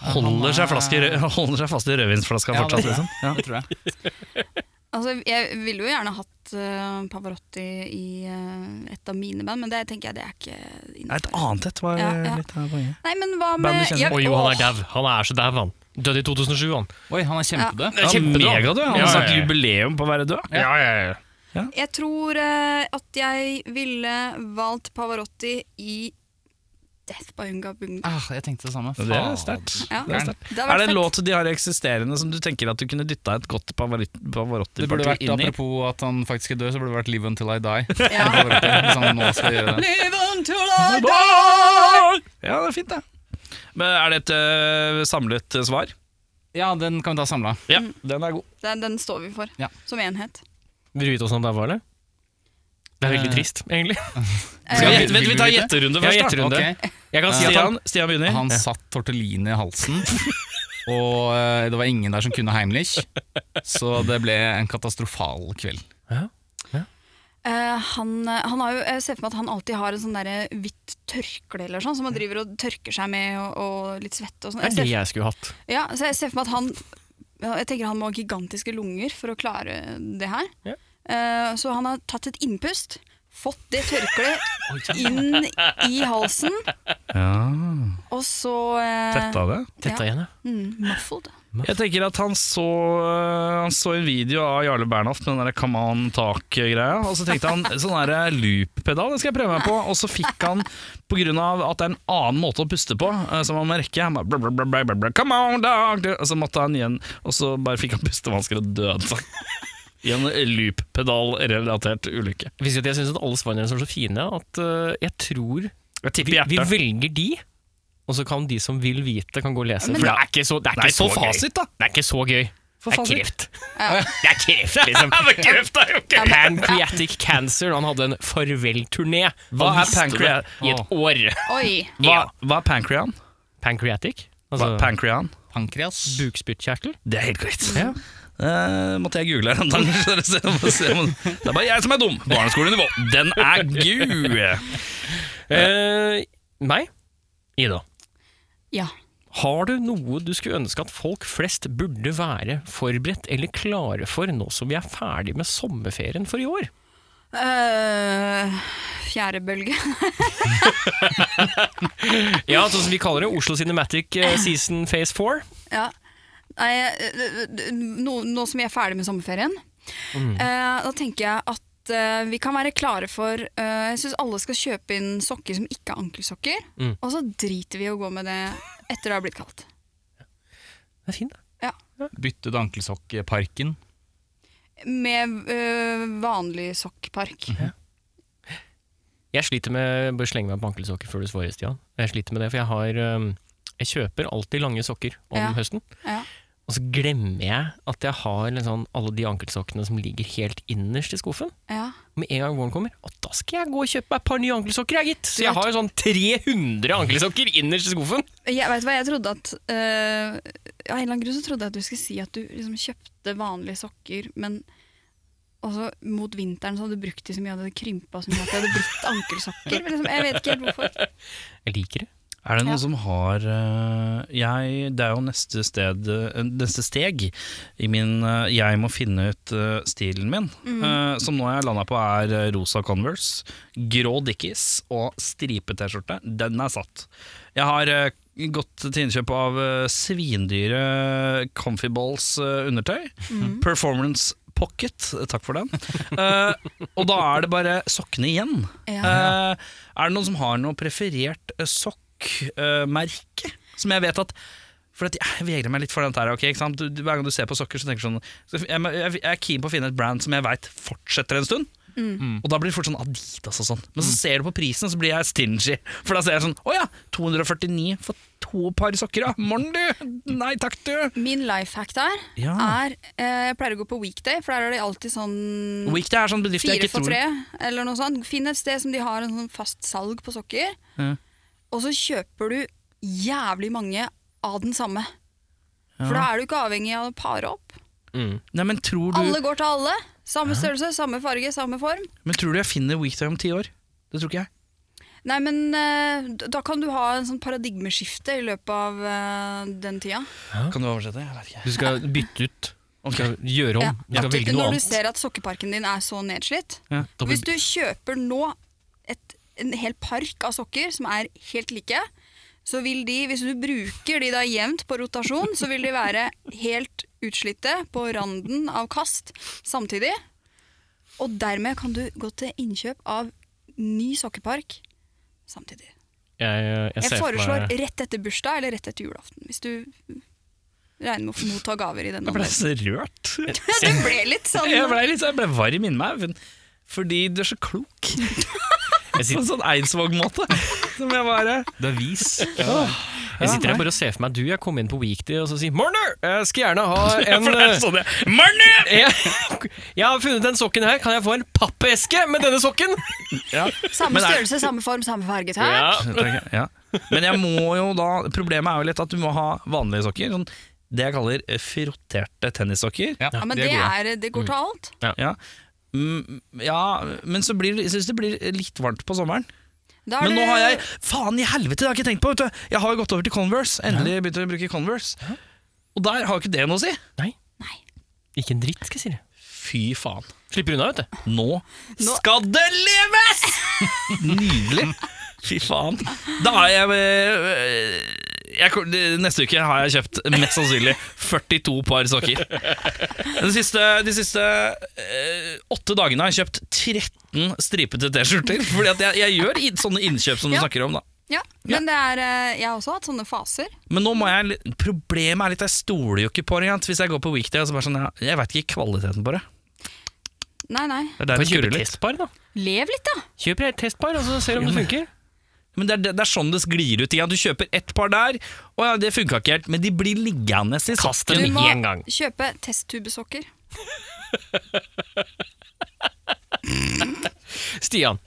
S2: Holder seg, flaske, i rød- holder seg fast i rødvinsflaska
S1: Ja,
S2: fortsatt,
S1: det-
S2: liksom. Ja.
S1: Det tror jeg.
S7: Altså, jeg ville jo gjerne hatt eh, Pavarotti i eh, et av mine band, men det tenker jeg det er ikke
S2: Nei, Et
S7: innenfor.
S2: annet et var eh,
S7: Ja, ja.
S2: litt av poenget.
S7: Nei, men hva
S2: Bandet
S7: med
S2: kjenner.
S7: jeg-
S3: Oi, jo, han
S7: Åh,
S3: er dau. Han er så dau, han. Døde i 2007, han.
S1: Oi, han er kjempedød.
S2: Ja,
S3: Kjempedød.
S2: Megadød. Han har
S3: Ja, ja,
S2: snart
S3: ja.
S2: jubileum på å være død.
S3: Ja, ja, ja.
S7: Jeg tror eh, at jeg ville valgt Pavarotti i Death by Unga Bunga.
S1: Ah, jeg tenkte det samme.
S2: Det er
S1: Faen.
S2: sterkt.
S7: Ja.
S2: Det er sterkt.
S7: Det hadde
S2: Er det
S7: vært
S2: en
S7: fett.
S2: låt de har eksisterende som du tenker at du kunne dytta et godt
S1: Det burde vært,
S2: Pavarotti-parti inn i?
S1: Apropos at han faktisk er død, så burde det vært 'Live Until I Die'.
S7: Ja.
S1: Hvis han nå skal gjøre det.
S7: Live until I die.
S2: Ja, det er fint, det. Men er det et øh, samlet øh, svar?
S1: Ja, den kan vi ta samla.
S2: Ja, den er god.
S7: Den, den står vi for,
S1: Ja.
S7: som enhet.
S3: Vil du vite åssen han daua, eller? Det er veldig
S1: Eh.
S3: trist, egentlig.
S2: Skal
S1: Vil-
S2: vi, gjette- vent,
S1: vil du
S2: vi tar
S1: vite?
S2: gjetterunde
S3: Ja,
S2: først, da. Eh,
S3: gjetterunde.
S1: Ok.
S3: Jeg kan si at han
S2: Stian, Stian begynner.
S1: Han satt tortellini i halsen, og eh, det var ingen der som kunne Heimlich. Så det ble en katastrofal kveld.
S7: Eh, han, eh, han har jo, jeg ser for meg at han alltid har en sånn der hvitt tørkle eller sånn, som han driver og tørker seg med, og, og litt svette og sånn.
S3: Det
S7: Jeg
S3: er det
S7: ser-
S3: jeg skulle hatt.
S7: Ja, så jeg ser for meg at han ja, Jeg tenker han må ha gigantiske lunger for å klare det her.
S3: Ja.
S7: Eh, så han har tatt et innpust, fått det tørkleet inn i halsen,
S2: Ja,
S7: og så eh,
S2: tetta det.
S3: Tetta igjen, ja.
S7: Mm, muffled.
S2: Jeg tenker at han så, eh, han så en video av Jarle Bernhoft med den der Come On Talk-greia. Og så tenkte han sånn der loop-pedal, det skal jeg prøve meg på. Og så fikk han, pga. at det er en annen måte å puste på, eh, som han må rekke han bare, bla, bla, bla, bla, bla, bla, Come on, dog! Og så måtte han igjen, og så bare fikk han pustevansker og døde. altså. I en loop-pedal-relatert ulykke.
S3: Hvis ikke at jeg syns alle svarene deres var så fine at eh, jeg tror
S2: Jeg
S3: vi,
S2: tipper
S3: vi
S2: hjertet.
S3: velger de, og og så kan de som vil vite, kan gå og lese.
S7: Men
S3: For det
S7: da-
S3: er ikke så, det er ikke
S2: Nei, så
S3: så
S2: fasit, da!
S3: gøy. Det er ikke så gøy. Det er
S2: fasit.
S3: kreft. Det er kreft, liksom.
S2: Kreft er jo ikke
S3: Pancreatic cancer. Han hadde en farvel-turné.
S2: Hva
S3: Han
S2: er
S3: visste det
S2: pancrea-
S3: I et år.
S7: Oi.
S2: Hva, hva er pancrean?
S3: Pancreatic?
S2: Hva
S3: Altså
S2: er pancrean?
S9: Pankreas.
S3: bukspyttkjertel?
S2: Det er helt korrekt.
S3: Ja.
S2: Eh, måtte jeg google her om dagen. så dere ser- må se om- Det er bare jeg som er dum. Barneskolenivå. Den er gu!
S3: Eh, nei. Ida,
S7: Ja.
S3: har du noe du skulle ønske at folk flest burde være forberedt eller klare for nå som vi er ferdig med sommerferien for i år?
S7: Øh, fjerde bølge.
S3: Ja, sånn som vi kaller det. Oslo Cinematic eh, Season Phase 4.
S7: Ja. Nei, øh, øh, nå, nå som vi er ferdig med sommerferien, eh, da tenker jeg at eh, vi kan være klare for eh, Jeg syns alle skal kjøpe inn sokker som ikke er ankelsokker, og så driter vi i å gå med det etter det har blitt kaldt.
S3: Det er fint, da.
S9: Bytte ut ankelsokkparken.
S7: Med øh, vanlig sokkpark.
S3: Jeg sliter med Bare slenge meg på ankelsokker før du svarer, Stian. Jeg sliter med det, for jeg har eh, Jeg kjøper alltid lange sokker om
S7: Ja.
S3: høsten.
S7: Ja.
S3: Og så glemmer jeg at jeg har liksom alle de ankelsokkene som ligger helt innerst i skuffen.
S7: Ja.
S3: Med en gang våren kommer, og da skal jeg gå og kjøpe meg et par nye ankelsokker, jeg, gitt. Så
S7: Du
S3: jeg
S7: vet-
S3: har jo sånn 300 ankelsokker innerst i skuffen.
S7: Jeg vet hva, jeg trodde at øh, Av en eller annen grunn så trodde jeg at du skulle si at du liksom kjøpte vanlige sokker, men også mot vinteren så hadde du brukt de så mye, og det hadde krympa så mye at det hadde blitt ankelsokker. men Liksom, jeg vet ikke helt hvorfor.
S3: Jeg liker det.
S2: Er det noen
S7: Ja.
S2: som har eh, jeg, Det er jo neste, sted, eh, neste steg i min eh, Jeg må finne ut eh, stilen min. eh, som nå jeg landa på, er eh, rosa Converse, grå Dickies og stripet T-skjorte. Den er satt. Jeg har eh, gått til innkjøp av eh, svindyre Comfy Balls eh, undertøy. Performance Pocket, eh, takk for den. Eh, og da er det bare sokkene igjen.
S7: Ja.
S2: Eh, er det noen som har noe preferert eh, sokkmerke? som jeg vet at for at jeg vegrer meg litt for dette her. ok, ikke sant? Du, du, hver gang du ser på sokker, så tenker du sånn så jeg, må- jeg, jeg er keen på å finne et brand som jeg veit fortsetter en stund.
S7: Mm.
S2: Og da blir det fort sånn Adidas og sånn. Men så ser du på prisen, så blir jeg stingy. For da ser jeg sånn Å ja, 249 for to par sokker, ja. Morn, du! Nei takk, du.
S7: Min life hack der
S2: Ja.
S7: er eh, Jeg pleier å gå på weekday, for der er det alltid sånn
S2: Weekday er sånn bedrift jeg
S7: fire
S2: ikke
S7: for
S2: tror
S7: tre, eller noe sånt. Finn et sted som de har en sånn fast salg på sokker,
S2: Ja.
S7: og så kjøper du jævlig mange av den samme. For da er du ikke avhengig av å pare opp.
S2: Nei, men tror, du,
S7: Alle går til alle. Samme størrelse, samme farge, samme form.
S2: men tror du jeg finner Weekday om ti år? Det tror ikke jeg.
S7: Nei, men eh, d- Da kan du ha en sånn paradigmeskifte i løpet av eh, den tida.
S2: Kan du oversette? Jeg vet ikke.
S3: Du skal bytte ut. Du skal gjøre om.
S7: Ja.
S3: Du skal
S7: At
S3: velge
S7: Når
S3: noe
S7: du
S3: annet.
S7: ser at sokkeparken din er så nedslitt
S2: Ja,
S3: da blir-
S7: Hvis du kjøper nå et, en hel park av sokker som er helt like, så vil de, hvis du bruker de da jevnt på rotasjon, så vil de være helt utslitte på randen av kast samtidig. Og dermed kan du gå til innkjøp av ny sokkepark samtidig.
S3: Jeg, øh, jeg,
S7: Jeg
S3: ser for
S7: foreslår
S3: meg-
S7: rett etter bursdag eller rett etter julaften, hvis du regner med å få motta gaver i denne
S2: Jeg ble
S7: anledningen.
S2: så rørt.
S7: Ja, det ble litt sånn
S2: Jeg ble, litt, jeg ble varm inni meg, men- fordi du er så klok. På en sånn Eidsvåg-måte. Som jeg bare
S9: Du er vis.
S3: Jeg sitter her bare og ser for meg du, jeg kommer inn på weekday og så sier Morner, jeg skal gjerne ha en eh,
S2: sånn jeg Marne!
S3: jeg, jeg har funnet den sokken her, kan jeg få en pappeske med denne sokken?
S2: Men
S7: Samme
S2: er-
S7: størrelse, samme form, samme farge. Takk.
S2: Ja. Men jeg må jo da Problemet er jo litt at du må ha vanlige sokker. Sånn, det jeg kaller frotterte tennissokker.
S7: Ja, men det,
S9: gode.
S7: er, det går til alt.
S2: Ja. Mm, ja, men så blir det, jeg synes det blir litt varmt på sommeren.
S7: Da er
S2: Men nå
S7: det-
S2: har jeg Faen i helvete, det har jeg ikke tenkt på! Vet du. Jeg har jo gått over til Converse. Endelig begynt å bruke Converse. Og der har jo ikke det noe å si.
S3: Ikke en dritt, skal jeg si det.
S2: Fy faen.
S3: Slipper unna, vet du.
S2: Nå skal det leves! Nydelig. Fy faen. Da har jeg, eh, jeg kom- de- Neste uke har jeg kjøpt mest sannsynlig 42 par sokker. De siste, de siste eh, åtte dagene har jeg kjøpt 13 stripete T-skjorter. Fordi at jeg, jeg gjør i- sånne innkjøp som du
S7: Ja.
S2: snakker om, da.
S7: Ja, men det er, eh, jeg har også hatt sånne faser.
S2: Men nå må jeg, li- problemet er litt jeg stoler jo ikke på det. ikke sant? Hvis jeg går på weekday, så bare sånn, jeg, jeg veit ikke kvaliteten på det.
S7: Nei, nei.
S2: Det er der
S3: Kan
S2: det
S3: kjøpe
S2: skurrer litt.
S3: testpar, da.
S7: Lev litt, da.
S3: Kjøp et testpar, og så ser om det funker.
S9: Men det er, det er sånn det sklir ut. Ikke? sant? Du kjøper ett par der, og ja, det funka ikke helt, men de blir liggende i
S3: Kast
S9: sokken.
S3: dem
S7: Du må
S3: én gang.
S7: kjøpe testtubesokker.
S3: Stian,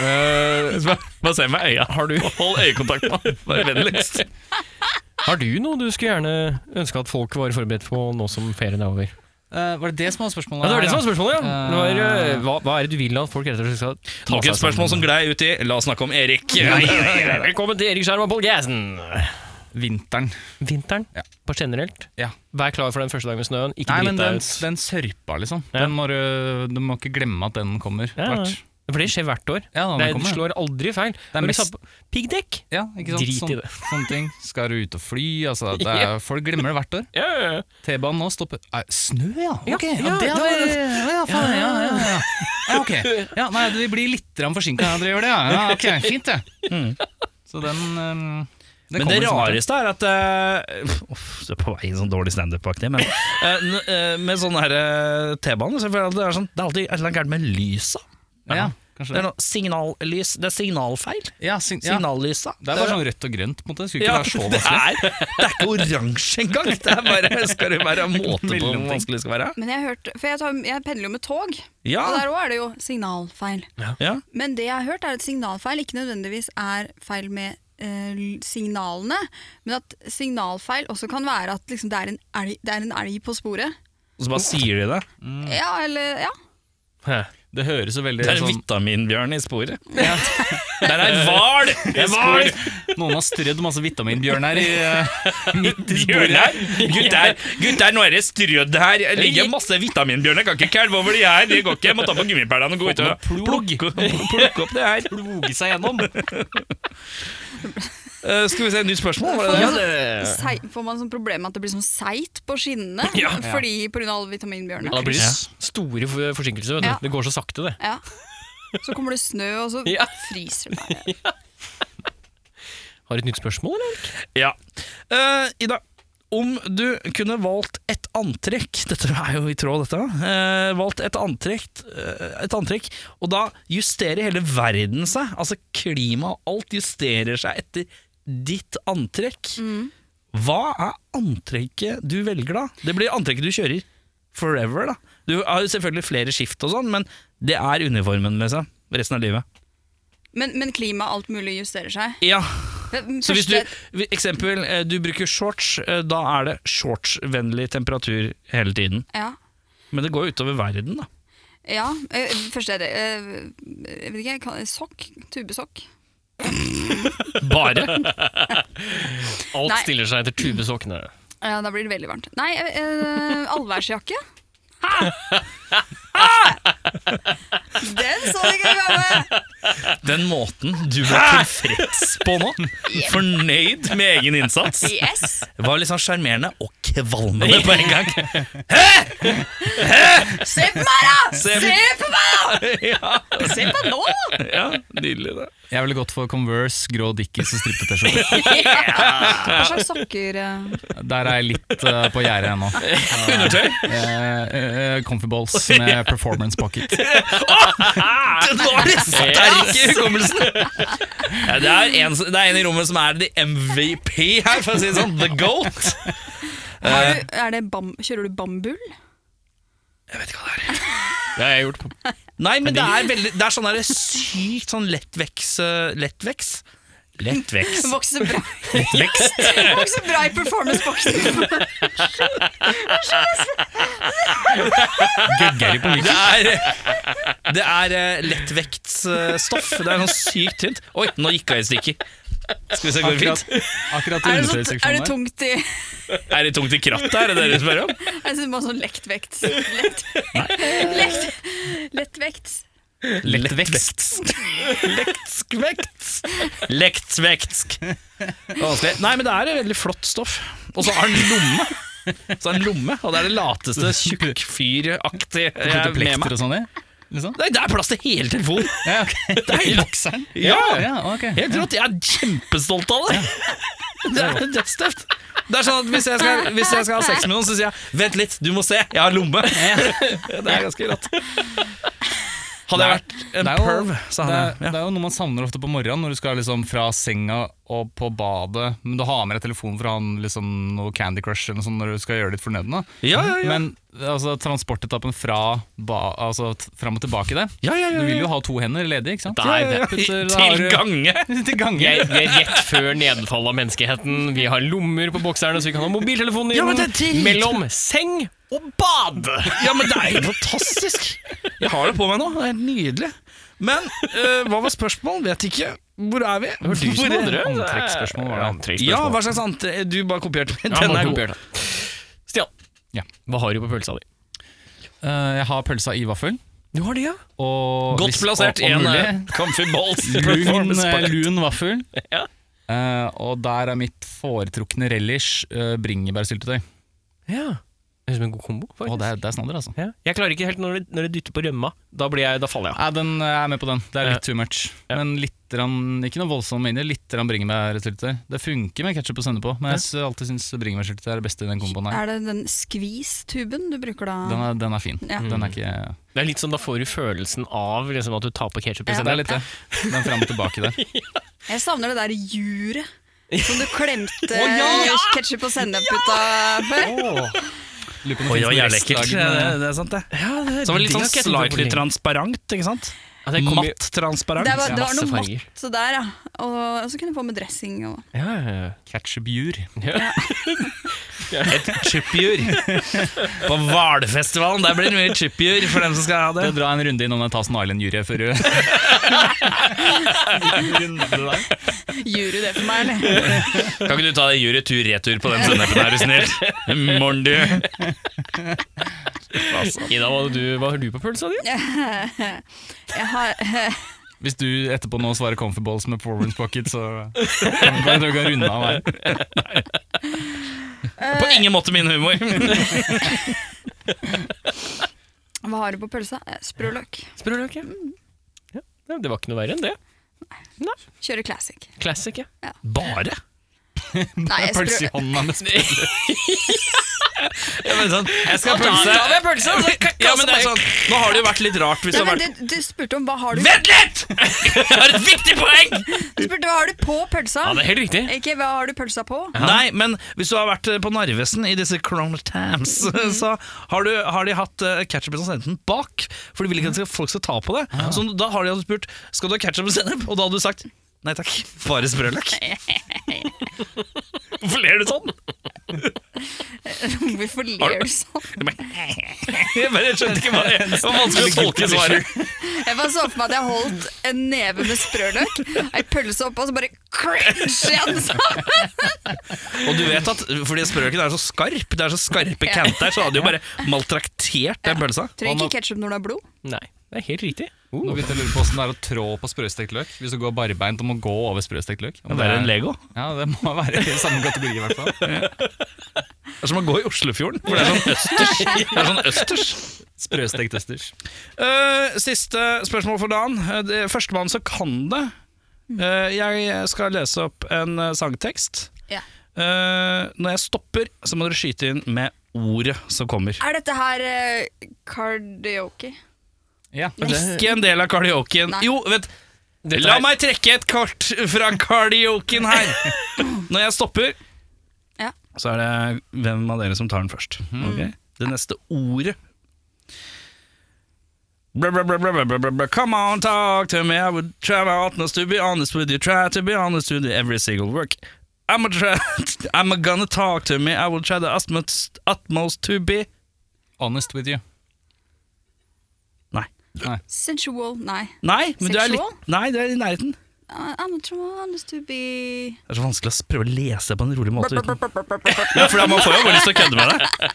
S1: Eh,
S9: Bare se med øya. Har du Hold øyekontakt med han, vær vennligst.
S3: har du noe du skulle gjerne ønske at folk var forberedt på nå som ferien er over?
S1: Eh, var det det som var spørsmålet?
S3: Ja, det var det
S1: her,
S3: som var spørsmålet, ja. Det var,
S1: Eh,
S3: eh, hva, hva er det du vil at folk rett og slett skal ta
S9: Nok et spørsmål som glei uti. La oss snakke om Erik.
S3: Velkommen til Erik Skjerm og Pål Gassen.
S1: Vinteren.
S3: Vinteren,
S1: Ja.
S3: bare generelt.
S1: Ja.
S3: Vær klar for den første dagen med snøen. Ikke
S1: Nei,
S3: drit
S1: men den,
S3: deg ut.
S1: den sørpa, liksom.
S3: Ja.
S1: Den må du, du må ikke glemme at den kommer.
S3: Ja, ja.
S1: Hvert.
S3: For det skjer hvert år.
S1: Ja, da,
S3: det
S1: den kommer.
S3: slår aldri feil.
S1: er
S3: Når de
S1: mest-
S3: satt på- Piggdekk!
S1: Ja, ikke sant?
S3: Drit i
S1: Sånn-
S3: det.
S1: Sånne ting. Skal du ut og fly? Altså, det er,
S3: Ja.
S1: Folk glemmer det hvert år.
S3: Ja, ja, ja.
S1: T-banen nå stopper Nei, Snø, ja!
S3: Ja,
S1: Ok, ja,
S3: ja,
S1: det
S3: det
S1: hadde
S3: var-
S1: ja, ja, faen, ja, ja, ja. ja, ok. Ja, nei, vi blir litt forsinka når dere gjør det, ja. ja. Ok, fint, det.
S3: Mm.
S1: Så den um,
S2: Men det
S1: kommer snart, ja.
S2: rareste er at uh, Uff, du er på vei i en sånn dårlig standup-aktig. Men eh, n- eh, med sånn her eh, T-bane så føler jeg at det er sånn Det er alltid et eller annet gærent med lysa.
S1: Ja,
S2: Det
S1: kanskje
S2: er
S1: det.
S2: noe signallys Det er signalfeil.
S1: Ja, sin, ja.
S2: Signallysa.
S1: Det er bare sånn rødt og grønt. på en måte. Det skulle ikke
S2: Ja,
S1: være
S2: det
S1: så
S2: er, det
S1: vanskelig.
S2: er ikke oransje engang! Det er bare, skal det være måte på hvor
S1: Mellomting.
S2: vanskelig det skal være?
S7: Men jeg har hørt, for jeg, tar, jeg pendler jo med tog,
S2: Ja,
S7: og der òg er det jo signalfeil.
S2: ja.
S7: Men det jeg har hørt er at signalfeil ikke nødvendigvis er feil med eh, l- signalene, men at signalfeil også kan være at liksom, det, er en elg, det er en elg på sporet.
S2: Og så bare sier de det.
S3: Mm.
S7: Ja, eller ja.
S1: Det høres jo veldig
S2: Det er en
S1: sånn
S2: vitaminbjørn i sporet. Der er en hval! En hval!
S1: Noen har strødd masse vitaminbjørn her i eh, midt i sporet.
S2: Bjørnar, gutter, gutter, nå er det strødd her. Det ligger masse vitaminbjørner. Jeg Kan ikke kælve over de her. Det går ikke. Jeg må ta på gummipælene og gå ut og plukke, plukke opp det her.
S1: Ploge seg gjennom.
S2: Eh, skal vi se, nytt spørsmål? Var det det?
S7: Får man, sei, får man sånn problem med at det blir sånn seigt på skinnene
S2: Ja.
S7: fordi pga. alle vitaminbjørnene?
S3: Da blir det s- store for- forsinkelser. Vet du.
S7: Ja.
S3: Det går så sakte, det.
S7: Ja. Så kommer det snø, og så
S3: Ja.
S7: fryser det bare.
S3: Har du et nytt spørsmål, eller?
S2: Ja. Eh, Ida, om du kunne valgt et antrekk Dette er jo i tråd, dette. eh, valgt et antrekk, eh, et antrekk, og da justerer hele verden seg. Altså klima og alt justerer seg etter ditt antrekk. Hva er antrekket du velger da? Det blir antrekket du kjører forever, da. Du har jo selvfølgelig flere skift og sånn, men det er uniformen med seg resten av livet.
S7: Men, men klima og alt mulig justerer seg.
S2: Ja,
S7: Men
S2: så hvis du,
S7: første-
S2: vi- eksempel, eh, du bruker shorts, eh, da er det shortsvennlig temperatur hele tiden.
S7: ja.
S2: Men det går jo utover verden, da.
S7: Ja, eh, først er det eh, Jeg vet ikke, kan- sokk? Tubesokk?
S2: Bare.
S3: Alt
S7: Nei.
S3: stiller seg etter tubesokkene.
S7: Ja, da blir det veldig varmt. Nei, eh, allværsjakke. Hæ? Hæ? Den så du ikke komme!
S2: Den måten du var tilfreds på nå. Fornøyd med egen innsats.
S7: Yes!
S2: Det var litt sånn sjarmerende og kvalmende på en gang.
S7: Se på meg, da! Se på meg!
S2: Ja,
S7: da! Se på nå!
S2: ja Nydelig, det.
S1: Jeg ville gått for Converse, grå Dickies og strippete T-skjorte.
S7: Hva slags sokker eh?
S1: Der er jeg litt eh, på gjerdet ennå.
S2: Undertøy.
S9: eh,
S1: Uh, comfy balls med performance pocket.
S2: Den var litt sterk i hukommelsen! Ja, det, er en, som- det er en i rommet som er the MVP her, for å si det sånn. The GOAT.
S7: Har du, er det bam, Kjører du bambul?
S2: Jeg vet ikke hva det er.
S3: Det har jeg gjort. på-
S2: Nei, men det er, veldig, det er sånn der sykt sånn lettveks eh, Lettveks? Lettveks.
S7: Vokser bra,
S2: Lettvekst.
S7: vokser bra i performance-boksen.
S2: Det er, det er eh, lettvektsstoff. Det er sånn sykt tynt. Oi, nå gikk jeg i stykker. Skal vi se, går det
S1: Akkurat,
S2: fint?
S1: akkurat i
S7: Er det, sånn, er det
S1: undertøyseksjonen der.
S7: tungt i
S2: Er det tungt i krattet, er det det dere spør om?
S7: Jeg synes bare sånn lektvekt. Lett, lett, lettvekt.
S2: Lettvekst. Lektskvekt. Lektsvektsk. Det var Vanskelig. Nei, men det er et veldig flott stoff. Og så har den lomme. Så har den lomme, og det er det lateste tjukkfyraktige jeg
S1: Putte
S2: er med meg.
S1: plekter og sånn i? Liksom?
S2: Nei, det er plass til hele telefonen!
S1: Ja, ok.
S2: Det er helt,
S1: Bokseren?
S2: Ja.
S1: ja, ok.
S2: helt rått. Jeg er kjempestolt av det! Det er dødstøft. Det er sånn at hvis jeg, skal, hvis jeg skal ha sex med noen, så sier jeg 'vent litt, du må se, jeg har lomme'. Det er ganske rått. Hadde jeg vært en
S9: det er jo-
S2: perv, så
S9: det,
S2: hadde
S9: er-
S2: jeg
S9: det
S2: ja.
S9: er jo noe man savner ofte på morgenen, når du skal liksom fra senga og på badet, men du har med deg telefonen for å ha en liksom, noe Candy Crush eller noe sånt når du skal gjøre ditt fornødne.
S2: Ja, ja, ja.
S9: Men altså, transportetappen fra ba, altså, t- fram og tilbake der
S2: Ja, ja, ja,
S9: Du vil
S2: ja.
S9: jo ha to hender ledig, ikke sant?
S3: Nei,
S9: Ja, ja, ja.
S3: det-
S9: Putter- da har
S2: Til
S9: du-
S2: gange!
S9: Til gange.
S3: Vi er, vi er rett før nedfallet av menneskeheten. Vi har lommer på bokserne, så vi kan ha mobiltelefonen i
S2: Ja, men
S3: den.
S2: det er drit!
S3: Mellom seng og bad!
S2: Ja, men det er helt fantastisk! Jeg har det på meg nå. Det er helt nydelig. Men eh, hva var spørsmålet? Vet ikke. Hvor er vi?
S3: Hør du som
S2: Hvor er-
S3: hadde det.
S9: Antrekksspørsmål var det.
S2: Ja,
S3: Antrekksspørsmål.
S2: hva slags antre... Du bare kopierte meg.
S3: Ja,
S2: Den
S3: må
S2: er
S3: du
S2: god.
S3: kopiere det. Stian,
S9: Ja.
S3: hva har du på pølsa di?
S9: Eh, jeg har pølsa i vaffel.
S3: Du har det, ja?
S9: Og
S2: Godt
S9: hvis-
S2: plassert. eh,
S9: og- og
S2: Én
S9: mulig,
S2: er comfy balls.
S9: Lun,
S2: performance
S9: eh,
S2: packet.
S9: lun vaffel.
S3: Ja.
S9: Eh, og der er mitt foretrukne relish eh, bringebærsyltetøy.
S3: ja. Det høres ut som en god kombo.
S9: Å,
S3: faktisk.
S9: det, er- det er snadder, altså.
S3: ja. Jeg klarer ikke helt når det, når det dytter på rømma. Da, blir jeg, da faller jeg av.
S9: Nei, den, eh, jeg er med på den. Det er litt too much.
S3: Ja.
S9: Men litt, grann- ikke noe voldsomt inni. Litt grann bringebærsyltetøy. Det funker med ketsjup og sennep på, men jeg sy- alltid syns bringebærsyltetøy er det beste i den komboen her.
S7: Er det den skvis-tuben du bruker da?
S9: Den er, den er fin.
S7: Ja.
S9: Den er ikke
S3: Det er litt sånn, Da får du følelsen av liksom, at du tar på ketsjup.
S7: Ja.
S9: Det er litt det. Den er fram og tilbake der.
S7: Jeg savner det der juret som du klemte oh, ketsjup og sennep ut av før.
S9: Lurer på om
S2: Oi, det
S9: det
S2: var jævlig
S9: finnes noe
S2: ekkelt.
S9: restlagd,
S2: Det,
S9: men-
S2: det er sant, det.
S3: Ja, det,
S2: Så det var litt
S3: det
S2: sånn
S3: skal jeg tenke på
S2: slightly
S3: lenge.
S2: transparent, ikke sant?
S3: Ja, det kommer jo-
S2: Matt transparent.
S7: Det var, det var
S3: Masse
S7: noe
S3: farger.
S7: matt der, ja. Og, og så kunne du få med dressing og
S3: Ja, ja, ja.
S9: Ketchupjur.
S2: Et chipjur. På Hvalfestivalen, der blir det mye chipjur for dem som skal ha det.
S9: Dra en runde innom den Tassen Island-juryet før du
S7: Jury det for meg, eller?
S2: Kan ikke du ta det jury-tur-retur på den sennepen, er du snill? Morn, du.
S3: Ida, hva, har du, hva har du på pølsa di?
S7: Jeg har,
S9: Hvis du etterpå nå svarer Comfy Balls med Performance Pocket, så kan du kan du runde av her.
S2: På ingen måte min humor.
S7: hva har du på pølsa? Eh, Sprø løk.
S3: Spør du ikke? Ja, nei, det var ikke noe verre enn det.
S7: Kjører classic.
S3: Classic, ja.
S2: Bare?
S7: Nei, jeg
S9: Pølse i
S7: sprø...
S9: hånda med sp-
S2: Ja, men sånn, jeg skal ha pølse.
S3: Da har jeg pølse, altså.
S2: Ja, men det er sånn, nå har det jo vært litt rart hvis
S7: Nei,
S2: det har
S7: men
S2: vært
S7: du, du spurte om hva har du
S2: Vent litt! Jeg har et viktig poeng!
S7: Du spurte hva har du på pølsa?
S3: Ja, det er helt riktig.
S7: Ikke hva har du pølsa på?
S2: Nei, men hvis du har vært eh, på Narvesen i disse Chrome Tams, så har, du, har de hatt eh, ketchup og sennep bak, for de vil ikke at folk skal ta på det. Så da har de altså spurt skal du ha ketchup og sennep, og da hadde du sagt nei takk, bare sprøløk. Hvorfor ler du sånn?
S7: Hvorfor ler du sånn?
S2: Jeg bare skjønte ikke hva det var vanskelig å tolke svaret.
S7: Jeg bare så for meg at jeg holdt en neve med sprøløk, ei pølse oppå, og så bare cringe igjen sånn.
S2: Og du vet at fordi sprøløken er så skarp, det er så skarpe kanter, så hadde de jo bare maltraktert den pølsa.
S7: Trenger ikke ketsjup når du har blod.
S3: Nei, det er helt riktig.
S9: Nå begynte jeg å lure på hvordan det er å trå på sprøstekt løk. Hvis du går barbeint og må gå over sprøstekt løk. Om det er-
S2: Lego.
S9: Ja, det må være i samme kategori, i hvert fall.
S2: Det er som å gå i Oslofjorden, for det er sånn østers. Det er sånn østers.
S9: Sprøstekt østers.
S2: Eh, siste spørsmål for dagen. Eh, det- Førstemann som kan det. Eh, jeg skal lese opp en eh, sangtekst.
S7: Ja.
S2: Eh, når jeg stopper, så må dere skyte inn med ordet som kommer.
S7: Er dette her eh, karaoke?
S9: Ja.
S2: Ikke en del av karaoken.
S7: Nei.
S2: Jo, vent
S3: Dette
S2: La
S3: er-
S2: meg trekke et kort fra karaoken her. Når jeg stopper,
S7: Ja.
S2: så er det hvem av dere som tar den først.
S3: Mhm.
S2: Ok? Det neste ordet Blah, blah, blah, blah, blah, blah, blah, blah. Come on, talk to me. I would try my utmost to be honest with you. Try to be honest with you every single work. I'm, a try, I'm a gonna talk to me. I will try the utmost, utmost to be
S9: Honest with you.
S2: Nei.
S7: Sensual? Nei.
S2: Nei, men du er
S7: Sexual?
S2: litt Nei, du er i nærheten.
S7: Uh, I'm not honest to be
S2: Det er så vanskelig å prøve å lese på en rolig måte. Uten. Ja, for da- man får jo bare lyst til å kødde med det.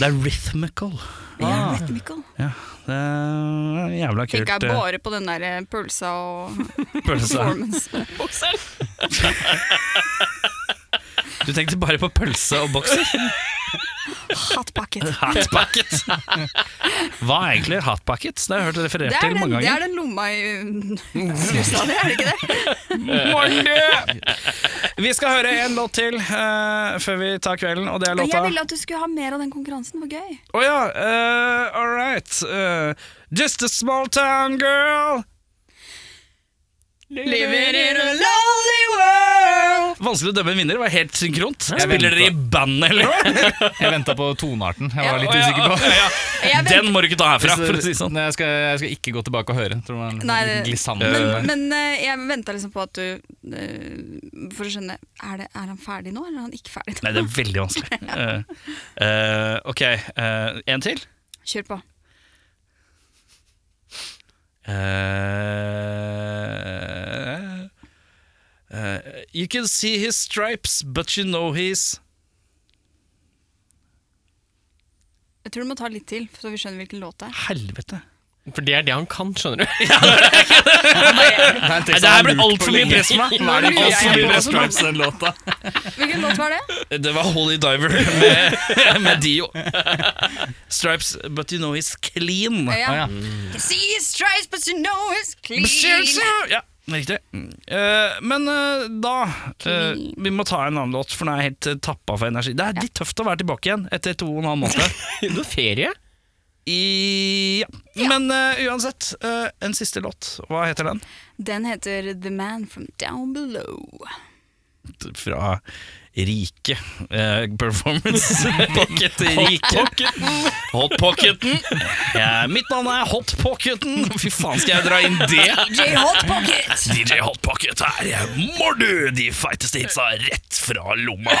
S2: Det er rhythmical.
S7: Ja, rhythmical.
S2: Det er jævla kult.
S7: Tenker jeg
S2: eh,
S7: bare på den der eh, pølsa og
S2: pølse.
S7: performance.
S2: Du tenkte bare på pølse og bokser?
S7: Hot pocket.
S2: Hot bucket. Hva er egentlig hot buckets? Det har jeg hørt referert
S7: Det er,
S2: til
S7: den,
S2: mange
S7: det er
S2: ganger.
S7: den lomma i uh, trusa di, er det ikke det?
S2: Morgen, du! Vi skal høre en låt til eh, før vi tar kvelden, og det er
S7: Og jeg
S2: låta
S7: ville at du skulle ha mer av den konkurransen, det var gøy.
S2: Å ja, eh, all right. eh, just a small town girl.
S7: Lever i rull
S2: Vanskelig å dømme en vinner. Det var helt synkront.
S9: Jeg
S2: Spiller dere i band, eller?
S9: Jeg venta på tonearten. Jeg var
S7: Ja.
S9: litt usikker på
S2: Ja, ja.
S7: Jeg vet-
S2: Den må du ikke ta herfra, for å si det sånn.
S9: Nei, jeg, skal, jeg skal ikke gå tilbake og høre. Tror man,
S7: Nei, det-
S9: glissande.
S7: Men, men eh, jeg venta liksom på at du eh, For å skjønne, er, det, er han ferdig nå, eller er han ikke ferdig nå?
S2: Nei, det er veldig vanskelig. Eh, eh, ok, eh, en til.
S7: Kjør på.
S2: Eh, eh, you can see his stripes, but you know he's
S7: Jeg tror du må ta litt til, så vi skjønner hvilken låt det er.
S2: Helvete.
S3: For det er det han kan, skjønner du.
S2: Nei, det her ble altfor mye press på meg.
S7: Nå lurer
S2: Alt for
S7: jeg
S2: mye press
S7: på
S2: på meg. Den låta.
S7: Hvilken låt var det?
S2: Det var Holy Diver med, med Dio. Stripes, but you know he's clean.
S7: Ja. See his stripes, but you know it's clean.
S2: Ja, riktig. Eh, men eh, da eh,
S7: Clean.
S2: Vi må ta en annen låt, for den er helt eh, tappa for energi. Det er litt tøft å være tilbake igjen etter to og en halv måned.
S3: Noe ferie?
S2: I, ja. Men eh, uansett, eh, en siste låt. Hva heter den?
S7: Den heter The Man From Down Below.
S2: Fra Rike eh, Performance. Pocket Rike. Hot Pocketen. Ja, mitt navn er Hot Pocketen. Fy faen, skal jeg dra inn det?
S7: J. Hot Pocket!
S2: DJ Hot Pocket her. Må du de feiteste hitsa rett fra lomma?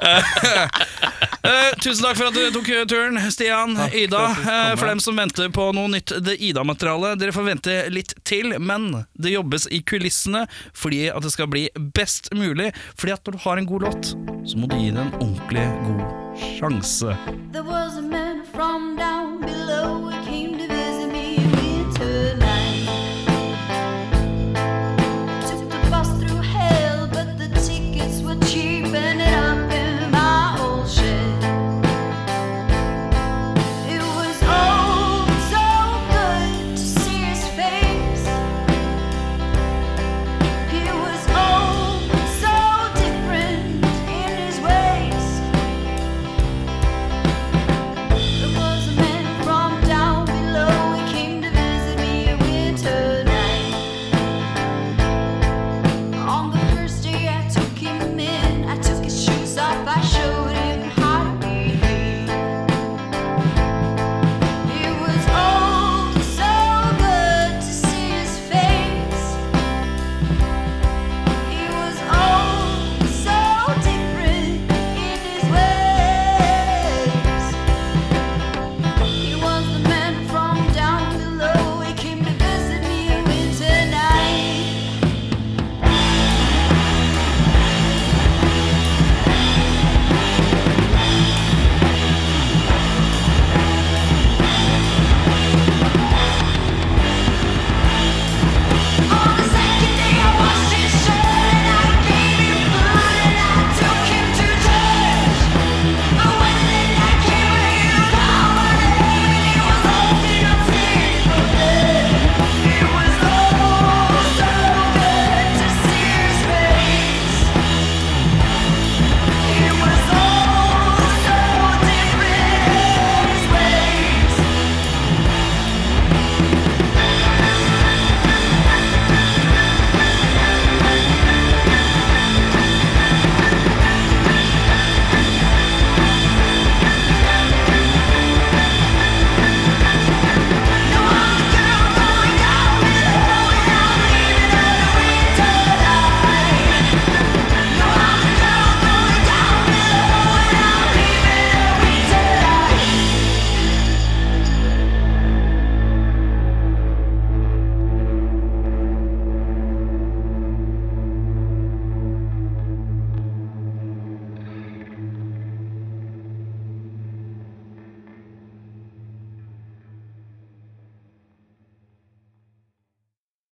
S2: Eh, tusen takk for at du tok turen, Stian, Ida. Eh, for dem som venter på noe nytt det Ida-materialet, dere får vente litt til. Men det jobbes i kulissene fordi at det skal bli best mulig. Fordi at når du har en god låt, så må du gi den en ordentlig god sjanse.
S10: There was a man from down below oh oh